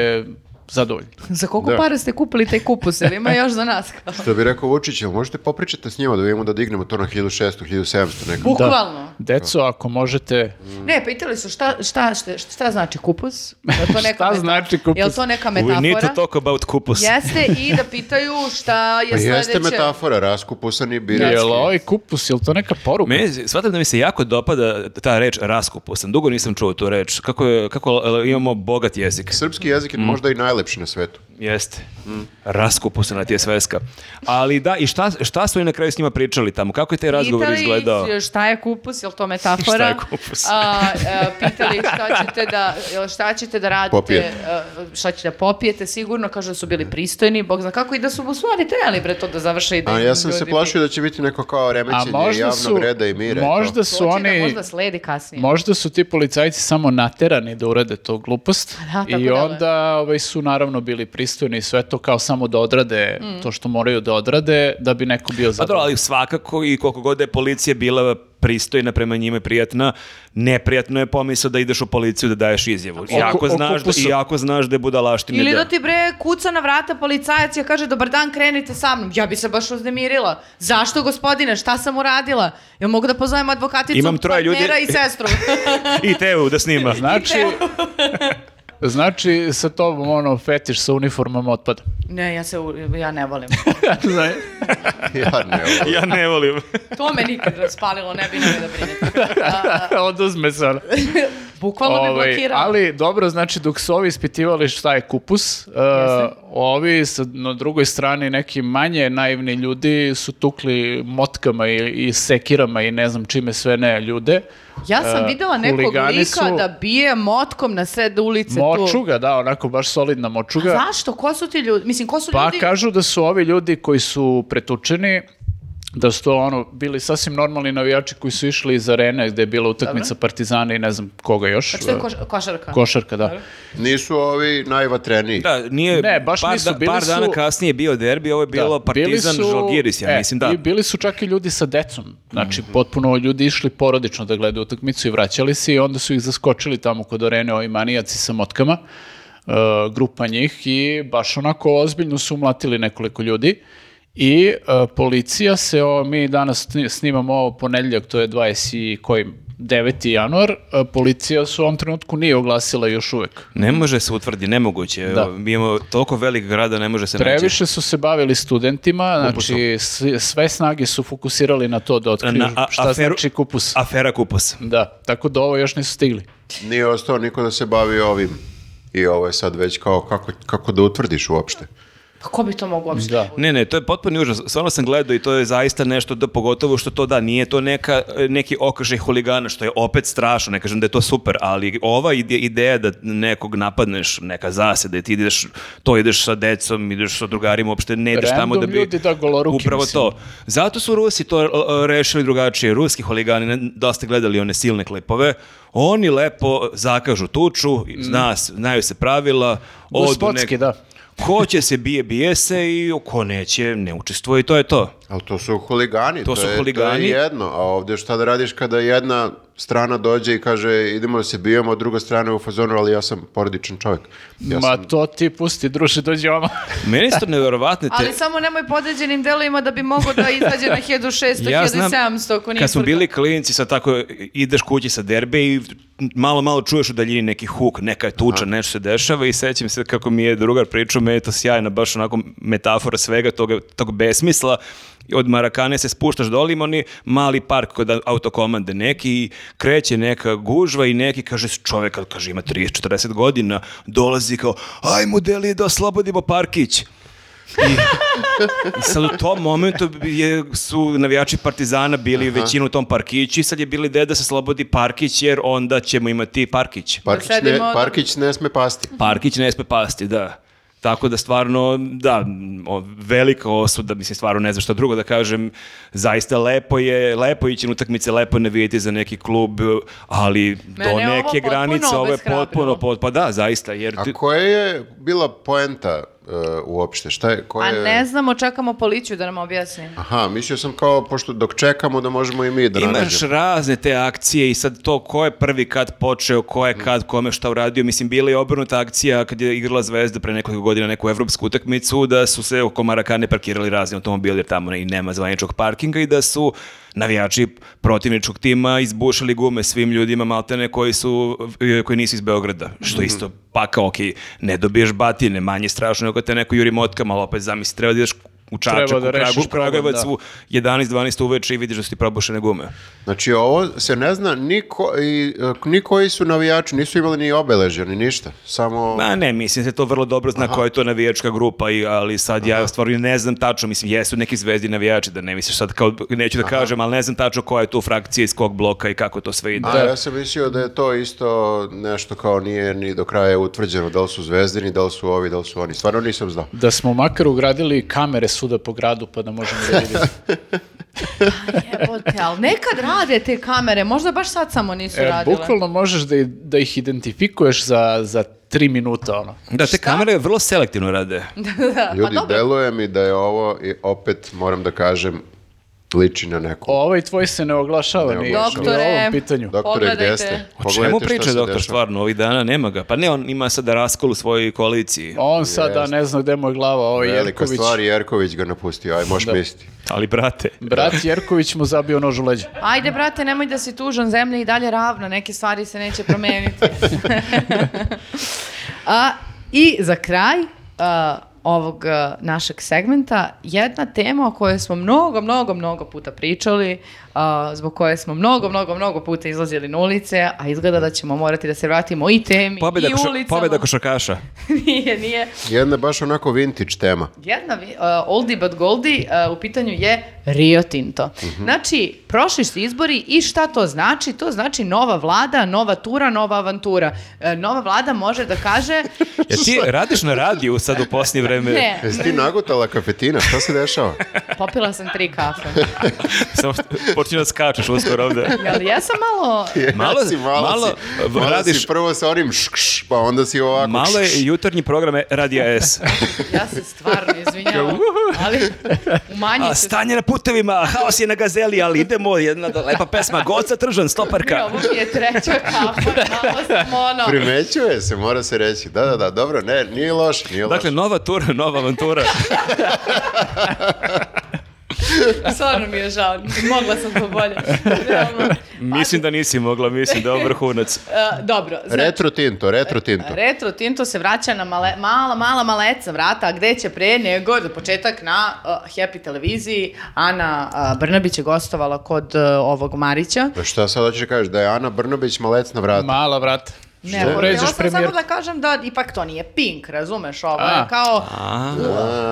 Speaker 2: zadovoljni.
Speaker 4: Za koliko
Speaker 3: Da.
Speaker 4: para ste kupili taj kupus? Jel ima još za nas? kao?
Speaker 3: Što bi rekao Vučić, jel možete popričati s njima da vidimo da dignemo to na 1600, 1700 nekako?
Speaker 4: Bukvalno.
Speaker 2: Da. Deco, ako možete,
Speaker 4: Ne, pitali su šta, šta, šta, šta znači kupus? Je to neka
Speaker 2: Šta znači kupus?
Speaker 4: Je li to neka metafora?
Speaker 1: We need to talk about kupus.
Speaker 4: Jeste i da pitaju šta je
Speaker 3: Pa
Speaker 4: sledeće.
Speaker 3: jeste metafora, raskupusan i
Speaker 2: je
Speaker 3: biratski.
Speaker 2: li ovaj kupus, je li to neka poruka?
Speaker 1: Meni, se- shvatam da mi se jako dopada ta reč raskupusan. Dugo nisam čuo tu reč. Kako, je- kako e, imamo bogat jezik.
Speaker 3: Srpski jezik je možda i najlepši na svetu.
Speaker 1: Jeste.
Speaker 2: Mm.
Speaker 1: Raskupusan ti je sveska. Ali da, i šta, šta su oni na kraju s njima pričali tamo? Kako je taj razgovor
Speaker 4: Pitali
Speaker 1: izgledao?
Speaker 4: ih šta je kupus, je li to metafora?
Speaker 1: Šta je kupus?
Speaker 4: A, a, pitali ih šta ćete da, jel šta ćete da radite,
Speaker 3: Popijete.
Speaker 4: a, šta ćete da popijete, sigurno, kažu da su bili pristojni, bog zna kako, i da su u stvari trebali bre to da završe i da
Speaker 3: A
Speaker 4: im
Speaker 3: ja sam se
Speaker 4: ljudi-
Speaker 3: plašio da će biti neko kao remećenje javnog reda i mira. i to.
Speaker 2: možda
Speaker 4: To će
Speaker 2: su oni...
Speaker 4: da možda sledi kasnije.
Speaker 2: Možda su ti policajci samo naterani da urade to glupost
Speaker 4: Da, tako
Speaker 2: i
Speaker 4: deluje.
Speaker 2: onda ovaj, su naravno bili pristojni i sve to kao samo da odrade
Speaker 4: Mm.
Speaker 2: to što moraju da odrade da bi neko bio
Speaker 1: Pa dobro,
Speaker 2: zadovoljan.
Speaker 1: ali svakako i koliko god da je policija bila pristojna prema njima i prijatna, neprijatno je pomisao da ideš u policiju da daješ izjavu.
Speaker 2: o
Speaker 1: Iako znaš, da,
Speaker 2: kupusu.
Speaker 1: iako znaš da je budalaštine.
Speaker 4: Ili da ti bre kuca na vrata policajac i kaže dobar dan krenite sa mnom. Ja bi se baš uznemirila. Zašto gospodine, šta sam uradila? Ja mogu da pozovem advokaticu,
Speaker 1: Imam troje ljudi-
Speaker 4: partnera i sestru.
Speaker 1: I teo da snima.
Speaker 2: Znači, znači sa tobom ono fetiš sa uniformama otpada.
Speaker 4: ne, ja se u- ja ne volim.
Speaker 2: Znači,
Speaker 3: Ja ne, ovo-
Speaker 1: ja ne volim.
Speaker 4: To me nikad raspalilo, ne bi ni da brinem. Da.
Speaker 2: Oduzme se ono.
Speaker 4: Bukvalno me
Speaker 2: Ovaj,
Speaker 4: blokira.
Speaker 2: ali dobro, znači dok su ovi ispitivali šta je kupus, e, ovi sa, na drugoj strani neki manje naivni ljudi su tukli motkama i, i sekirama i ne znam čime sve ne ljude.
Speaker 4: Ja sam
Speaker 2: e,
Speaker 4: videla nekog
Speaker 2: huligani
Speaker 4: lika
Speaker 2: su-
Speaker 4: da bije motkom na sred ulice tu.
Speaker 2: Močuga, da, onako baš solidna močuga.
Speaker 4: Zašto? Ko su ti ljudi? Mislim, ko su
Speaker 2: Pa
Speaker 4: ljudi?
Speaker 2: kažu da su ovi ljudi koji su pretučeni, da su to ono, bili sasvim normalni navijači koji su išli iz arene gde je bila utakmica Partizana i ne znam koga još.
Speaker 4: Što je
Speaker 2: e,
Speaker 4: koš- košarka?
Speaker 2: košarka, da.
Speaker 3: Nisu ovi najvatreniji.
Speaker 1: Da, nije,
Speaker 2: Ne, baš
Speaker 1: par,
Speaker 2: nisu,
Speaker 1: da-
Speaker 2: bili
Speaker 1: par
Speaker 2: su-
Speaker 1: dana kasnije je bio derbi, ovo je bilo
Speaker 2: Da, bili
Speaker 1: Partizan
Speaker 2: su-
Speaker 1: Žalgiris, ja
Speaker 2: e,
Speaker 1: mislim, da. Mhm.
Speaker 2: I bili su čak i ljudi sa decom. Znači, potpuno ljudi išli porodično da gledaju utakmicu i vraćali se i onda su ih zaskočili tamo kod arene ovi manijaci sa motkama, e, grupa njih i baš onako ozbiljno su umlatili nekoliko ljudi. I e, policija se, o, mi danas sni- snimamo ovo ponedjeljak, to je 20 i koji 9. januar, e, policija se u ovom trenutku nije oglasila još uvek.
Speaker 1: Ne može se utvrdi, nemoguće.
Speaker 2: Da.
Speaker 1: Evo, Mi imamo toliko velik grada, ne može se naći.
Speaker 2: Previše su se bavili studentima, znači s- sve snage su fokusirali na to da otkriju
Speaker 1: Na a-
Speaker 2: šta
Speaker 1: aferu-
Speaker 2: znači kupus.
Speaker 1: Afera kupus.
Speaker 2: Da, tako da ovo još nisu stigli.
Speaker 3: Nije ostao niko da se bavi ovim. I ovo je sad već kao kako, kako da utvrdiš uopšte.
Speaker 4: Pa ko bi to mogu uopšte?
Speaker 2: Da.
Speaker 1: Ne, ne, to je potpuni užas. Stvarno sam gledao i to je zaista nešto da pogotovo što to da nije to neka neki okršaj huligana što je opet strašno, ne kažem da je to super, ali ova ide- ideja da nekog napadneš, neka zaseda i ti ideš to ideš sa decom, ideš sa drugarima, uopšte ne ideš tamo da
Speaker 2: Random
Speaker 1: bi
Speaker 2: ljudi, da, goloruki,
Speaker 1: Upravo
Speaker 2: mislim.
Speaker 1: to. Zato su Rusi to e, rešili drugačije. Ruski huligani, ne- da li ste gledali one silne klipove, oni lepo zakažu tuču, zna, se- znaju se pravila. odu
Speaker 2: Gospodski, da.
Speaker 1: Ko će se bije, bije se i ko neće, ne učestvuje i to je to.
Speaker 3: Ali to su huligani,
Speaker 1: To
Speaker 3: to,
Speaker 1: su
Speaker 3: je,
Speaker 1: huligani.
Speaker 3: to je jedno, a ovdje šta da radiš kada jedna strana dođe i kaže idemo da se bijemo, a druga strana je u fazonu, ali ja sam porodičan čovjek. Ja
Speaker 2: Ma
Speaker 1: da
Speaker 3: sam,
Speaker 2: to ti pusti, druže, dođi ovamo.
Speaker 1: Meni su to neverovatne te...
Speaker 4: Ali samo nemoj po određenim delovima da bi mogo da izađe na 1600,
Speaker 1: Ja znam,
Speaker 4: 1700, ako nije
Speaker 1: kad smo
Speaker 4: frka.
Speaker 1: bili klinici, sad tako ideš kući sa derbe i malo, malo čuješ u daljini neki huk, neka je tuča, nešto se dešava i sećam se kako mi je drugar pričao, me je to sjajna, baš onako metafora svega toga, tog besmisla. I Od Marakane se spuštaš dole, ima oni mali park kod autokomande neki i kreće neka gužva i neki kaže, čovek kad kaže ima 30-40 godina, dolazi kao, ajmo deli da oslobodimo parkić. I sad u tom momentu je, su navijači Partizana bili većinu u tom parkiću i sad je bili deda da se slobodi parkić jer onda ćemo imati parkić.
Speaker 3: Parkić,
Speaker 4: Da sedimo-
Speaker 3: ne, parkić ne sme pasti.
Speaker 1: Parkić ne sme pasti, da. Tako da stvarno, da, o- velika osuda, mislim stvarno ne znam šta drugo da kažem, zaista lepo je, lepo je ići na utakmice, lepo je navijeti za neki klub, ali
Speaker 4: Mene
Speaker 1: do
Speaker 4: ovo
Speaker 1: neke
Speaker 4: potpuno
Speaker 1: granice ovo je
Speaker 4: obeshrabrilo.
Speaker 1: potpuno, pot, pa da, zaista, jer ti-
Speaker 3: A koja je bila poenta e, uopšte? Šta je, koja
Speaker 4: A
Speaker 3: je...
Speaker 4: ne znamo, čekamo policiju da nam objasni.
Speaker 3: Aha, mislio sam kao, pošto dok čekamo da možemo i mi da
Speaker 1: Imaš
Speaker 3: nanađemo.
Speaker 1: razne te akcije i sad to ko je prvi kad počeo, ko je kad kome šta uradio. Mislim, bila je obrnuta akcija kad je igrala Zvezda pre nekoliko godina neku evropsku utakmicu, da su se oko Marakane parkirali razni automobili jer tamo i nema zvaničnog parkinga i da su navijači protivničkog tima izbušali gume svim ljudima maltene koji su e, koji nisu iz Beograda, što isto pa kao ok, ne dobiješ batine, manje strašno nego kad te neko juri motkama, ali opet zamisli, treba da ideš u Čačak,
Speaker 2: Treba
Speaker 1: u
Speaker 2: da
Speaker 1: Kragu,
Speaker 2: rešiš problem,
Speaker 1: Kragujevac,
Speaker 2: da.
Speaker 1: u 11-12 uveče i vidiš da su ti probušene gume.
Speaker 3: Znači, ovo se ne zna, ni, ko, i, e, ni koji su navijači, nisu imali ni obeležja, ni ništa. Samo...
Speaker 1: Ma ne, mislim se to vrlo dobro zna koja je to navijačka grupa, i, ali sad ja stvarno ne znam tačno, mislim jesu neki zvezdi navijači, da ne misliš sad kao, neću da kažem, ali ne znam tačno koja je tu frakcija iz kog bloka i kako to sve ide.
Speaker 3: A, ja sam mislio da je to isto nešto kao nije ni do kraja utvrđeno, da li su zvezdini, da li su ovi, da li su oni. Stvarno nisam znao.
Speaker 2: Da smo makar ugradili kamere svuda po gradu pa da možemo da vidimo.
Speaker 4: Jebote, ali nekad rade te kamere, možda baš sad samo nisu
Speaker 2: E,
Speaker 4: radile.
Speaker 2: bukvalno možeš da, i- da ih identifikuješ za, za tri minuta, ono.
Speaker 1: Da, te kamere vrlo selektivno rade.
Speaker 4: Da, pa
Speaker 3: Ljudi,
Speaker 4: dobro.
Speaker 3: deluje mi da je ovo, i opet moram da kažem, liči na neko.
Speaker 2: Ovaj tvoj se ne oglašava ni, ni u
Speaker 4: Doktore.
Speaker 2: ovom pitanju.
Speaker 3: Doktore,
Speaker 4: pogledajte.
Speaker 3: gdje ste?
Speaker 1: O čemu
Speaker 3: Pogledajte šta
Speaker 1: priča
Speaker 3: se
Speaker 1: doktor
Speaker 3: dešava.
Speaker 1: stvarno, ovih dana nema ga. Pa ne, on ima sada raskol u svojoj koaliciji,
Speaker 2: On sada ne zna gde mu je glava, ovaj
Speaker 3: Velika
Speaker 2: Jerković.
Speaker 3: stvar, Jerković ga napustio, aj
Speaker 1: Da.
Speaker 3: možeš misliti.
Speaker 1: ali brate.
Speaker 2: Brat Jerković mu zabio nož u leđa.
Speaker 4: Ajde, brate, nemoj da si tužan, zemlja je i dalje ravna, neke stvari se neće promeniti. A, I za kraj a, ovog a, našeg segmenta, jedna tema o kojoj smo mnogo, mnogo, mnogo puta pričali, a, zbog koje smo mnogo, mnogo, mnogo puta izlazili na ulice, a izgleda da ćemo morati da se vratimo i temi
Speaker 1: Pobjeda,
Speaker 4: i
Speaker 1: koša-
Speaker 4: ulicama.
Speaker 1: pobjeda košarkaša.
Speaker 4: nije, nije.
Speaker 3: Jedna baš onako vintage tema.
Speaker 4: Jedna vi- uh, oldie but goldie uh, u pitanju je Rio Tinto.
Speaker 1: Mhm.
Speaker 4: Znači, prošli su izbori i šta to znači? To znači nova vlada, nova tura, nova avantura. E, nova vlada može da kaže...
Speaker 1: Jer ti radiš na radiju sad u posljednje vreme.
Speaker 4: Ne,
Speaker 3: Jesi ti nagutala kafetina? Šta se dešava?
Speaker 4: popila sam tri kafe.
Speaker 1: Samo što- počinje da skačeš uskoro ovde.
Speaker 4: Jel, ja sam malo...
Speaker 1: Malo-
Speaker 3: si, Znači, malo,
Speaker 1: malo,
Speaker 3: si,
Speaker 1: v-
Speaker 3: malo
Speaker 1: radiš-
Speaker 3: si prvo sa onim škš, pa onda si ovako
Speaker 1: Malo
Speaker 3: škš.
Speaker 1: je jutarnji program Radija S.
Speaker 4: Ja se stvarno izvinjavam, ali umanji
Speaker 1: A,
Speaker 4: se...
Speaker 1: stanje na putevima, haos je na gazeli, ali idemo, jedna da- lepa pesma, Goca Tržan,
Speaker 4: Ne,
Speaker 1: stoparka.
Speaker 4: Ovo mi je treća kafa, malo sam ono...
Speaker 3: Primećuje se, mora se reći. Da, da, da, dobro, ne, nije loš, nije
Speaker 1: Dakle,
Speaker 3: loš.
Speaker 1: nova tura, nova avantura.
Speaker 4: Stvarno mi je žao, mogla sam to bolje. Realno.
Speaker 1: Mislim da nisi mogla, mislim da je ovo vrhunac.
Speaker 4: E, dobro, znači,
Speaker 3: Retro Tinto, Retro Tinto.
Speaker 4: Retro Tinto se vraća na male, mala, mala maleca vrata, a gde će pre nego za početak na uh, Happy televiziji. Ana uh, Brnabić je gostovala kod uh, ovog Marića.
Speaker 3: Pa šta sad hoćeš da kažeš, da je Ana Brnobić malecna vrata?
Speaker 2: Mala, vrat.
Speaker 4: Ne,
Speaker 2: Što
Speaker 4: htjela
Speaker 2: vređaš
Speaker 4: sam
Speaker 2: premijer?
Speaker 4: samo da kažem da ipak to nije Pink, razumeš, ovo je
Speaker 2: A.
Speaker 4: kao...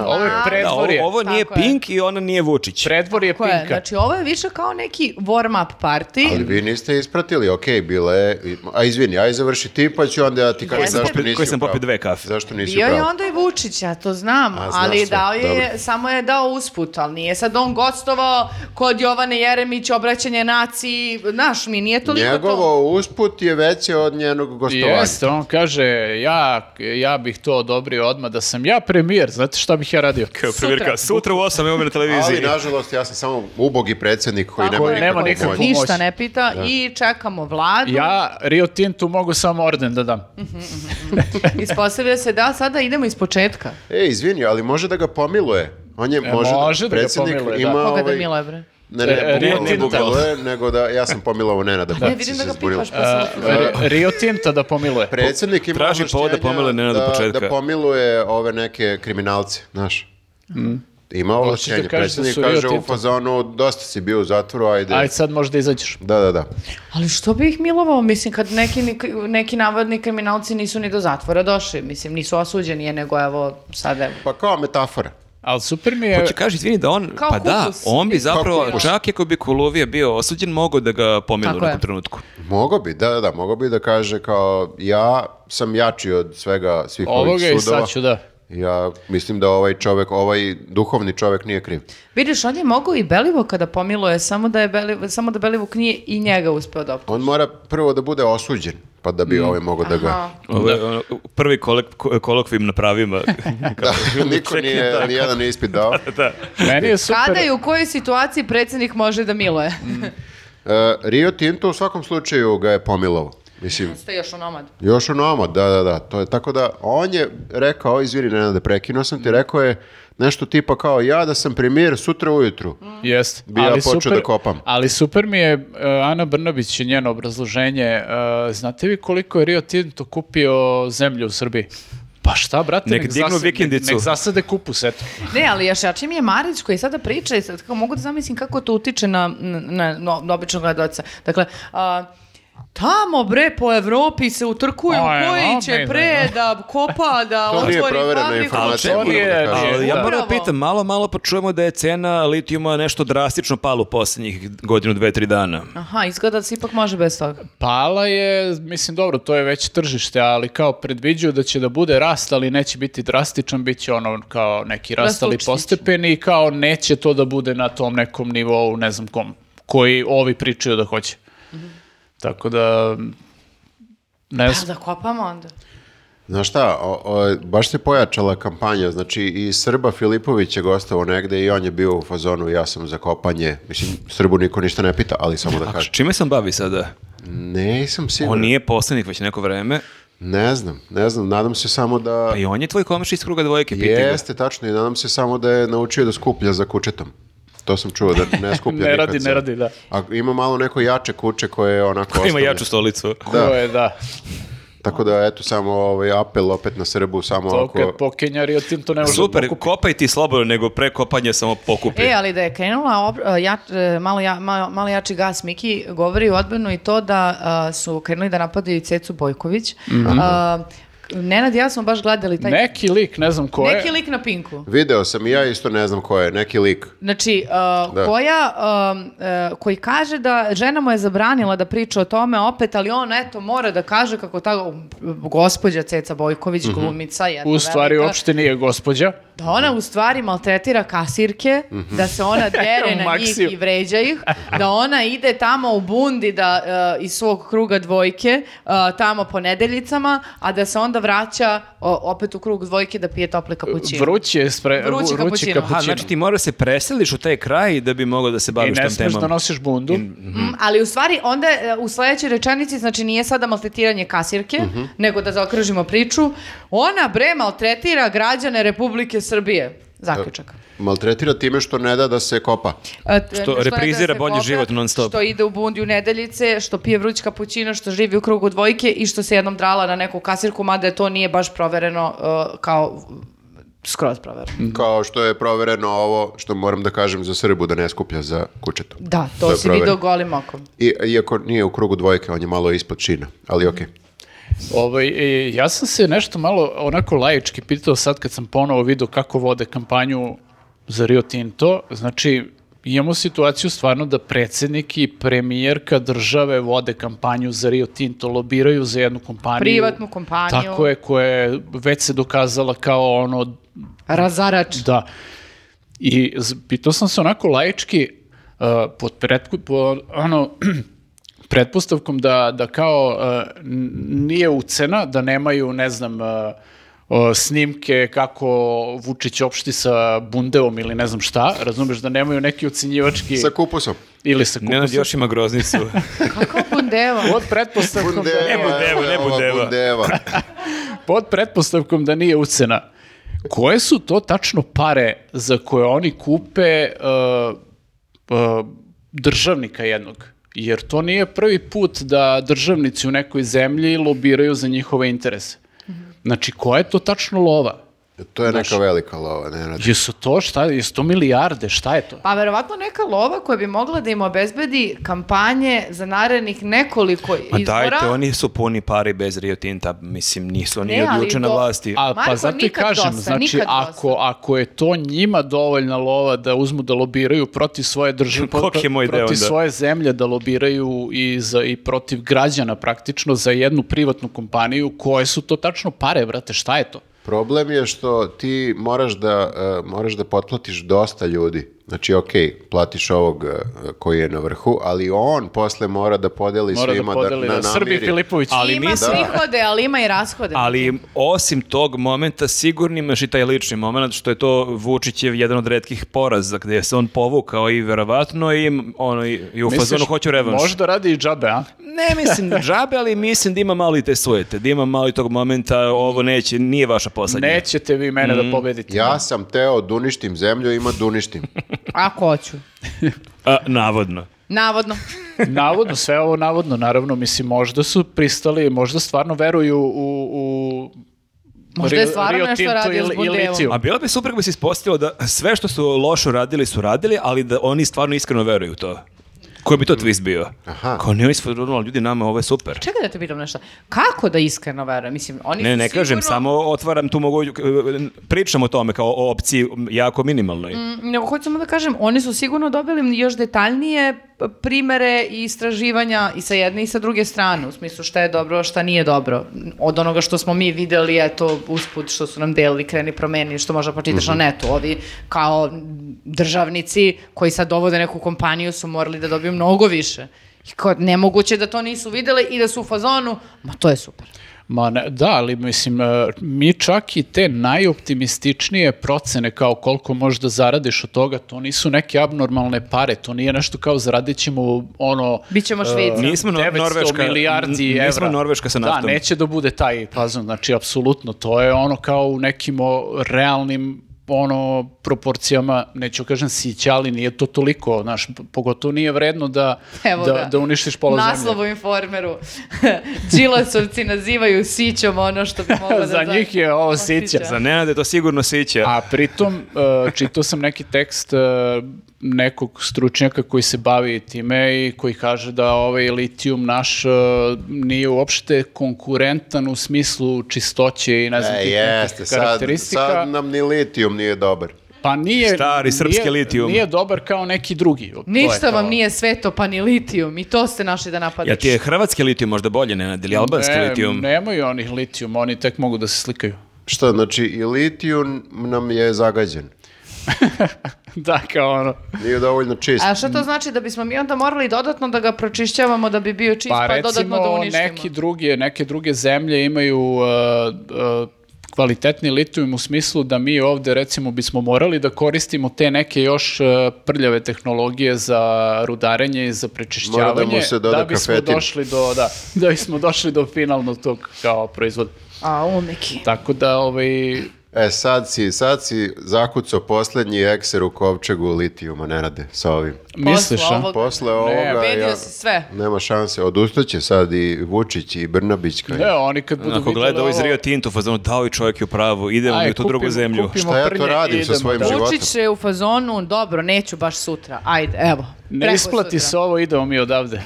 Speaker 2: Ovo je
Speaker 1: Da, ovo,
Speaker 2: predvor je.
Speaker 1: ovo nije
Speaker 4: Tako je.
Speaker 1: Pink i ona nije Vučić.
Speaker 2: Predvor je
Speaker 4: Ko je?
Speaker 2: Pinka.
Speaker 4: Znači, ovo je više kao neki warm-up party.
Speaker 3: Ali vi niste ispratili, okej, bila je... A izvini, aj završi ti, pa ću onda ja ti kažem
Speaker 4: Jeste.
Speaker 3: zašto
Speaker 1: Popio-
Speaker 3: nisi
Speaker 1: koji sam
Speaker 3: u pravu.
Speaker 1: popio dve kafe.
Speaker 3: Zašto nisi
Speaker 4: Bio
Speaker 3: u
Speaker 4: je
Speaker 3: pravu?
Speaker 4: onda i Vučić, ja to znam,
Speaker 3: A, znaš
Speaker 4: ali
Speaker 3: sve,
Speaker 4: dao je,
Speaker 3: dobro.
Speaker 4: samo je dao usput, ali nije sad on gostovao kod Jovane Jeremić, obraćanje naciji, znaš mi, nije toliko to.
Speaker 3: Njegovo usput je veće od njenog gostovanja.
Speaker 2: Jeste, on kaže, ja, ja bih to odobrio odmah da sam ja premijer, znate šta bih ja radio?
Speaker 1: Kao premijerka, sutra u 8 imamo na televiziji.
Speaker 3: Ali, nažalost, ja sam samo ubogi predsjednik koji
Speaker 2: Tako je,
Speaker 3: Pa nema
Speaker 2: nema
Speaker 3: nikakvu
Speaker 2: nikakvu
Speaker 3: moć.
Speaker 2: moć.
Speaker 3: Da.
Speaker 4: Ništa ne pita i čekamo vladu.
Speaker 2: Ja Rio Tintu mogu samo orden da dam.
Speaker 4: Ispostavlja se da sada idemo iz početka.
Speaker 3: E, izvini, ali može da ga pomiluje. On je, može,
Speaker 2: može da ga
Speaker 3: predsjednik
Speaker 2: pomiluje, da.
Speaker 3: ima
Speaker 4: Koga da
Speaker 3: ovaj-
Speaker 4: milo je, bre?
Speaker 3: Ne, ne,
Speaker 2: E,
Speaker 3: bukvalno
Speaker 2: Rio
Speaker 3: ne
Speaker 2: Tinta.
Speaker 3: pomiluje, nego da ja sam pomilovao Nenada.
Speaker 4: Ne,
Speaker 3: Bacića,
Speaker 4: vidim da
Speaker 3: se
Speaker 4: ga
Speaker 3: zbunila. E,
Speaker 4: pitaš, pa sam...
Speaker 2: R- Rio Tinta da pomiluje.
Speaker 3: Predsjednik ima
Speaker 1: Traži povod da
Speaker 3: ovlašćenja
Speaker 1: pomiluje Nenada
Speaker 3: da-
Speaker 1: početka.
Speaker 3: Da pomiluje ove neke kriminalce, znaš. Ima ovlašćenje.
Speaker 2: Hoćete Mm. da kažete da
Speaker 3: Predsjednik
Speaker 2: su Rio
Speaker 3: kaže u
Speaker 2: Tinto?
Speaker 3: fazonu, dosta si bio u zatvoru, ajde.
Speaker 2: Ajde sad možda izađeš.
Speaker 3: Da, da, da.
Speaker 4: Ali što bi ih milovao? Mislim, kad neki, nik- neki navodni kriminalci nisu ni do zatvora došli. Mislim, nisu osuđeni, je nego evo, sad evo.
Speaker 3: Pa kao metafora.
Speaker 2: Ali super mi je...
Speaker 1: Hoće kaži, izvini da on,
Speaker 4: Kao
Speaker 1: pa da,
Speaker 4: kupus.
Speaker 1: on bi zapravo,
Speaker 3: kupus.
Speaker 1: čak i ako bi Kulovija bio osuđen, mogao da ga pomilu u
Speaker 4: Tako je.
Speaker 1: nekom trenutku.
Speaker 3: Mogo bi, da, da, da, mogo bi da kaže kao ja sam jači od svega svih ovih
Speaker 2: Ovoga
Speaker 3: sudova.
Speaker 2: i sad ću da...
Speaker 3: Ja mislim da ovaj čovjek, ovaj duhovni čovjek nije kriv.
Speaker 4: Vidiš, on je mogao i Belivuka da pomiluje, samo da, je Beli, samo da Belivuk nije i njega uspeo da optuži.
Speaker 3: On mora prvo da bude osuđen, pa da bi ovaj mogao da
Speaker 4: Aha.
Speaker 3: ga...
Speaker 1: Ovo je, ono, prvi kolek, ko- kolokvijum na pravima.
Speaker 3: Da, niko nije, nijedan nije ispit dao.
Speaker 2: Meni je super...
Speaker 4: Kada i u kojoj situaciji predsjednik može da miluje?
Speaker 3: E, Rio Tinto u svakom slučaju ga je pomilovao. Mislim,
Speaker 4: Ste još onomad.
Speaker 3: još u nomad, da, da, da. To je, tako da, on je rekao, izvini, ne, da prekinuo sam ti, rekao je nešto tipa kao ja da sam premijer sutra ujutru.
Speaker 2: Jest.
Speaker 3: Bi ja počeo da kopam.
Speaker 2: Ali super mi je e, Ana Brnabić i njeno obrazloženje. E, znate vi koliko je Rio Tinto kupio zemlju u Srbiji? Pa šta, brate,
Speaker 1: Nek dignu
Speaker 2: zasade-
Speaker 1: vikendicu.
Speaker 2: Nek, nek zasade kupus, eto.
Speaker 4: Ne, ali još jači mi je Marić koji sada priča i sad kako mogu da zamislim kako to utiče na, na, na, na običnog gledoca. Dakle, a, tamo bre po Evropi se utrkuju
Speaker 2: Pa je,
Speaker 4: koji će
Speaker 2: omejno,
Speaker 4: pre da kopa, da
Speaker 3: To nije
Speaker 4: otvori
Speaker 3: proverena
Speaker 4: fabriku.
Speaker 3: informacija,
Speaker 2: Ali to
Speaker 3: moram da
Speaker 2: nije-
Speaker 3: kažem.
Speaker 1: Ali ja
Speaker 2: Znači, Da.
Speaker 1: moram da
Speaker 4: Upravo.
Speaker 1: pitam, malo, malo pa čujemo da je cena litijuma nešto drastično pala u posljednjih godinu, dve, tri dana.
Speaker 4: Aha, izgleda da se ipak može bez toga.
Speaker 2: Pala je, mislim, dobro, to je već tržište, ali kao predviđuju da će da bude rast, ali neće biti drastičan, bit će ono kao neki rast, ali
Speaker 4: Rastučnić.
Speaker 2: postepeni i kao neće to da bude na tom nekom nivou, ne znam kom, koji ovi pričaju da hoće. Tako da, ne
Speaker 4: Pa
Speaker 2: znam.
Speaker 4: da kopamo onda.
Speaker 3: Znaš šta, o- o, baš se pojačala kampanja, znači i Srba Filipović je gostao negde i on je bio u fazonu ja sam za kopanje, mislim Srbu niko ništa ne pita, ali samo da
Speaker 1: A
Speaker 3: kažem.
Speaker 1: čime sam bavi sada?
Speaker 3: Nisam
Speaker 1: On
Speaker 3: siguran,
Speaker 1: nije poslanik već neko vreme,
Speaker 3: ne znam, ne znam, nadam se samo da...
Speaker 1: pa i on je tvoj komaš iz kruga dvojke, piti ga.
Speaker 3: Jeste, tačno, i nadam se samo da je naučio da skuplja za kučetom. To sam čuo da ne skuplja
Speaker 2: Ne
Speaker 3: nikad
Speaker 2: radi,
Speaker 3: za-
Speaker 2: ne radi, da.
Speaker 3: A ima malo neko jače kuče koje je onako...
Speaker 1: Ima
Speaker 3: ostavljeno.
Speaker 1: jaču stolicu.
Speaker 3: Da.
Speaker 2: Ko je, da.
Speaker 3: Tako da, eto, samo ovaj apel opet na Srbu, samo
Speaker 2: To
Speaker 3: ako...
Speaker 2: kad pokenja Rio Tinto ne može da
Speaker 1: Super,
Speaker 2: okupi.
Speaker 1: kopaj ti slobodno, nego pre kopanja samo pokupi.
Speaker 4: E, ali da je krenula ob- a, ja, e, malo, ja, malo, malo jači gas Miki, govori u odbranu i to da a, su krenuli da napadaju i Cecu Bojković.
Speaker 2: Mhm.
Speaker 4: A, Nenad i ja smo baš gledali taj...
Speaker 2: Neki lik, ne znam ko je.
Speaker 4: Neki lik na Pinku.
Speaker 3: Video sam i ja isto ne znam ko je, neki lik.
Speaker 4: Znači, a,
Speaker 3: Da.
Speaker 4: koja, a, e, koji kaže da žena mu je zabranila da priča o tome opet, ali on eto mora da kaže kako ta gospođa Ceca Bojković, glumica, jedna
Speaker 2: U stvari,
Speaker 4: velika,
Speaker 2: uopšte nije gospođa.
Speaker 4: Da ona u stvari maltretira kasirke, da se ona dere na njih
Speaker 2: Maksiju.
Speaker 4: i vređa ih, da ona ide tamo u bundi da, e, iz svog kruga dvojke, e, tamo po nedeljicama, a da se onda vraća o, opet u krug dvojke da pije tople kapućine.
Speaker 2: Vrući je spre...
Speaker 4: Vrući
Speaker 2: vrući
Speaker 4: kapućino.
Speaker 1: Aha, znači ti moraš se preseliš u taj kraj da bi mogao da se
Speaker 2: I
Speaker 1: baviš
Speaker 2: ne
Speaker 1: tom
Speaker 2: smiješ
Speaker 1: temom.
Speaker 2: da nosiš bundu.
Speaker 4: Mm, ali u stvari onda e, u sledećoj rečenici, znači nije sada maltretiranje kasirke,
Speaker 1: Mhm.
Speaker 4: nego da zaokružimo priču, ona bre maltretira građane Republike Srbije. Zaključak.
Speaker 3: Maltretira time što ne da da se kopa.
Speaker 4: A, t-
Speaker 1: E, Što
Speaker 4: ne da
Speaker 1: reprizira
Speaker 4: se
Speaker 1: bolji
Speaker 4: kopa,
Speaker 1: život non stop.
Speaker 4: Što ide u bundiju nedeljice, što pije vruć kapućino, što živi u krugu dvojke i što se jednom drala na neku kasirku, mada je to nije baš provereno uh, kao skroz provereno.
Speaker 3: Kao što je provereno ovo što moram da kažem za Srbu da ne skuplja za kučetom.
Speaker 4: Da, to,
Speaker 3: To je
Speaker 4: si
Speaker 3: provereno.
Speaker 4: video golim okom.
Speaker 3: I, iako nije u krugu dvojke, on je malo ispod šina, ali okej.
Speaker 2: Ovaj, e, ja sam se nešto malo onako laički pitao sad kad sam ponovo vidio kako vode kampanju za Rio Tinto. Znači, imamo situaciju stvarno da predsjednik i premijerka države vode kampanju za Rio Tinto, lobiraju za jednu kompaniju.
Speaker 4: Privatnu kompaniju.
Speaker 2: Tako je, koja je već se dokazala kao ono
Speaker 4: Razarač.
Speaker 2: Da. I z- pitao sam se onako laički, uh, pod pretku, po, ono, pretpostavkom da, da kao e, n- nije ucena, da nemaju, ne znam, e, o, snimke kako Vučić opšti sa bundeom ili ne znam šta, razumeš da nemaju neki ucenjivački
Speaker 3: Sa kupusom.
Speaker 2: ili sa kupusom.
Speaker 1: Nenad još ima groznicu.
Speaker 4: Kako bundeva?
Speaker 2: Pod pretpostavkom, da,
Speaker 1: Ne budeva, ne
Speaker 3: evo, ova
Speaker 1: budeva.
Speaker 3: bundeva.
Speaker 2: pod pretpostavkom da nije ucena. Koje su to tačno pare za koje oni kupe uh, uh, državnika jednog? Jer to nije prvi put da državnici u nekoj zemlji lobiraju za njihove interese. Znači, koja je to tačno lova?
Speaker 3: To je neka velika lova, ne, ne,
Speaker 2: Jesu to šta? Jesu to milijarde? Šta je to?
Speaker 4: Pa verovatno neka lova koja bi mogla da im obezbedi kampanje za narednih nekoliko
Speaker 1: Ma
Speaker 4: izbora.
Speaker 1: dajte, oni su puni pari bez Rio Tinta, mislim, nisu oni
Speaker 4: Ne,
Speaker 1: od
Speaker 4: ali
Speaker 1: juče na
Speaker 4: to-
Speaker 1: vlasti.
Speaker 2: A, pa
Speaker 4: Marko,
Speaker 2: zato i
Speaker 4: nikad
Speaker 2: kažem,
Speaker 4: dosta,
Speaker 2: znači,
Speaker 4: nikad
Speaker 2: ako, ako je to njima dovoljna lova da uzmu da lobiraju protiv svoje države,
Speaker 1: Kog je moj deo
Speaker 2: protiv
Speaker 1: onda?
Speaker 2: svoje zemlje, da lobiraju i, za, i protiv građana praktično za jednu privatnu kompaniju, koje su to tačno pare, brate, šta je to?
Speaker 3: Problem je što ti moraš da, e, moraš da potplatiš dosta ljudi. Znači, ok, platiš ovog e, koji je na vrhu, ali on posle mora da podeli
Speaker 2: Mora da
Speaker 3: svima
Speaker 2: podeli, da,
Speaker 3: na-
Speaker 2: Srbi
Speaker 3: namiri.
Speaker 2: Filipović.
Speaker 1: Ali
Speaker 4: ima
Speaker 1: mislim-
Speaker 4: prihode, ali ima i rashode.
Speaker 1: Ali osim tog momenta sigurno imaš i taj lični moment što je to Vučićev jedan od retkih poraza gdje se on povukao i verovatno i ono i i u
Speaker 2: Misliš,
Speaker 1: fazonu hoću revanš.
Speaker 2: Možda radi i džabe, a?
Speaker 1: Ne mislim da džabe, ali mislim da ima malo i te sujete, da ima malo i tog momenta ovo neće, nije vaša poslednja.
Speaker 2: Nećete vi mene
Speaker 1: Mm.
Speaker 2: da pobedite.
Speaker 3: Ja sam teo da uništim zemlju, ima da uništim.
Speaker 4: Ako hoću.
Speaker 1: A, navodno.
Speaker 4: Navodno.
Speaker 2: Navodno, sve ovo navodno, naravno, mislim, možda su pristali, možda stvarno veruju u, u
Speaker 4: Možda je stvarno nešto
Speaker 2: Tinto
Speaker 4: radio s
Speaker 2: i- i
Speaker 4: Bundevom.
Speaker 2: litijum.
Speaker 1: A bilo bi super kad bi se ispostavilo da sve što su loše radili su radili, ali da oni stvarno iskreno veruju u to. Koji bi to twist bio?
Speaker 3: Aha.
Speaker 1: Kao ne, oni su ono, ljudi, nama ovo je super.
Speaker 4: Čekaj da te pitam nešto. Kako da iskreno verujem? Mislim, oni
Speaker 1: Ne,
Speaker 4: su
Speaker 1: ne kažem,
Speaker 4: sigurno-
Speaker 1: samo otvaram tu mogu, pričam o tome kao o opciji jako minimalnoj.
Speaker 4: Nego hoću samo da kažem, oni su sigurno dobili još detaljnije p- primere i istraživanja i sa jedne i sa druge strane, u smislu šta je dobro, šta nije dobro. Od onoga što smo mi videli, eto, usput što su nam delili, kreni promeni, što možda počitaš na netu. Ovi kao državnici koji sad dovode neku kompaniju su morali da dobiju mnogo više. I kao, nemoguće da to nisu videli i da su u fazonu, ma to je super.
Speaker 2: Ma ne, da, ali mislim, e, mi čak i te najoptimističnije procene kao koliko možeš da zaradiš od toga, to nisu neke abnormalne pare, to nije nešto kao zaradit ćemo ono...
Speaker 4: Bićemo Švica.
Speaker 1: Nismo no-
Speaker 2: 900
Speaker 1: Norveška,
Speaker 2: milijardi
Speaker 1: n-
Speaker 2: evra.
Speaker 1: nismo Norveška sa naftom.
Speaker 2: Da, neće da bude taj fazon, znači, apsolutno, to je ono kao u nekim o, realnim ono proporcijama, neću kažem sića, ali nije to toliko, znaš, p- pogotovo nije vredno da,
Speaker 4: Evo
Speaker 2: da,
Speaker 4: ga.
Speaker 2: da uništiš pola zemlje.
Speaker 4: Naslov u informeru. Đilasovci nazivaju sićom ono što bi moglo da...
Speaker 2: Za njih je ovo sića.
Speaker 1: Za Nenada je to sigurno siće.
Speaker 2: A pritom, e, čitao sam neki tekst e, nekog stručnjaka koji se bavi time i koji kaže da ovaj litijum naš e, nije uopšte konkurentan u smislu čistoće i ne znam
Speaker 3: E,
Speaker 2: tih nekih
Speaker 3: jeste, sad,
Speaker 2: karakteristika.
Speaker 3: sad nam ni litijum nije dobar.
Speaker 2: Pa nije,
Speaker 1: Stari srpski
Speaker 2: nije-
Speaker 1: litijum.
Speaker 2: Nije dobar kao neki drugi. To je
Speaker 4: Ništa vam
Speaker 2: to.
Speaker 4: nije sveto, pa ni litijum. I to ste našli da napadate.
Speaker 1: Ja ti je hrvatski litijum možda bolje, Nenad, ili albanski
Speaker 2: Ne,
Speaker 1: litijum?
Speaker 2: E, Nemaju onih litijum, oni tek mogu da se slikaju.
Speaker 3: Šta, znači i litijum nam je zagađen.
Speaker 2: da, kao ono.
Speaker 3: Nije dovoljno čist.
Speaker 4: A šta
Speaker 2: Mm.
Speaker 4: to znači da bismo mi onda morali dodatno da ga pročišćavamo da bi bio čist, pa, dodatno da uništimo?
Speaker 2: neki druge, neke druge zemlje imaju uh, uh, kvalitetni litijum u smislu da mi ovde recimo bismo morali da koristimo te neke još uh, prljave tehnologije za rudarenje i za prečišćavanje
Speaker 3: Mora da mu se doda
Speaker 2: da bismo
Speaker 3: kafetin.
Speaker 2: došli do da, da bismo došli do finalnog tog kao proizvoda.
Speaker 4: A, umeki.
Speaker 2: Tako da ovaj
Speaker 3: E, sad si, sad si zakucao poslednji ekser u kovčegu litijuma, ne rade, sa ovim.
Speaker 2: misliš a?
Speaker 4: ovog-
Speaker 3: Posle ovoga...
Speaker 4: Ubedio
Speaker 3: ja-
Speaker 4: si sve.
Speaker 3: Nema šanse, odustaće sad i Vučić i Brnabić. Kaj.
Speaker 2: Ne, oni kad budu
Speaker 1: Ako gleda ovo iz Rio Tinto, fazonu, dao i čovjek je u pravu, idemo
Speaker 2: Aj,
Speaker 1: mi u tu drugu
Speaker 2: kupimo-
Speaker 1: zemlju.
Speaker 2: kupimo
Speaker 3: Šta ja to
Speaker 2: prnje i
Speaker 3: radim sa
Speaker 2: idemo
Speaker 3: svojim
Speaker 2: dalje.
Speaker 3: životom?
Speaker 4: Vučić je u fazonu, dobro, neću baš sutra. Ajde, evo.
Speaker 2: Ne
Speaker 4: preko
Speaker 2: isplati
Speaker 4: sutra.
Speaker 2: se ovo, idemo mi odavde.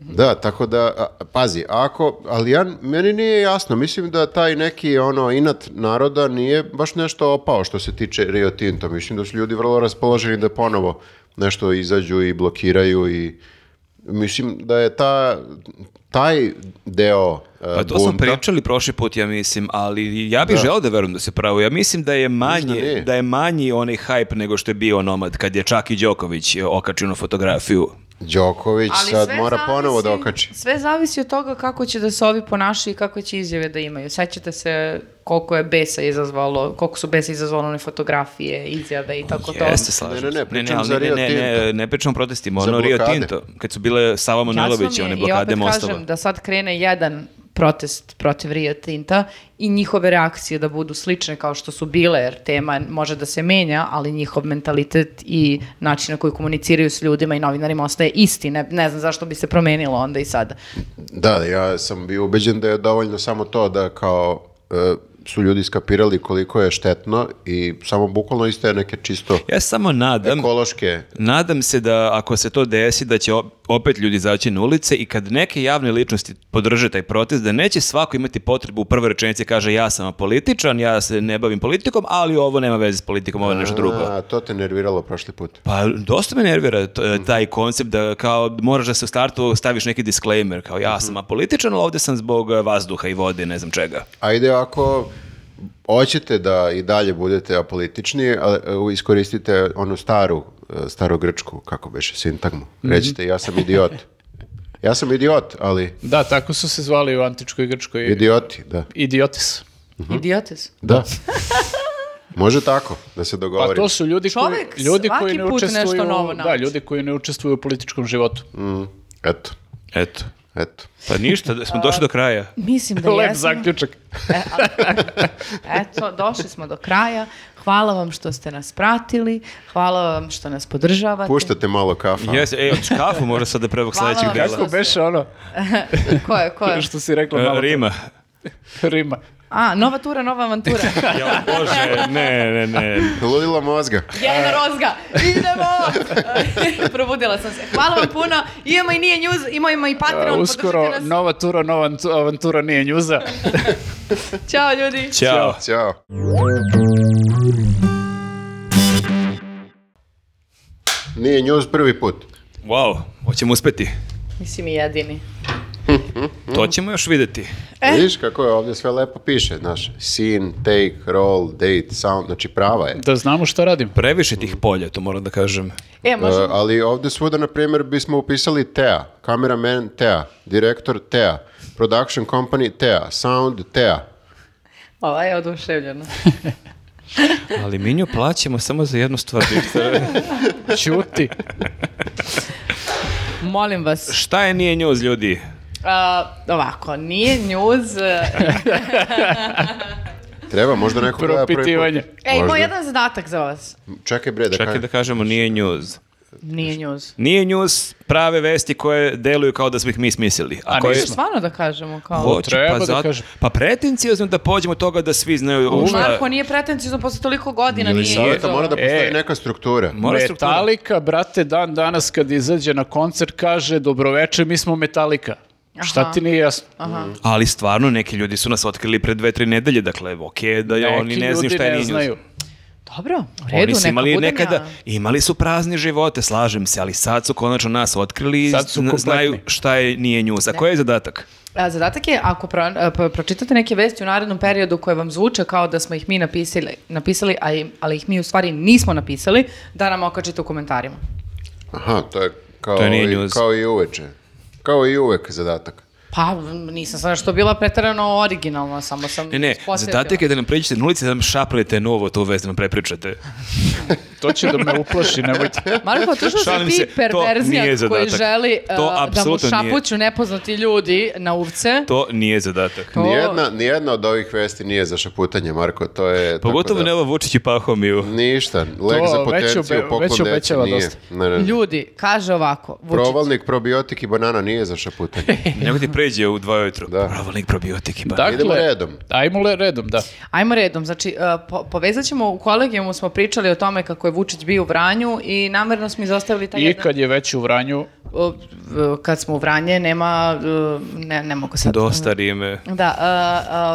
Speaker 3: Da, tako da, a, pazi, ako, ali ja, meni nije jasno, mislim da taj neki ono inat naroda nije baš nešto opao što se tiče Rio Tinta, mislim da su ljudi vrlo raspoloženi da ponovo nešto izađu i blokiraju i mislim da je ta, taj deo e,
Speaker 1: Pa to smo
Speaker 3: bunta-
Speaker 1: pričali prošli put, ja mislim, ali ja bih želeo da verujem da se pravo. Ja mislim da je manje,
Speaker 3: nije.
Speaker 1: da je manji onaj hype nego što je bio Nomad, kad je čak i Đoković e, okačio na fotografiju.
Speaker 3: Đoković
Speaker 4: Ali
Speaker 3: sad
Speaker 4: sve
Speaker 3: mora
Speaker 4: zavisi-
Speaker 3: ponovo da okači.
Speaker 4: Sve zavisi od toga kako će da se ovi ponašaju i kakve će izjave da imaju. Sećate se koliko je besa izazvalo, koliko su besa izazvalo one fotografije, izjave i tako to.
Speaker 1: Jeste, slažem
Speaker 3: Ne, ne, ne,
Speaker 1: se.
Speaker 3: pričam za
Speaker 1: ali
Speaker 3: Rio
Speaker 1: ne, ne,
Speaker 3: Tinto.
Speaker 1: ne, ne pričam o protestima,
Speaker 3: Za
Speaker 1: ono Rio
Speaker 3: blokade.
Speaker 1: Tinto, kad su bile Sava Manojlović i
Speaker 4: Jasno mi
Speaker 1: one
Speaker 4: je,
Speaker 1: blokade
Speaker 4: I opet
Speaker 1: mostova.
Speaker 4: kažem da sad krene jedan protest protiv Rio Tinta i njihove reakcije da budu slične kao što su bile, jer tema može da se menja, ali njihov mentalitet i način na koji komuniciraju s ljudima i novinarima ostaje isti. Ne, ne znam zašto bi se promenilo onda i sada.
Speaker 3: Da, ja sam bio ubeđen da je dovoljno samo to da kao e, su ljudi skapirali koliko je štetno i samo bukvalno iste neke čisto
Speaker 1: Ja samo nadam,
Speaker 3: ekološke
Speaker 1: nadam se da ako se to desi, da će op- opet ljudi izaći na ulice i kad neke javne ličnosti podrže taj protest, da neće svako imati potrebu u prvoj rečenici da kaže ja sam apolitičan, ja se ne bavim politikom, ali ovo nema veze s politikom, ovo je nešto drugo.
Speaker 3: A, to te nerviralo prošli put.
Speaker 1: Pa dosta me nervira t- taj koncept da kao moraš da se u startu staviš neki disclaimer, kao ja sam apolitičan, ali ovdje sam zbog eh, vazduha i vode, ne znam čega.
Speaker 3: Ajde, ako hoćete da i dalje budete apolitični, a, e, iskoristite onu staru, e, starogrčku, kako beše, sintagmu.
Speaker 2: Mhm.
Speaker 3: Recite, ja sam idiot. Ja sam idiot, ali
Speaker 2: Da, tako su se zvali u antičkoj Grčkoj.
Speaker 3: idioti, da.
Speaker 2: Idiotis.
Speaker 4: Idiotes.
Speaker 3: Da. Može tako, da se
Speaker 2: Pa
Speaker 3: dogovorimo.
Speaker 2: to su ljudi koji,
Speaker 4: Čovek
Speaker 2: ljudi
Speaker 4: svaki
Speaker 2: koji ne
Speaker 4: put nešto
Speaker 2: učestvuju,
Speaker 4: novo
Speaker 2: da,
Speaker 4: nauči.
Speaker 2: ljudi koji ne učestvuju u političkom životu.
Speaker 3: Mm, Eto,
Speaker 1: Eto.
Speaker 3: eto.
Speaker 1: Pa ništa, da smo došli do kraja.
Speaker 4: Mislim da
Speaker 2: Lep
Speaker 4: jesmo.
Speaker 2: zaključak.
Speaker 4: E, ali- Eto, došli smo do kraja. Hvala vam što ste nas pratili. Hvala vam što nas podržavate.
Speaker 3: Puštate malo kafa.
Speaker 1: Jes, ej, od škafu možda sad da prvog
Speaker 4: Hvala
Speaker 1: sledećeg
Speaker 4: vam.
Speaker 1: dela.
Speaker 2: Kako beše ono
Speaker 4: Ko je, ko je?
Speaker 2: što si rekla malo?
Speaker 1: Eh, Rima.
Speaker 2: Rima.
Speaker 4: A, nova tura, nova avantura.
Speaker 1: Ja, bože, ne, ne, ne.
Speaker 3: Ludilo mozga.
Speaker 4: Jelena Rozga, idemo! Probudila sam se. Hvala vam puno. Imamo i nije news, imamo i Patreon.
Speaker 2: Uh, uskoro
Speaker 4: podržite nas.
Speaker 2: nova tura, nova antu- avantura nije njuza.
Speaker 4: Ćao ljudi.
Speaker 1: Ćao.
Speaker 3: Ćao. Nije njuz prvi put.
Speaker 1: Wow, hoćemo uspeti.
Speaker 4: Mislim i jedini.
Speaker 1: To ćemo još videti.
Speaker 4: E.
Speaker 3: Vidiš kako je ovdje sve lepo piše, znaš, scene, take, roll, date, sound, znači prava je.
Speaker 2: Da znamo šta radim.
Speaker 1: Previše tih polja, to moram da kažem.
Speaker 4: E,
Speaker 3: E,
Speaker 4: možemo.
Speaker 3: ali ovdje svuda, na primjer, bismo upisali TEA, kameraman TEA, direktor TEA, production company TEA, sound TEA.
Speaker 4: Ova je oduševljena.
Speaker 1: Ali mi nju plaćamo samo za jednu stvar.
Speaker 2: Ćuti.
Speaker 4: Molim vas.
Speaker 1: Šta je nije njuz, ljudi?
Speaker 4: a, ovako, nije news. e,
Speaker 3: Treba, možda neko gleda prvi put.
Speaker 2: Propitivanje.
Speaker 4: Ej, imamo
Speaker 3: Možda.
Speaker 4: jedan zadatak za vas.
Speaker 3: Čekaj bre, da
Speaker 1: Čekaj
Speaker 3: kažem.
Speaker 1: da kažemo nije njuz.
Speaker 4: Nije news.
Speaker 1: Nije njuz prave vesti koje deluju kao da smo ih mi smislili.
Speaker 2: A
Speaker 1: koje-
Speaker 2: nismo.
Speaker 4: Stvarno da kažemo kao...
Speaker 1: Hoću,
Speaker 2: Treba
Speaker 1: pa,
Speaker 2: da
Speaker 1: zato-
Speaker 2: kažem.
Speaker 1: pa pretencijozno da pođemo od toga da svi znaju u šta-
Speaker 4: Marko nije pretencijno posle toliko godina. Nije
Speaker 3: Saveta,
Speaker 4: to.
Speaker 3: mora da postoji
Speaker 2: E.
Speaker 3: neka struktura.
Speaker 1: Mora struktura.
Speaker 2: Metallica, brate, dan danas kad izađe na koncert kaže dobroveče, mi smo Metallica. Šta
Speaker 4: Aha.
Speaker 2: ti nije jasno?
Speaker 3: Mm.
Speaker 1: Ali stvarno, neki ljudi su nas otkrili pre dve, tri nedelje, dakle, ok, da je, oni
Speaker 2: Neki
Speaker 1: ne znaju
Speaker 2: ljudi
Speaker 1: šta je
Speaker 2: ne
Speaker 1: nije
Speaker 2: znaju.
Speaker 1: njuz.
Speaker 4: Dobro, u redu,
Speaker 1: Oni su
Speaker 4: neka
Speaker 1: imali
Speaker 4: budem
Speaker 1: nekada,
Speaker 4: ja.
Speaker 1: imali su prazni živote, slažem se, ali sad su konačno nas otkrili i
Speaker 2: Sad su
Speaker 1: zna- znaju
Speaker 2: kompletni.
Speaker 1: šta je nije njuz. A koji je zadatak?
Speaker 4: A, zadatak je, ako pro- e, pro- pročitate neke vesti u narednom periodu koje vam zvuče kao da smo ih mi napisali, napisali a im- ali ih mi u stvari nismo napisali, da nam okačite u komentarima.
Speaker 3: Aha, to je kao,
Speaker 1: To nije
Speaker 3: i-
Speaker 1: news.
Speaker 3: kao i uveče. Kao i uvek zadatak.
Speaker 4: Pa, m, nisam sad što bila preterano originalna, samo sam...
Speaker 1: Ne, ne,
Speaker 4: posjetila.
Speaker 1: zadatak je da nam pređete na ulici da nam šaprete novo tu vez, da nam prepričate.
Speaker 2: To će da me uplaši, nemojte.
Speaker 4: Marko, to što si
Speaker 1: Šalim
Speaker 4: ti
Speaker 1: se, to
Speaker 4: perverzijak
Speaker 1: nije zadatak.
Speaker 4: koji želi e,
Speaker 1: To
Speaker 4: da mu
Speaker 1: apsolutno nije.
Speaker 4: šapuću nepoznati ljudi na uvce,
Speaker 1: To nije zadatak.
Speaker 4: To-
Speaker 3: Nijedna, nijedna od ovih vesti nije za šaputanje, Marko, to je... tako
Speaker 1: Pogotovo
Speaker 3: da-
Speaker 1: ne ovo Vučić i Pahomiju.
Speaker 3: Ništa, lek
Speaker 2: To
Speaker 3: za
Speaker 2: već
Speaker 3: potenciju,
Speaker 2: obe-
Speaker 3: poklon
Speaker 2: već
Speaker 3: deci
Speaker 2: obećava
Speaker 3: nije.
Speaker 2: dosta.
Speaker 3: Ne, ne, ne.
Speaker 4: ljudi, kaže ovako, Vučić,
Speaker 3: Provalnik, probiotik i banana nije za šaputanje.
Speaker 1: Nego ti pređe u dva ujutru.
Speaker 3: Da.
Speaker 1: Provalnik probiotik i ba-
Speaker 2: Dakle,
Speaker 3: Idemo redom.
Speaker 2: Ajmo le- redom, da.
Speaker 4: Ajmo redom, znači uh, po- povezat ćemo, u kolegijumu smo pričali o tome kako je Vučić bio u Vranju i namjerno smo izostavili taj
Speaker 2: I
Speaker 4: jedan...
Speaker 2: kad je već u Vranju,
Speaker 4: O, v- kad smo u Vranje, nema, uh, ne, ne mogu sad...
Speaker 1: Dosta rime.
Speaker 4: Da,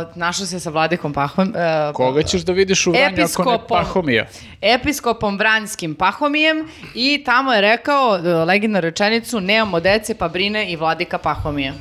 Speaker 4: uh, uh, našao se sa vladikom Pahom... uh,
Speaker 2: koga ćeš da vidiš u Vranju ako ne
Speaker 4: Episkopom.
Speaker 2: Pahomija?
Speaker 4: Episkopom Vranjskim Pahomijem i tamo je rekao uh, legendarnu rečenicu nemamo dece pa brine i vladika Pahomije.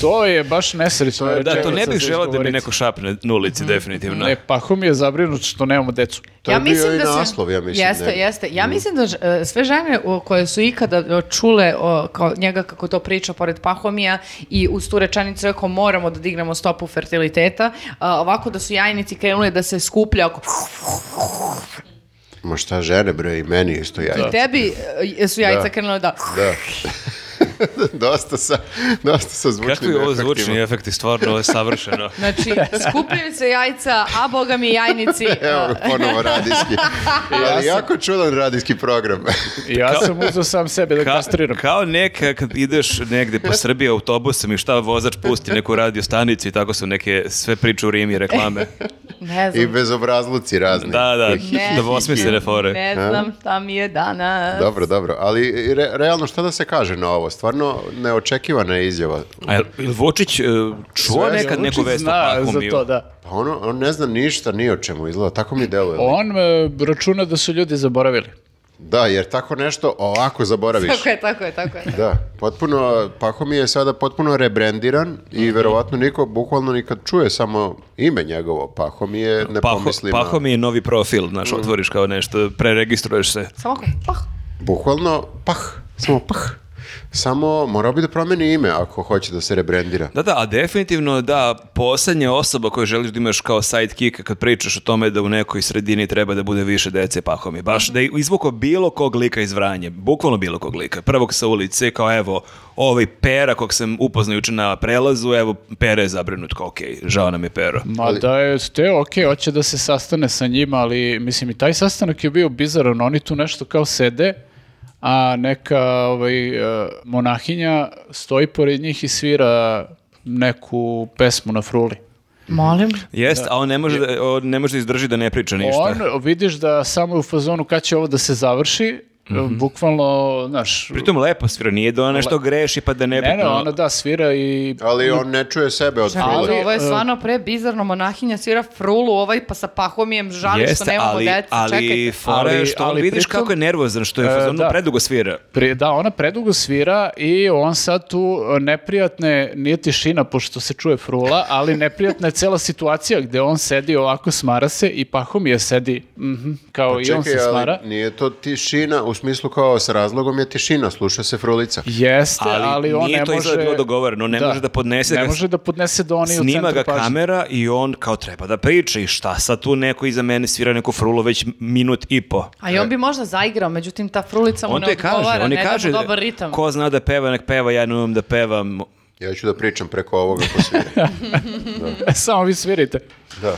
Speaker 2: To je baš nesrećno.
Speaker 3: To je-
Speaker 1: Da, to
Speaker 2: rečenica
Speaker 1: ne bih
Speaker 2: za
Speaker 1: želao da mi
Speaker 2: izgovoriti.
Speaker 1: neko Da. šapne na ulici, definitivno.
Speaker 2: Mhm. Ne, pahom je zabrinut što nemamo decu.
Speaker 3: To je bio i naslov, ja mislim.
Speaker 4: da Jeste,
Speaker 3: ne? Mm.
Speaker 4: jeste. Ja mislim da e, sve žene o, koje su ikada e, čule o, kao njega kako to priča pored Pahomija i uz tu rečenicu rekao moramo da dignemo stopu fertiliteta, a, ovako da su jajnici krenuli da se skuplja oko...
Speaker 3: Ma šta žene, bre, i meni isto jajce.
Speaker 4: Tebi e, su jajca
Speaker 3: Da.
Speaker 4: krenule da...
Speaker 3: Da. dosta sa, dosta sa zvučnim
Speaker 1: Kako je ovo
Speaker 3: efektima.
Speaker 1: zvučni efekti, stvarno je savršeno.
Speaker 4: Znači, skupljaju se jajca, a boga mi jajnici.
Speaker 3: Evo ga
Speaker 4: a,
Speaker 3: ponovo radijski. Ali jako čudan radijski program.
Speaker 2: I ja sam uzeo sam sebe da
Speaker 1: Ka-
Speaker 2: kastriram.
Speaker 1: kao neka kad ideš negde po Srbiji autobusom i šta vozač pusti neku radio stanicu i tako su neke sve priče u Rimi reklame.
Speaker 4: ne
Speaker 3: I
Speaker 4: znam.
Speaker 3: bezobrazluci razni.
Speaker 1: Da, da,
Speaker 4: Ne.
Speaker 1: dvosmislene fore.
Speaker 4: Ne znam šta mi je danas.
Speaker 3: Dobro, dobro. Ali re- realno šta da se kaže na ovo? Stvarno neočekivana je izjava.
Speaker 1: A jel, jel Vučić e, čuo
Speaker 3: Sve
Speaker 1: nekad neku
Speaker 2: Vučić
Speaker 1: vest o
Speaker 2: zna za
Speaker 1: Pahomiju?
Speaker 2: to, da.
Speaker 3: Pa ono, on ne zna ništa ni o čemu izgleda. Tako mi deluje.
Speaker 2: On e, računa da su ljudi zaboravili.
Speaker 3: Da, jer tako nešto ovako zaboraviš.
Speaker 4: Tako je, tako je, tako je.
Speaker 3: Da, potpuno, Pahom je sada potpuno rebrendiran i
Speaker 1: Mhm.
Speaker 3: verovatno niko bukvalno nikad čuje samo ime njegovo. Pahom je ne
Speaker 1: Paho,
Speaker 3: pomisli na-
Speaker 1: Pahomij je novi profil, znaš,
Speaker 2: Mm.
Speaker 1: otvoriš kao nešto, preregistruješ se.
Speaker 4: Samo Pa, ako- pah.
Speaker 3: Bukvalno, pah, samo pah. Samo morao bi da promeni ime ako hoće da se rebrendira.
Speaker 1: Da, da, a definitivno da, poslednja osoba koju želiš da imaš kao sidekick kad pričaš o tome da u nekoj sredini treba da bude više dece Pahomij. Baš da je
Speaker 2: Mhm.
Speaker 1: izvukao bilo kog lika iz Vranje, bukvalno bilo kog lika. Prvog sa ulice, kao evo, ovaj pera kog sam upoznao juče na prelazu, evo, pera je zabrinut, kao okej, žao nam je pero.
Speaker 2: Ma da je, te ok, hoće da se sastane sa njima, ali mislim i taj sastanak je bio bizaran, oni tu nešto kao sede, a neka ovaj, e, monahinja stoji pored njih i svira neku pesmu na fruli.
Speaker 4: Molim.
Speaker 1: Jest, a on ne može, da, on ne može da izdrži da ne priča ništa.
Speaker 2: On, vidiš da samo je u fazonu kad će ovo da se završi, e, bukvalno, znaš...
Speaker 1: Pritom lepo svira, nije da ona nešto greši pa da ne...
Speaker 2: Ne, ne,
Speaker 1: bitno-
Speaker 2: ona da svira i
Speaker 3: Ali on ne čuje sebe od
Speaker 4: Čekaj,
Speaker 3: frule.
Speaker 4: ali, ovo je
Speaker 2: e,
Speaker 4: stvarno pre bizarno, monahinja svira frulu, ovaj pa sa pahomijem žali
Speaker 2: da
Speaker 4: što nemamo
Speaker 1: ali,
Speaker 4: deca,
Speaker 1: ali
Speaker 4: čekaj.
Speaker 1: fora je
Speaker 2: Ali-
Speaker 1: što
Speaker 2: ali
Speaker 1: vidiš
Speaker 2: pritom-
Speaker 1: kako je nervozan, što je
Speaker 2: E,
Speaker 1: fazonu
Speaker 2: da.
Speaker 1: predugo svira.
Speaker 2: Pre- da, ona predugo svira i on sad tu e, neprijatne, nije tišina pošto se čuje frula, ali neprijatna je cela situacija gde on sedi ovako, smara se i pahom je sedi, mhm,
Speaker 1: Pa
Speaker 2: kao i on se
Speaker 3: Čekaj, ali
Speaker 2: smara.
Speaker 3: nije to tišina, u smislu kao sa razlogom je tišina, sluša se frulica.
Speaker 2: Jeste,
Speaker 1: Ali
Speaker 2: ali, on
Speaker 1: nije
Speaker 2: ne
Speaker 1: to
Speaker 2: može...
Speaker 1: izgleda bilo dogovoreno, ne može da podnese
Speaker 2: Ne
Speaker 1: ga-
Speaker 2: može da podnese da oni u
Speaker 1: Snima
Speaker 2: centru
Speaker 1: ga
Speaker 2: pažnje.
Speaker 1: kamera i on kao treba da priča i šta sad tu neko iza mene svira neku frulu već minut i po.
Speaker 4: A i on bi možda zaigrao, međutim ta frulica mu
Speaker 1: On
Speaker 4: ne
Speaker 1: to je
Speaker 4: odgovara,
Speaker 1: kaže, on
Speaker 4: ne
Speaker 1: je
Speaker 4: da mu
Speaker 1: kaže,
Speaker 4: dobar ritam.
Speaker 1: ko zna da peva, nek peva, ja ne umem da pevam.
Speaker 3: Ja ću da pričam preko ovoga ko svira.
Speaker 2: Samo vi svirite.
Speaker 3: Da.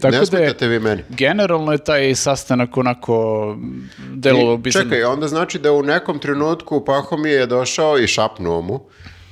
Speaker 2: Tako da
Speaker 3: ne
Speaker 2: je-
Speaker 3: smetate vi meni.
Speaker 2: Generalno je taj sastanak onako m, delovao
Speaker 3: I,
Speaker 2: bi
Speaker 3: čekaj, onda znači da u nekom trenutku Pahom je došao i šapnuo mu.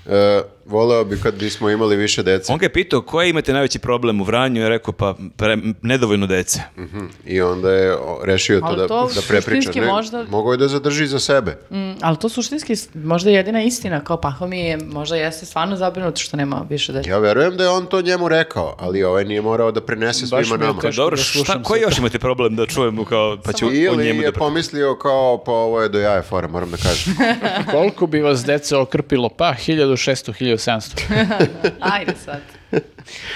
Speaker 3: E, voleo bi kad bismo imali više dece.
Speaker 1: On ga je pitao, koji imate najveći problem u Vranju? Ja rekao, pa pre- nedovoljno dece.
Speaker 3: Mhm. I onda je o, rešio to
Speaker 4: Ali
Speaker 3: da,
Speaker 4: to
Speaker 3: da prepriča.
Speaker 4: suštinski
Speaker 3: Ne,
Speaker 4: možda-
Speaker 3: Mogao je da zadrži za sebe.
Speaker 4: Mm, ali to suštinski s- možda je jedina istina, kao pahomije je možda jeste stvarno zabrinut što nema više dece.
Speaker 3: Ja verujem da je on to njemu rekao, ali ovaj nije morao da prenese
Speaker 2: Baš
Speaker 3: svima
Speaker 2: mi je
Speaker 3: nama.
Speaker 2: teško.
Speaker 1: Dobro,
Speaker 2: da
Speaker 1: šta,
Speaker 2: slušam
Speaker 1: koji
Speaker 2: sve
Speaker 1: još imate problem da čujemo kao, pa ću o
Speaker 3: Ili
Speaker 1: njemu da
Speaker 3: je
Speaker 1: pričam?
Speaker 3: pomislio kao, pa ovo je do jaja fora, moram da kažem.
Speaker 2: Koliko bi vas deca okrpilo? Pa, 1600, 1700.
Speaker 4: Ajde sad.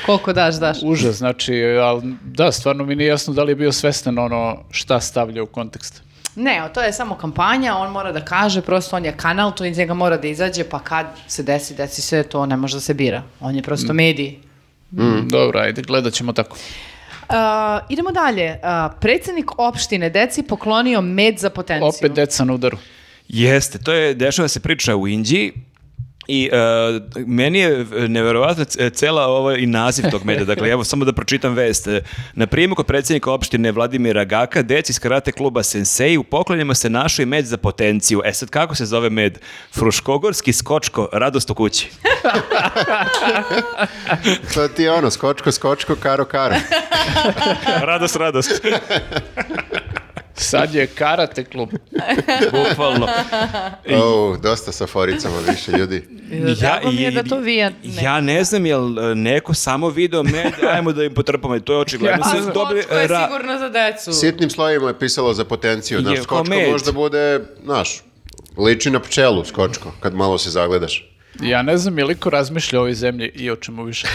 Speaker 4: Koliko daš, daš.
Speaker 2: Užas, znači, ali da, stvarno mi nije jasno da li je bio svestan ono šta stavlja u kontekst.
Speaker 4: Ne, o, to je samo kampanja, on mora da kaže, prosto on je kanal, to iz njega mora da izađe, pa kad se desi, desi se, to ne može da se bira. On je
Speaker 1: Mm.
Speaker 4: prosto mediji.
Speaker 2: Dobro, ajde, gledat ćemo tako.
Speaker 4: Uh, idemo dalje. Uh, predsednik opštine deci poklonio med za potenciju.
Speaker 2: Opet
Speaker 1: da-
Speaker 2: deca na udaru.
Speaker 1: Jeste, to je, dešava se priča u Indiji i e, meni je e, neverovatna c- e, cela ovo i naziv tog meda. Dakle, evo samo da pročitam vest. E, Na prijemu kod predsjednika opštine Vladimira Gaka, deci iz karate kluba Sensei, u poklonima se našao i med za potenciju. E sad, kako se zove med? Fruškogorski skočko, radost u kući.
Speaker 3: To ti je ono, skočko, skočko, karo, karo.
Speaker 1: Radost, radost.
Speaker 2: Sad je karate klub.
Speaker 1: Bukvalno.
Speaker 3: O, dosta sa foricama više ljudi.
Speaker 4: Drago mi je da to vi, ja ne.
Speaker 1: ja ne znam jel e, neko samo video med, ajmo da im potrpamo, to je očigledno.
Speaker 2: Ja
Speaker 1: Sad
Speaker 2: znam.
Speaker 1: dobili,
Speaker 4: Skočko Pa je
Speaker 1: ra-
Speaker 4: sigurno za decu.
Speaker 3: Sitnim slovima je pisalo za potenciju. Znaš,
Speaker 1: Je,
Speaker 3: skočko
Speaker 1: komed.
Speaker 3: možda bude, znaš, liči na pčelu skočko, kad malo se zagledaš.
Speaker 2: Ja ne znam je li ko razmišlja o ovoj zemlji i o čemu više.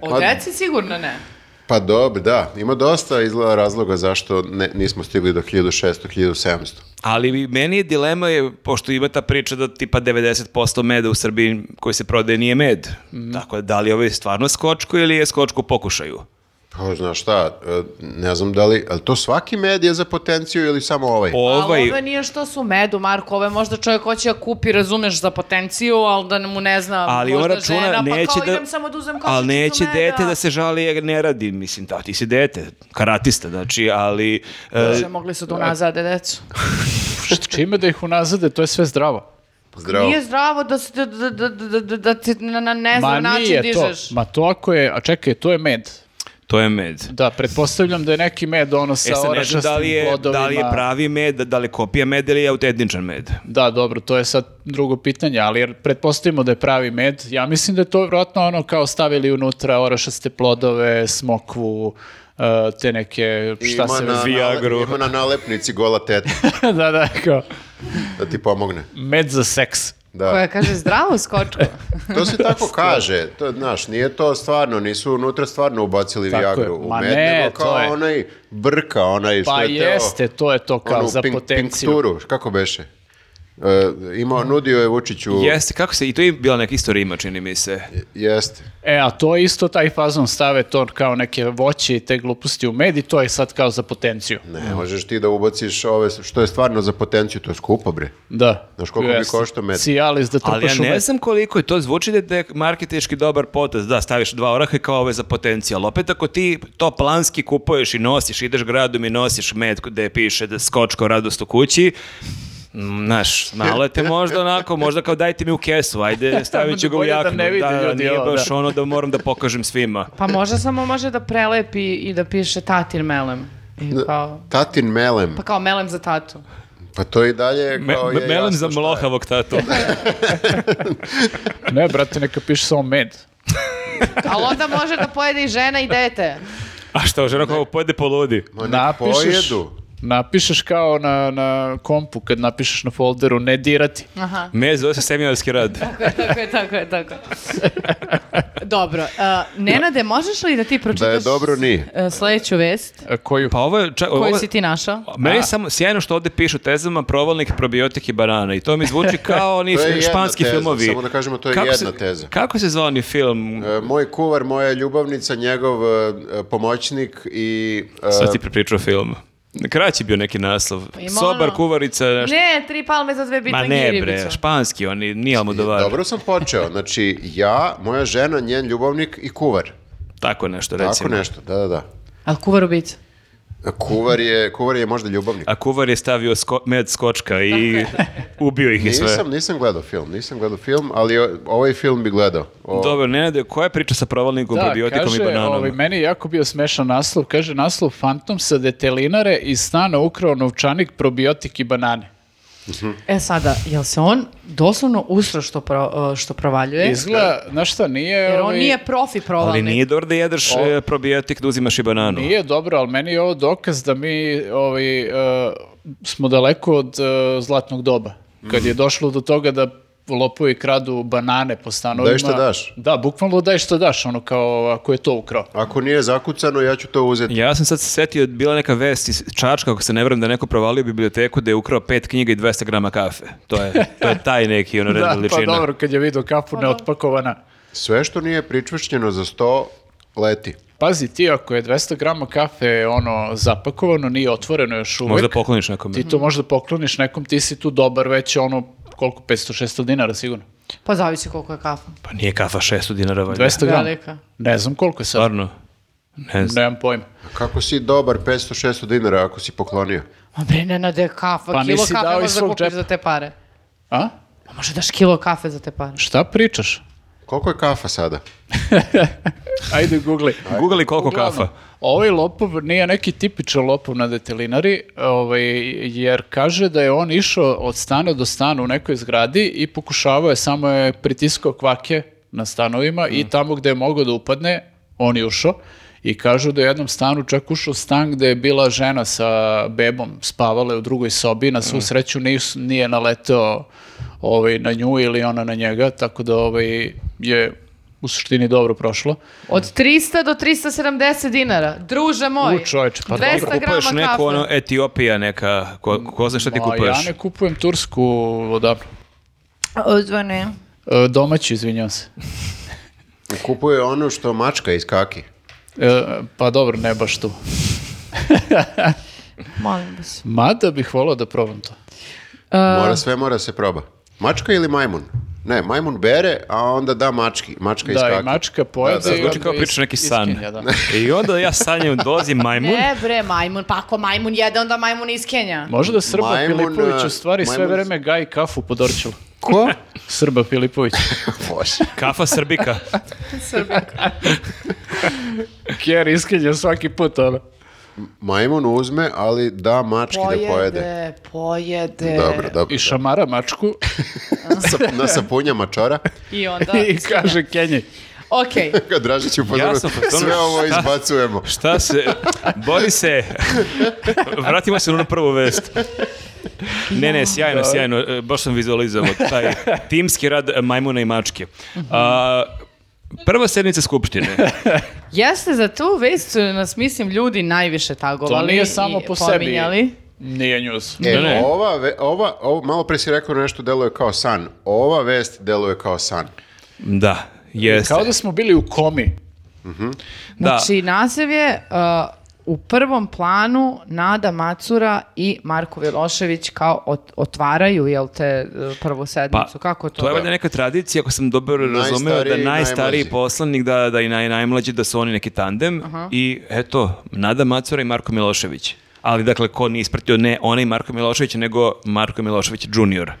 Speaker 4: O deci sigurno ne.
Speaker 3: Pa dobro, da. Ima dosta izgleda razloga zašto ne, nismo stigli do 1600, 1700.
Speaker 1: Ali meni je dilema, je, pošto ima ta priča da tipa 90% meda u Srbiji koji se prodaje nije med.
Speaker 4: Mhm.
Speaker 1: Tako da, da li je ovo je stvarno skočko ili je skočko u pokušaju?
Speaker 3: Pa, znaš šta, e, ne znam da li, ali to svaki med je za potenciju ili samo ovaj?
Speaker 1: Ovaj,
Speaker 4: Ali ove Pa, nije što su medu, Marko, ove možda čovjek hoće da kupi, razumeš, za potenciju, ali da mu ne zna,
Speaker 1: ali on
Speaker 4: možda
Speaker 1: računa
Speaker 4: žena,
Speaker 1: neće
Speaker 4: pa kao
Speaker 1: da...
Speaker 4: idem samo da uzem
Speaker 1: ali neće
Speaker 4: meda.
Speaker 1: dete da se žali jer ne radi, mislim, da, ti si dete, karatista, znači, ali... e,
Speaker 4: Bože, mogli su da unazade decu.
Speaker 2: Št- Čime da ih unazade, to je sve zdravo.
Speaker 3: Zdravo.
Speaker 4: Nije zdravo da, se, da, da, da, da, da- da ti na, na nezdrav
Speaker 2: Ma
Speaker 4: način
Speaker 2: nije
Speaker 4: dižeš.
Speaker 2: to. Ma to ako je, a čekaj, to je med.
Speaker 1: to je med.
Speaker 2: Da, pretpostavljam da je neki med ono sa
Speaker 1: E sad ne znam
Speaker 2: orašastim
Speaker 1: da li, je,
Speaker 2: plodovima.
Speaker 1: da li je pravi med, da li je kopija med ili je autentičan med.
Speaker 2: Da, dobro, to je sad drugo pitanje, ali jer pretpostavimo da je pravi med, ja mislim da je to vjerojatno ono kao stavili unutra orašaste plodove, smokvu, e, te neke, šta se
Speaker 3: na,
Speaker 2: već-
Speaker 1: Viagru.
Speaker 3: Ima na nalepnici gola teta
Speaker 2: da, da, kao,
Speaker 3: da ti pomogne.
Speaker 2: med za seks.
Speaker 3: Da.
Speaker 4: Koja kaže zdravo skočko.
Speaker 3: To se tako kaže, to znaš, nije to stvarno, nisu unutra stvarno ubacili
Speaker 2: Tako je,
Speaker 3: Viagru u
Speaker 2: ma
Speaker 3: med,
Speaker 2: ne,
Speaker 3: nego kao
Speaker 2: to je-
Speaker 3: onaj brka, onaj što
Speaker 2: Pa
Speaker 3: je teo,
Speaker 2: jeste, to je to kao
Speaker 3: onu
Speaker 2: za
Speaker 3: pink-
Speaker 2: potenciju. Mm.
Speaker 3: pinkturu, kako beše? E, imao, nudio je Vučiću,
Speaker 1: Jeste, kako se, i to je bila neka istorija ima, čini mi se.
Speaker 3: jeste.
Speaker 2: E, a to je isto taj fazon stave to kao neke voće i te gluposti u med i to je sad kao za potenciju.
Speaker 3: Ne, možeš ti da ubaciš ove, što je stvarno za potenciju, to je skupo bre.
Speaker 2: Da.
Speaker 3: Znaš koliko bi
Speaker 2: Jeste.
Speaker 3: koštao med?
Speaker 2: Cialis da
Speaker 1: Ali ja
Speaker 2: trpaš u
Speaker 1: ne
Speaker 2: med.
Speaker 1: znam koliko je to, zvuči da je- da je marketički dobar potez, da, staviš dva oraha i kao ove za potencijal. Opet ako ti to planski kupuješ i nosiš, ideš gradom i nosiš med gde piše da skočko radost u kući, mm, Znaš, malo je te možda onako, možda kao dajte mi u kesu, ajde, stavit ću ga u
Speaker 2: Bolje da
Speaker 1: jaknu.
Speaker 2: ne vide
Speaker 1: da,
Speaker 2: ljudi
Speaker 1: nije
Speaker 2: ovo,
Speaker 1: baš
Speaker 2: da.
Speaker 1: ono da moram da pokažem svima.
Speaker 4: Pa možda samo može da prelepi i da piše tatin melem. I
Speaker 3: Da.
Speaker 4: kao,
Speaker 3: Tatin melem,
Speaker 4: pa kao melem za tatu.
Speaker 3: pa to i dalje
Speaker 1: Me,
Speaker 3: kao je
Speaker 1: melem
Speaker 3: jasno
Speaker 1: za
Speaker 3: šta je.
Speaker 1: mlohavog tatu.
Speaker 2: Ne, brate, neka piše samo med.
Speaker 4: Ali onda može da pojede i žena i dete.
Speaker 1: A što, žena kao pojede poludi.
Speaker 3: Ma Pa nek
Speaker 2: Napišeš,
Speaker 3: pojedu.
Speaker 2: napišeš kao na, na kompu, kad napišeš na folderu, ne dirati.
Speaker 4: Aha.
Speaker 1: Me zove se seminarski rad.
Speaker 4: tako je, tako je, tako je. Dobro. Uh, Nenade, možeš li da ti pročitaš
Speaker 3: Da je dobro, nije.
Speaker 4: e, sledeću vest
Speaker 2: E, Koju?
Speaker 1: Pa ovo je... čak-
Speaker 4: koju
Speaker 1: ovo-
Speaker 4: si ti našao?
Speaker 1: Meni je samo sjajno što ovde pišu tezama provalnik, probiotik i banana i to mi zvuči kao oni
Speaker 3: To je jedna
Speaker 1: španski
Speaker 3: teza,
Speaker 1: filmovi.
Speaker 3: samo da kažemo, to je jedna
Speaker 1: se,
Speaker 3: teza.
Speaker 1: Kako se zvao ni film?
Speaker 3: E, Moj kuvar, moja ljubavnica, njegov e, e, pomoćnik i... e,
Speaker 1: Sad ti prepričao film. Kraći bio neki naslov.
Speaker 4: Pa ima
Speaker 1: Sobar,
Speaker 4: ono-
Speaker 1: kuvarica, nešto.
Speaker 4: Ne, tri palme za dve
Speaker 1: Ma
Speaker 4: bitne
Speaker 1: ne bre, španski, oni nije Almodovar.
Speaker 3: Dobro sam počeo, znači ja, moja žena, njen ljubavnik i kuvar.
Speaker 1: Tako nešto recimo.
Speaker 3: Tako nešto, da, da, da.
Speaker 4: Ali kuvar ubica.
Speaker 3: A Kuvar je, kuvar je možda ljubavnik.
Speaker 1: A kuvar je stavio sko- med skočka i ubio ih i sve.
Speaker 3: Nisam, nisam gledao film, nisam gledao film, ali o- ovaj film bi gledao. O,
Speaker 1: Dobro, Nenade, koja je priča sa provalnikom,
Speaker 4: Da,
Speaker 1: probiotikom i bananom?
Speaker 2: Da, ovaj, meni je jako bio smešan naslov. Kaže naslov Fantom sa detelinare iz stana ukrao novčanik, probiotik i banane.
Speaker 4: E sada, jel se on doslovno usro što, pro- e, što provaljuje?
Speaker 2: Izgleda,
Speaker 3: e.
Speaker 2: znaš šta, nije...
Speaker 4: Jer on
Speaker 2: ovaj,
Speaker 4: nije profi provalnik.
Speaker 1: Ali nije dobro da jedeš e, probiotik, da uzimaš i bananu.
Speaker 2: Nije dobro, ali meni je ovo dokaz da mi ovaj, e, smo daleko od e, zlatnog doba. Kad
Speaker 3: Mm.
Speaker 2: je došlo do toga da lopovi kradu banane po stanovima.
Speaker 3: Daj šta daš.
Speaker 2: Da, bukvalno daj šta daš, ono kao ako je to ukrao.
Speaker 3: Ako nije zakucano, ja ću to uzeti.
Speaker 1: Ja sam sad se setio, bila neka vest iz Čačka, ako se ne vrem, da je neko provalio biblioteku da je ukrao pet knjiga i 200 grama kafe. To je, to je taj neki ono red
Speaker 2: Da, pa
Speaker 1: veličina.
Speaker 2: dobro, kad je vidio kafu neotpakovana.
Speaker 3: Sve što nije pričvršćeno za sto, leti.
Speaker 2: Pazi, ti ako je 200 grama kafe ono zapakovano, nije otvoreno još uvek,
Speaker 1: Možda pokloniš nekome.
Speaker 2: ti to možda pokloniš nekom, ti si tu dobar već ono koliko, 500-600 dinara sigurno.
Speaker 4: Pa zavisi koliko je kafa.
Speaker 1: Pa nije kafa 600 dinara valjda.
Speaker 2: 200 grama.
Speaker 4: Velika.
Speaker 2: Ne znam koliko je sad,
Speaker 1: Stvarno? Ne znam.
Speaker 2: nemam pojma.
Speaker 3: Kako si dobar 500-600 dinara ako si poklonio?
Speaker 4: Ma bre, Nenade, kafa.
Speaker 2: Pa
Speaker 4: kilo
Speaker 2: nisi
Speaker 4: kafe
Speaker 2: dao iz
Speaker 4: možda
Speaker 2: svog
Speaker 4: kupiš
Speaker 2: džepa.
Speaker 4: za te pare.
Speaker 2: A?
Speaker 4: Pa može daš kilo kafe za te pare.
Speaker 2: Šta pričaš?
Speaker 3: Koliko je kafa sada?
Speaker 2: Ajde, googli.
Speaker 1: Google koliko
Speaker 2: Uglavnom,
Speaker 1: kafa?
Speaker 2: Ovaj lopov nije neki tipičan lopov na detelinari, ovaj, jer kaže da je on išao od stana do stana u nekoj zgradi i pokušavao je, samo je pritiskao kvake na stanovima i tamo gde je mogao da upadne, on je ušao. i kažu da je u jednom stanu čak ušao stan gde je bila žena sa bebom, spavala je u drugoj sobi, na svu sreću nis- nije naleteo ovaj, na nju ili ona na njega, tako da ovaj, je u suštini dobro prošlo.
Speaker 4: Od 300 do 370 dinara. Druže moj.
Speaker 2: U, čoveče, pa dobro.
Speaker 4: 200
Speaker 1: Ti kupuješ
Speaker 4: grama
Speaker 1: neku
Speaker 4: kafe.
Speaker 1: ono Etiopija neka, ko, ko zna šta ti
Speaker 2: Ma,
Speaker 1: kupuješ?
Speaker 2: Ja ne kupujem tursku odavno.
Speaker 4: Odvane.
Speaker 2: E, domaću, izvinjavam se.
Speaker 3: Kupuje ono što mačka iz kaki.
Speaker 2: E, pa dobro, ne baš tu.
Speaker 4: Molim vas.
Speaker 2: Mada bih volao da probam to.
Speaker 3: Mora sve, mora da se proba. Mačka ili majmun? Ne, majmun bere, a onda da mački. Mačka iz
Speaker 2: Da,
Speaker 3: kaki.
Speaker 2: i mačka pojede.
Speaker 3: Da, da,
Speaker 2: i
Speaker 1: Zvuči
Speaker 2: onda
Speaker 1: Znači, kao
Speaker 2: is-
Speaker 1: priča neki san.
Speaker 2: iskinja, da.
Speaker 1: I onda ja sanjam, dolazi majmun,
Speaker 4: Ne bre, majmun. Pa ako majmun jede, onda majmun iz Kenja.
Speaker 2: Možda da Srba
Speaker 3: Majmun,
Speaker 2: Filipović
Speaker 3: a,
Speaker 2: u stvari sve
Speaker 3: majmun-
Speaker 2: vreme gaji kafu po Dorčelu. Ko? Srba Filipović.
Speaker 3: Bože.
Speaker 1: kafa srbika.
Speaker 2: Kjer iskenja svaki put, ono.
Speaker 3: Majmun uzme, ali da mački da pojede.
Speaker 4: Pojede, pojede.
Speaker 3: Dobro, dobro.
Speaker 2: I šamara mačku
Speaker 3: Sa- na sapunja mačara.
Speaker 4: I onda...
Speaker 2: i kaže Kenji.
Speaker 4: Okej.
Speaker 3: Kad Dražić u
Speaker 1: Ja
Speaker 3: pozoru,
Speaker 1: sam potpuno-
Speaker 3: pa sve ovo izbacujemo.
Speaker 1: Šta se, bori se. Vratimo se na onu prvu vest. Ne, ne, sjajno, sjajno. E, Baš sam vizualizovao taj timski rad majmuna i mačke. A, prva sednica Skupštine.
Speaker 4: Jeste za tu vest su nas, mislim, ljudi najviše tagovali.
Speaker 2: To nije
Speaker 4: i
Speaker 2: samo po
Speaker 4: pominjali.
Speaker 2: sebi. Nije njuz.
Speaker 3: E,
Speaker 1: Ne, ne.
Speaker 3: ova, ve- ova, ovo- malo pre si rekao nešto deluje kao san. Ova vest deluje kao san.
Speaker 1: Da, jeste.
Speaker 2: Kao da smo bili u komi.
Speaker 1: Da.
Speaker 4: Znači, nasev je uh, u prvom planu Nada Macura i Marko Velošević kao ot- otvaraju, jel te, uh, prvu sedmicu. Kako to?
Speaker 1: Pa, To je valjda neka tradicija, ako sam dobro razumeo, da
Speaker 3: Najstariji i
Speaker 1: najstariji
Speaker 3: najmlađi.
Speaker 1: poslanik, da, da i naj, najmlađi, da su oni neki tandem. I eto, Nada Macura i Marko Milošević. Ali dakle, ko nije ispratio, ne onaj Marko Milošević, nego Marko Milošević junior.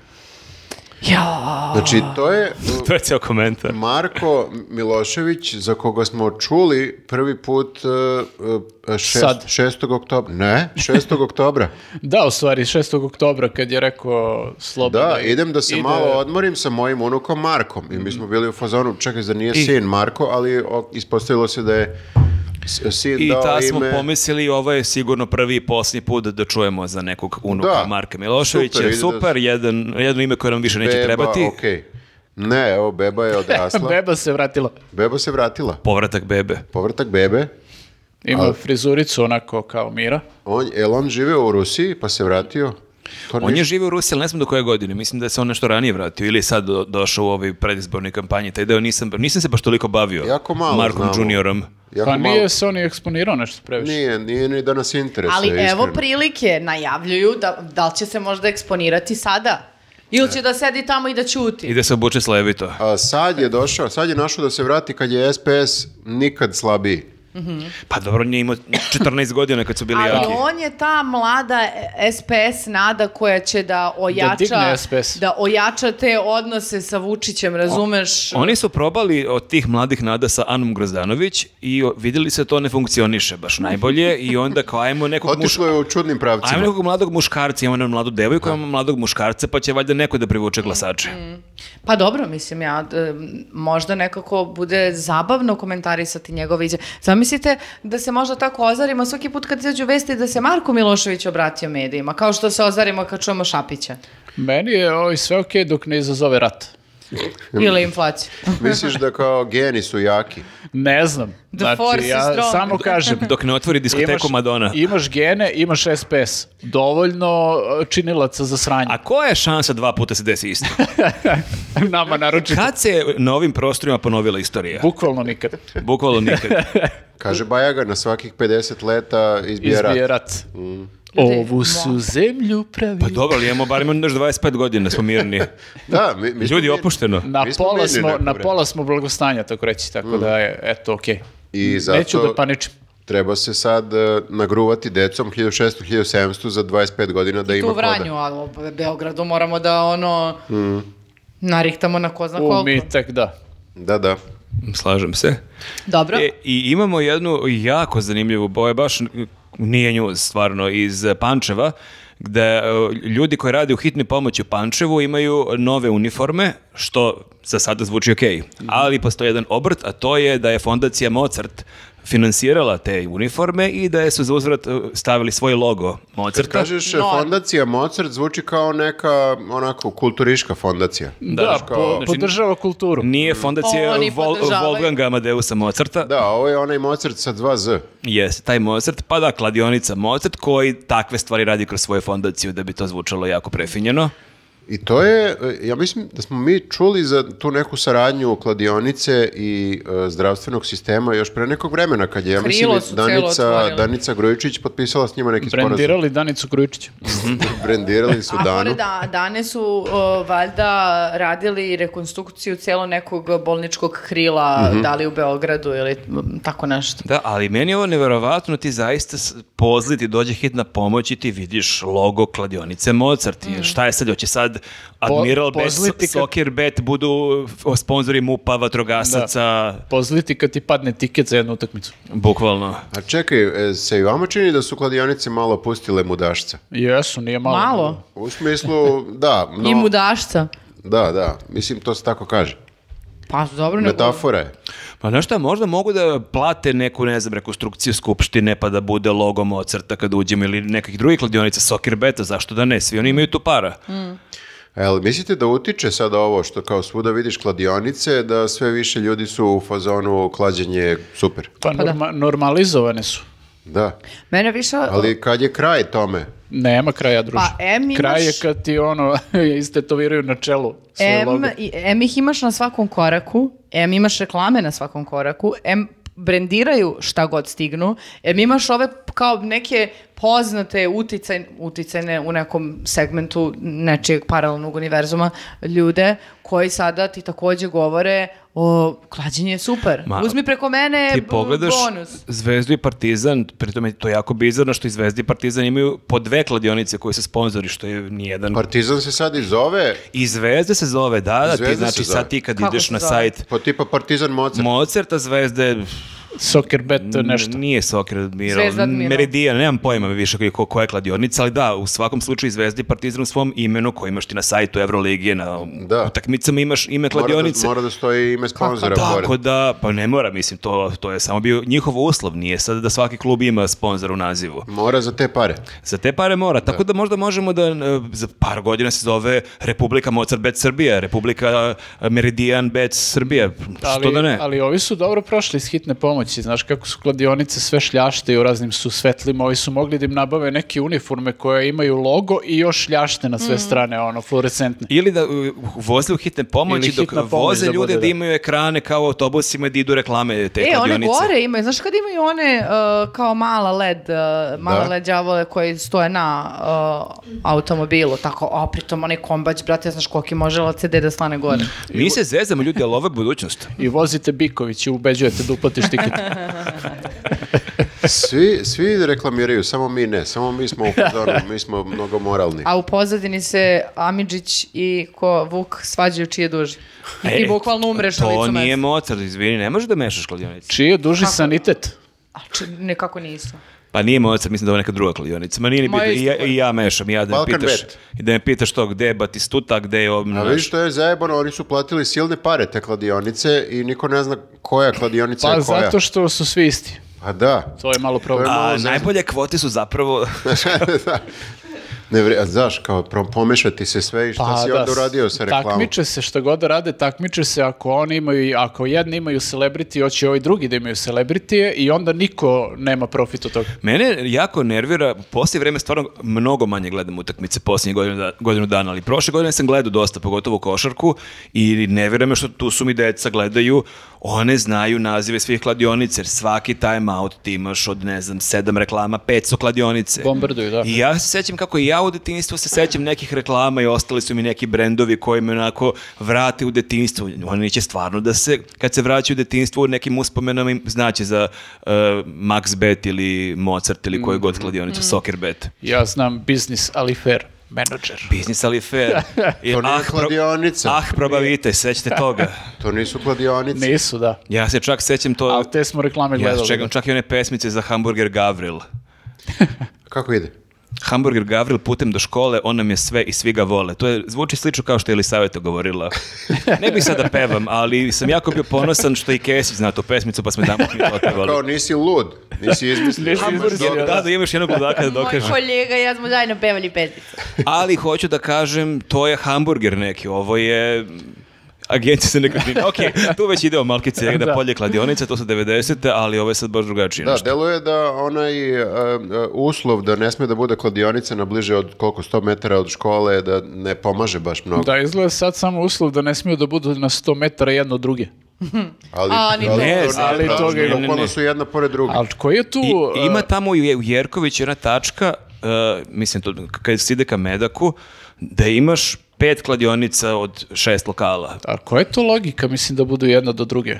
Speaker 4: Ja.
Speaker 3: Znači, to je uh,
Speaker 1: To je ceo komentar.
Speaker 3: Marko Milošević, za koga smo čuli prvi put uh, uh, šest-
Speaker 2: Sad.
Speaker 3: 6. oktobra. Ne, 6. oktobra.
Speaker 2: Da, u stvari, 6. oktobra kad je rekao Slobodan.
Speaker 3: Da, idem da se
Speaker 2: ide-
Speaker 3: malo odmorim sa mojim unukom Markom. I mi smo bili u fazonu, čekaj, zar nije sin Marko, ali o, ispostavilo se da je s- sin
Speaker 1: I
Speaker 3: dao
Speaker 1: ta smo
Speaker 3: Da, ime...
Speaker 1: pomislili, ovo je sigurno prvi i posljednji put da čujemo za nekog unuka
Speaker 3: Da.
Speaker 1: Marka Miloševića.
Speaker 3: Super,
Speaker 1: Super,
Speaker 3: ide da-
Speaker 1: jedan, jedno ime koje nam više neće
Speaker 3: Beba,
Speaker 1: trebati.
Speaker 3: okej. Ne, evo, beba je odrasla.
Speaker 2: Beba se vratila.
Speaker 3: Beba se vratila.
Speaker 1: Povratak bebe.
Speaker 3: Povrtak bebe.
Speaker 2: Ima frizuricu onako kao Mira.
Speaker 3: On, jel on živeo u Rusiji pa se vratio? To
Speaker 1: On
Speaker 3: ni-
Speaker 1: je živio u Rusiji, ali ne znam do koje godine. Mislim da se on nešto ranije vratio ili je sad do- došao u ovoj predizbornoj kampanji. Taj deo nisam, nisam se baš toliko bavio
Speaker 3: Jako malo
Speaker 1: Markom
Speaker 3: znamo.
Speaker 1: Juniorom.
Speaker 3: jako
Speaker 2: Pa
Speaker 3: malo-
Speaker 2: nije se on i eksponirao nešto previše.
Speaker 3: Nije, nije ni da nas interesuje.
Speaker 4: Ali evo
Speaker 3: iskreno.
Speaker 4: prilike, najavljuju da, da li će se možda eksponirati sada? Ili će da sedi tamo i da ćuti?
Speaker 1: I da se obuče slevito.
Speaker 3: A sad je došao, sad je našao da se vrati kad je SPS nikad slabiji.
Speaker 1: Pa dobro, on je imao 14 godina kad su bili
Speaker 4: Ali
Speaker 1: jaki.
Speaker 4: on je ta mlada e, SPS nada koja će da ojača,
Speaker 2: digne SPS.
Speaker 4: da ojača te odnose sa Vučićem, razumeš?
Speaker 1: Oni su probali od tih mladih nada sa Anom Grozdanović i o- vidjeli se da to ne funkcioniše baš najbolje i onda kao ajmo nekog muš-
Speaker 3: Otišlo je u čudnim pravcima.
Speaker 1: Ajmo nekog mladog muškarca, imamo jednu mladu devojku,
Speaker 3: Da.
Speaker 1: imamo mladog muškarca, pa će valjda neko da privuče glasače.
Speaker 4: Pa dobro, mislim ja, d- možda nekako bude zabavno komentarisati njegove izjave. Zamislite da se možda tako ozarimo svaki put kad izađu vesti da se Marko Milošević obratio medijima, kao što se ozarimo kad čujemo Šapića
Speaker 2: Meni je ovaj sve okej dok ne izazove rat.
Speaker 4: ili inflaciju.
Speaker 3: Misliš da kao geni su jaki?
Speaker 2: Ne znam. Znači,
Speaker 4: The force is
Speaker 2: ja
Speaker 4: strong.
Speaker 2: samo kažem.
Speaker 1: Dok ne otvori diskoteku Madonna.
Speaker 2: imaš gene, imaš SPS. Dovoljno e, činilaca za sranje.
Speaker 1: A koja je šansa dva puta se desi isto?
Speaker 2: Nama naročito.
Speaker 1: Kad se na ovim prostorima ponovila istorija?
Speaker 2: Bukvalno nikad.
Speaker 1: Bukvalno nikad.
Speaker 3: Kaže Bajaga, na svakih 50 leta izbije rat. Mm.
Speaker 2: Izbije rat. Ovu su zemlju pravi.
Speaker 1: Pa dobro, ali imamo barem još 25 godina, smo mirni.
Speaker 3: Da, mi, mi smo
Speaker 1: Ljudi,
Speaker 3: mi-
Speaker 1: opušteno.
Speaker 2: Na
Speaker 3: Mi smo
Speaker 2: pola,
Speaker 3: mirni
Speaker 2: smo,
Speaker 3: neko
Speaker 2: na
Speaker 3: vreme.
Speaker 2: pola smo blagostanja, tako reći, tako da je, eto, okej.
Speaker 3: I zato
Speaker 2: Neću da paničim.
Speaker 3: treba se sad e, nagruvati decom 1600, 1700 za 25 godina da ima
Speaker 4: tu u
Speaker 3: koda.
Speaker 4: Vranju, ali u Beogradu moramo da ono
Speaker 3: Mm.
Speaker 4: narihtamo na ko zna koliko.
Speaker 2: U mitak, da.
Speaker 3: Da, da.
Speaker 1: Slažem se.
Speaker 4: Dobro.
Speaker 1: E, I imamo jednu jako zanimljivu, ovo je baš n- nije njuz stvarno, iz eh, Pančeva, e, gde eh, ljudi koji rade u hitnoj pomoći u Pančevu imaju nove uniforme, što za sada zvuči ok.
Speaker 4: Mhm.
Speaker 1: Ali postoji jedan obrt, a to je da je fondacija Mozart finansirala te uniforme i da je su za uzvrat uh, stavili svoj logo Mozarta.
Speaker 3: Kažeš,
Speaker 4: No.
Speaker 3: fondacija Mozart zvuči kao neka, onako, kulturiška fondacija.
Speaker 2: Da, po- podržava kulturu.
Speaker 1: Nije fondacija
Speaker 4: Oni
Speaker 1: Vol,
Speaker 4: podržavaju.
Speaker 1: Wolfganga Amadeusa Mozarta.
Speaker 3: Da, ovo je onaj Mozart sa dva Z.
Speaker 1: Jeste, taj Mozart, pa da, kladionica Mozart koji takve stvari radi kroz svoju fondaciju da bi to zvučalo jako prefinjeno.
Speaker 3: I to je, e, ja mislim da smo mi čuli za tu neku saradnju kladionice i e, zdravstvenog sistema još pre nekog vremena, kad je, ja mislim,
Speaker 4: Krilo
Speaker 3: i
Speaker 4: su celo
Speaker 3: Danica,
Speaker 4: otvorili.
Speaker 3: Danica Grujičić potpisala s njima neki sporazum.
Speaker 2: Brendirali Danicu Grujičića.
Speaker 3: Brendirali su
Speaker 4: A
Speaker 3: Danu.
Speaker 4: pored da, dane su o, valjda radili rekonstrukciju celo nekog bolničkog krila,
Speaker 3: Mhm.
Speaker 4: da li u Beogradu ili m, tako nešto.
Speaker 1: Da, ali meni je ovo neverovatno, ti zaista s- pozli, ti dođe hitna pomoć i ti vidiš logo kladionice Mozart. I Šta je sad, hoće sad Admiral Bet,
Speaker 2: pozli ti kad-
Speaker 1: Soccer Bet budu f- sponzori MUPA, vatrogasaca,
Speaker 2: Pozliti kad ti padne tiket za jednu utakmicu.
Speaker 1: bukvalno.
Speaker 3: A čekaj, e, se i vama čini da su kladionice malo pustile mudašca?
Speaker 2: Jesu, nije malo.
Speaker 4: Malo.
Speaker 3: U smislu, da, no,
Speaker 4: I mudašca.
Speaker 3: da, da, mislim to se tako kaže.
Speaker 4: Pa dobro, nego...
Speaker 3: Metafora je.
Speaker 1: Pa znaš šta, možda mogu da plate neku, ne znam, rekonstrukciju skupštine pa da bude logo Mozarta kad uđemo ili nekih drugih kladionica, Soccer Beta, zašto da ne, svi oni imaju tu para.
Speaker 3: A Jel mislite da utiče sad ovo što kao svuda vidiš kladionice, da sve više ljudi su u fazonu klađenje super?
Speaker 2: Pa,
Speaker 4: da.
Speaker 2: norma- normalizovane su.
Speaker 3: Da,
Speaker 4: Mene više...
Speaker 3: ali kad je kraj tome?
Speaker 2: Nema kraja, druže.
Speaker 4: Pa, em imaš-
Speaker 2: Kraj je kad ti ono, istetoviraju na čelu svoj
Speaker 4: M,
Speaker 2: logo.
Speaker 4: i- M ih imaš na svakom koraku, M imaš reklame na svakom koraku, M brendiraju šta god stignu, M imaš ove p- kao neke poznate uticaj, uticajne u nekom segmentu nečijeg paralelnog univerzuma ljude koji sada ti takođe govore o klađenje je super.
Speaker 1: Ma,
Speaker 4: Uzmi preko mene
Speaker 1: ti
Speaker 4: b-
Speaker 1: pogledaš
Speaker 4: E, bonus.
Speaker 1: Zvezdu i Partizan, pri tome je to jako bizarno što i Zvezda i Partizan imaju po dve kladionice koje se sponzori, što je nijedan.
Speaker 3: Partizan se sad i zove
Speaker 1: I Zvezda se zove, da, da, ti,
Speaker 3: Zvezda se
Speaker 1: znači
Speaker 3: zove.
Speaker 1: sad ti kad
Speaker 4: Kako
Speaker 1: ideš
Speaker 4: se
Speaker 1: na
Speaker 4: zove?
Speaker 1: sajt
Speaker 3: po tipa Partizan Mozart.
Speaker 1: Mozarta Zvezde,
Speaker 2: Soccer bet nešto.
Speaker 1: n- nije Sokrat Admiral,
Speaker 4: Zvezda Admiral.
Speaker 1: Meridian, nemam pojma više koji- ko- koja je kladionica, ali da, u svakom slučaju i Zvezda i Partizan u svom imenu koji imaš ti na sajtu Euroligije, na
Speaker 3: Da.
Speaker 1: utakmicama imaš ime kladionice.
Speaker 3: Mora da, mora da stoji ime sponzora pored.
Speaker 1: Tako da, pa ne mora, mislim, to, to je samo bio njihov uslov, nije sad da svaki klub ima sponzor u nazivu.
Speaker 3: Mora za te pare.
Speaker 1: Za te pare mora, tako da možda možemo da e, za par godina se zove Republika Mozart Bet Srbija, Republika e, Meridian Bet Srbija, što
Speaker 2: Ali,
Speaker 1: da ne.
Speaker 2: ali ovi su dobro prošli iz hitne pomoći, znaš kako su kladionice sve šljašte i u raznim su svetlima, ovi su mogli da im nabave neke uniforme koje imaju logo i još šljašte na sve strane, ono, fluorescentne.
Speaker 1: Ili da e, voze u hitne pomoći
Speaker 2: Ili
Speaker 1: dok
Speaker 2: hitna pomoć
Speaker 1: voze
Speaker 2: da
Speaker 1: ljude
Speaker 2: bude,
Speaker 1: da
Speaker 2: da.
Speaker 1: imaju ekrane kao u autobusima i da idu reklame te
Speaker 4: E, one
Speaker 1: kladionice.
Speaker 4: gore imaju, znaš kad imaju one uh, kao mala led, uh, mala
Speaker 3: Da.
Speaker 4: led đavole koji stoje na uh, automobilu, tako, a pritom onaj kombać, brate, znaš koliki može LCD da stane gore.
Speaker 1: Mi se zezamo ljudi, ali ovo je budućnost.
Speaker 2: I vozite Biković i ubeđujete da uplatiš tiket.
Speaker 3: Svi, svi reklamiraju, samo mi ne. Samo mi smo u fazonu, mi smo mnogo moralni.
Speaker 4: A u pozadini se Amidžić i ko Vuk svađaju čiji je duži. I ti
Speaker 1: E,
Speaker 4: bukvalno umreš na
Speaker 1: To
Speaker 4: licu
Speaker 1: nije
Speaker 4: mesta.
Speaker 1: Mozart, izvini, ne može da mešaš kladionice.
Speaker 2: Čiji je duži sanitet?
Speaker 4: A či- nekako nisu.
Speaker 1: Pa nije Mozart, mislim da je ovo neka druga kladionica. Ma nije ni
Speaker 4: Ma
Speaker 1: bitno, i ja,
Speaker 4: isto.
Speaker 1: i ja mešam, i ja da me
Speaker 3: Balkan
Speaker 1: pitaš,
Speaker 3: Bet.
Speaker 1: i da me pitaš to gde je Batistuta, gde je... ovo,
Speaker 3: A
Speaker 1: znaš.
Speaker 3: vidiš što je zajebano, oni su platili silne pare te kladionice i niko ne zna koja kladionica
Speaker 2: Pa
Speaker 3: je koja.
Speaker 2: zato što su svi isti.
Speaker 3: Pa da.
Speaker 2: To je malo problem.
Speaker 3: malo
Speaker 1: A,
Speaker 3: zezno.
Speaker 1: najbolje kvote su zapravo
Speaker 3: Da. ne vre, a znaš, kao pro- pomešati se sve i šta si onda
Speaker 2: da,
Speaker 3: uradio sa reklamom.
Speaker 2: Takmiče se šta god da rade, takmiče se ako oni imaju, i- ako jedni imaju celebrity, hoće ovi drugi da imaju celebrity i onda niko nema profit od toga.
Speaker 1: Mene jako nervira, poslije vreme stvarno mnogo manje gledam utakmice posljednjih godinu, da- godinu dana, ali prošle godine sam gledao dosta, pogotovo košarku, i ne vjerujem što tu su mi deca gledaju, one znaju nazive svih kladionica, jer svaki time out ti imaš od, ne znam, sedam reklama, pet su kladionice.
Speaker 2: Bombarduju, da.
Speaker 1: I ja se sećam kako i ja u detinjstvu se sećam nekih reklama i ostali su mi neki brendovi koji me onako vrate u detinjstvo. Oni će stvarno da se, kad se vraćaju u detinjstvo, u nekim uspomenama im znaće za uh, Max Bet ili Mozart ili koju god kladionicu, Soccer Bet.
Speaker 2: Ja znam biznis, ali fair. Menadžer.
Speaker 1: Biznis ali fair. I,
Speaker 3: To nije
Speaker 1: pro-
Speaker 3: kladionica.
Speaker 1: ah, probavite, sećate toga.
Speaker 3: To nisu kladionice.
Speaker 2: Nisu, da.
Speaker 1: Ja se čak sećam to...
Speaker 2: Ali te smo reklame
Speaker 1: Ja
Speaker 2: gledali.
Speaker 1: čekam čak i one pesmice za hamburger Gavril.
Speaker 3: Kako ide?
Speaker 1: hamburger Gavril putem do škole, on nam je sve i svi ga vole. To je, zvuči slično kao što je Elisaveta govorila. Ne bih sada da pevam, ali sam jako bio ponosan što i Kesić zna tu pesmicu, pa smo tamo mi
Speaker 3: Kao
Speaker 1: otpevali.
Speaker 3: nisi lud, nisi izmislio.
Speaker 2: Hamburger,
Speaker 1: Da, da imaš jednog ludaka da
Speaker 5: Moj
Speaker 1: dokažem.
Speaker 5: kolega i ja smo zajedno pevali pesmicu.
Speaker 1: Ali hoću da kažem, to je hamburger neki, ovo je agencija za nekretnine. Ok, tu već ide o malkice, da
Speaker 2: Da.
Speaker 1: polje kladionica, to su 90. ali ovo je sad baš drugačije.
Speaker 3: Da,
Speaker 1: nešto.
Speaker 3: deluje da onaj e, e, uslov da ne sme da bude kladionica na bliže od koliko 100 metara od škole da ne pomaže baš mnogo.
Speaker 2: Da, izgleda sad samo uslov da ne smiju da budu na 100 metara jedno od druge.
Speaker 3: Ali,
Speaker 5: A, ni to. Ne,
Speaker 2: ali
Speaker 3: tačno,
Speaker 2: toga ima.
Speaker 3: bukvalno su jedna pored druge.
Speaker 2: Ali koji je tu...
Speaker 1: I,
Speaker 2: uh,
Speaker 4: e.
Speaker 1: ima tamo i u Jerkoviću jedna tačka, uh, mislim, to, kad se ide ka Medaku, da imaš pet kladionica od šest lokala.
Speaker 2: A koja je to logika, mislim, da budu jedna do druge?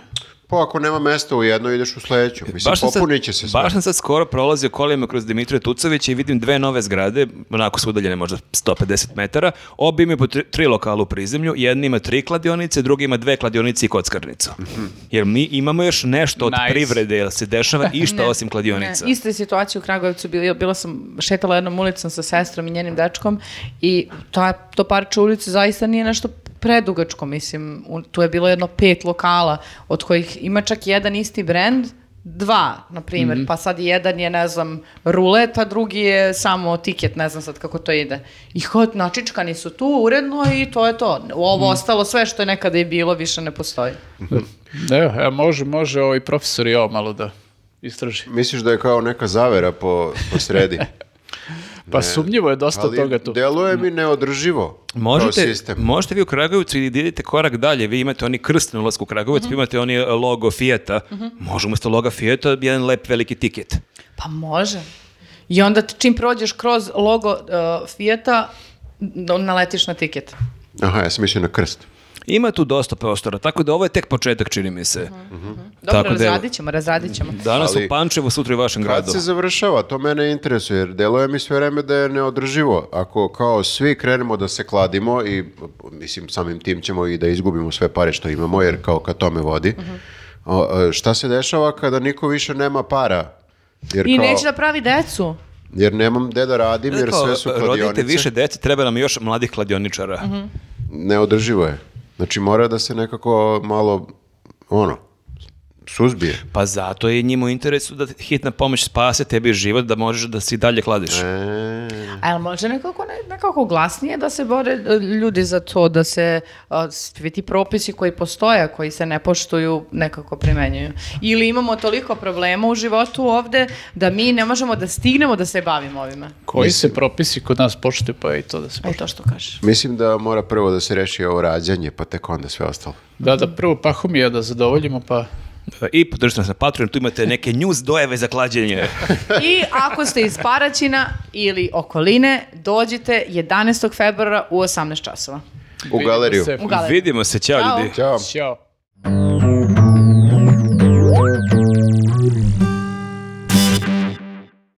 Speaker 3: Pa ako nema mesta u jedno, ideš u sledeću. Mislim,
Speaker 1: sam sad-
Speaker 3: popunit će se sve.
Speaker 1: baš sam sad skoro prolazio kolima kroz Dimitrija Tucovića i vidim dve nove zgrade, onako su udaljene možda 150 metara, obje imaju po tri, tri lokala u prizemlju, jedna ima tri kladionice, druga ima dve kladionice i kockarnicu.
Speaker 3: Mhm.
Speaker 1: Jer mi imamo još nešto od
Speaker 2: Nice.
Speaker 1: privrede, jer se dešava išta
Speaker 4: Ne,
Speaker 1: osim kladionica.
Speaker 4: Ne, ista je situacija u Kragovicu, bila, bila sam, šetala jednom ulicom sa sestrom i njenim dečkom i ta, to parče ulice zaista nije nešto predugačko, mislim, u- tu je bilo jedno pet lokala, od kojih ima čak jedan isti brand, dva, na primjer, pa sad jedan je, ne znam, rulet, a drugi je samo tiket, ne znam sad kako to ide. I hod, načičkani su tu uredno i to je to. Ovo ostalo, sve što je nekada i bilo, više ne postoji.
Speaker 2: Evo, e, može, može ovaj profesor i ovo malo da istraži.
Speaker 3: Misliš da je kao neka zavera po, po sredi.
Speaker 2: Pa sumnjivo je dosta toga tu.
Speaker 3: deluje mi neodrživo kao
Speaker 1: Možete,
Speaker 3: sistem.
Speaker 1: možete vi u Kragujevcu i da idete korak dalje, vi imate oni krst na ulazku u Kragujevac,
Speaker 4: Mhm.
Speaker 1: vi imate oni e, logo Fijeta, može umjesto loga Fijeta jedan lep veliki tiket.
Speaker 4: Pa može. I onda t- čim prođeš kroz logo uh, Fijeta, n- naletiš na tiket.
Speaker 3: Aha, ja sam mislio na krst.
Speaker 1: Ima tu dosta prostora, tako da ovo je tek početak čini mi se.
Speaker 4: Mhm. Dobro,
Speaker 1: Tako da je-
Speaker 4: razradit ćemo, razradit ćemo.
Speaker 1: Danas
Speaker 3: Ali-
Speaker 1: u Pančevu, sutra u vašem
Speaker 3: Kad
Speaker 1: gradu.
Speaker 3: se završava, to mene interesuje, jer deluje mi sve vreme da je neodrživo. Ako kao svi krenemo da se kladimo i mislim samim tim ćemo i da izgubimo sve pare što imamo, jer kao ka tome vodi, o, e, šta se dešava kada niko više nema para? Jer,
Speaker 4: I
Speaker 3: kao-
Speaker 4: neće da pravi decu.
Speaker 3: jer nemam gde da radim, jer
Speaker 1: Kao,
Speaker 3: sve su kladionice.
Speaker 1: e, rodite više dece, treba nam još mladih kladioničara.
Speaker 4: Mhm.
Speaker 3: Neodrživo je. Znači mora da se nekako malo, ono, suzbije.
Speaker 1: Pa zato je njima u interesu da hitna pomoć spase tebi život, da možeš da si dalje kladiš.
Speaker 3: E.
Speaker 4: A jel može nekako, ne- nekako glasnije da se bore e, ljudi za to, da se uh, svi ti propisi koji postoje, koji se ne poštuju, nekako primenjuju. Ili imamo toliko problema u životu ovde da mi ne možemo da stignemo da se bavimo ovime.
Speaker 2: Koji se propisi kod nas poštuju, pa je i to da se
Speaker 4: E to što kažeš.
Speaker 3: Mislim da mora prvo da se reši ovo rađanje, pa tek onda sve ostalo.
Speaker 2: Da, da prvo pahomija da zadovoljimo, pa...
Speaker 1: E, I podržite nas na Patreon, tu imate neke news dojeve za klađenje.
Speaker 4: I ako ste iz Paraćina ili okoline, dođite 11. februara u 18 časova.
Speaker 3: U galeriju.
Speaker 2: Vidimo da se.
Speaker 4: U galeriji.
Speaker 1: Vidimo se, ćao
Speaker 4: Ćao.
Speaker 1: ljudi.
Speaker 3: Ćao.
Speaker 2: Ćao.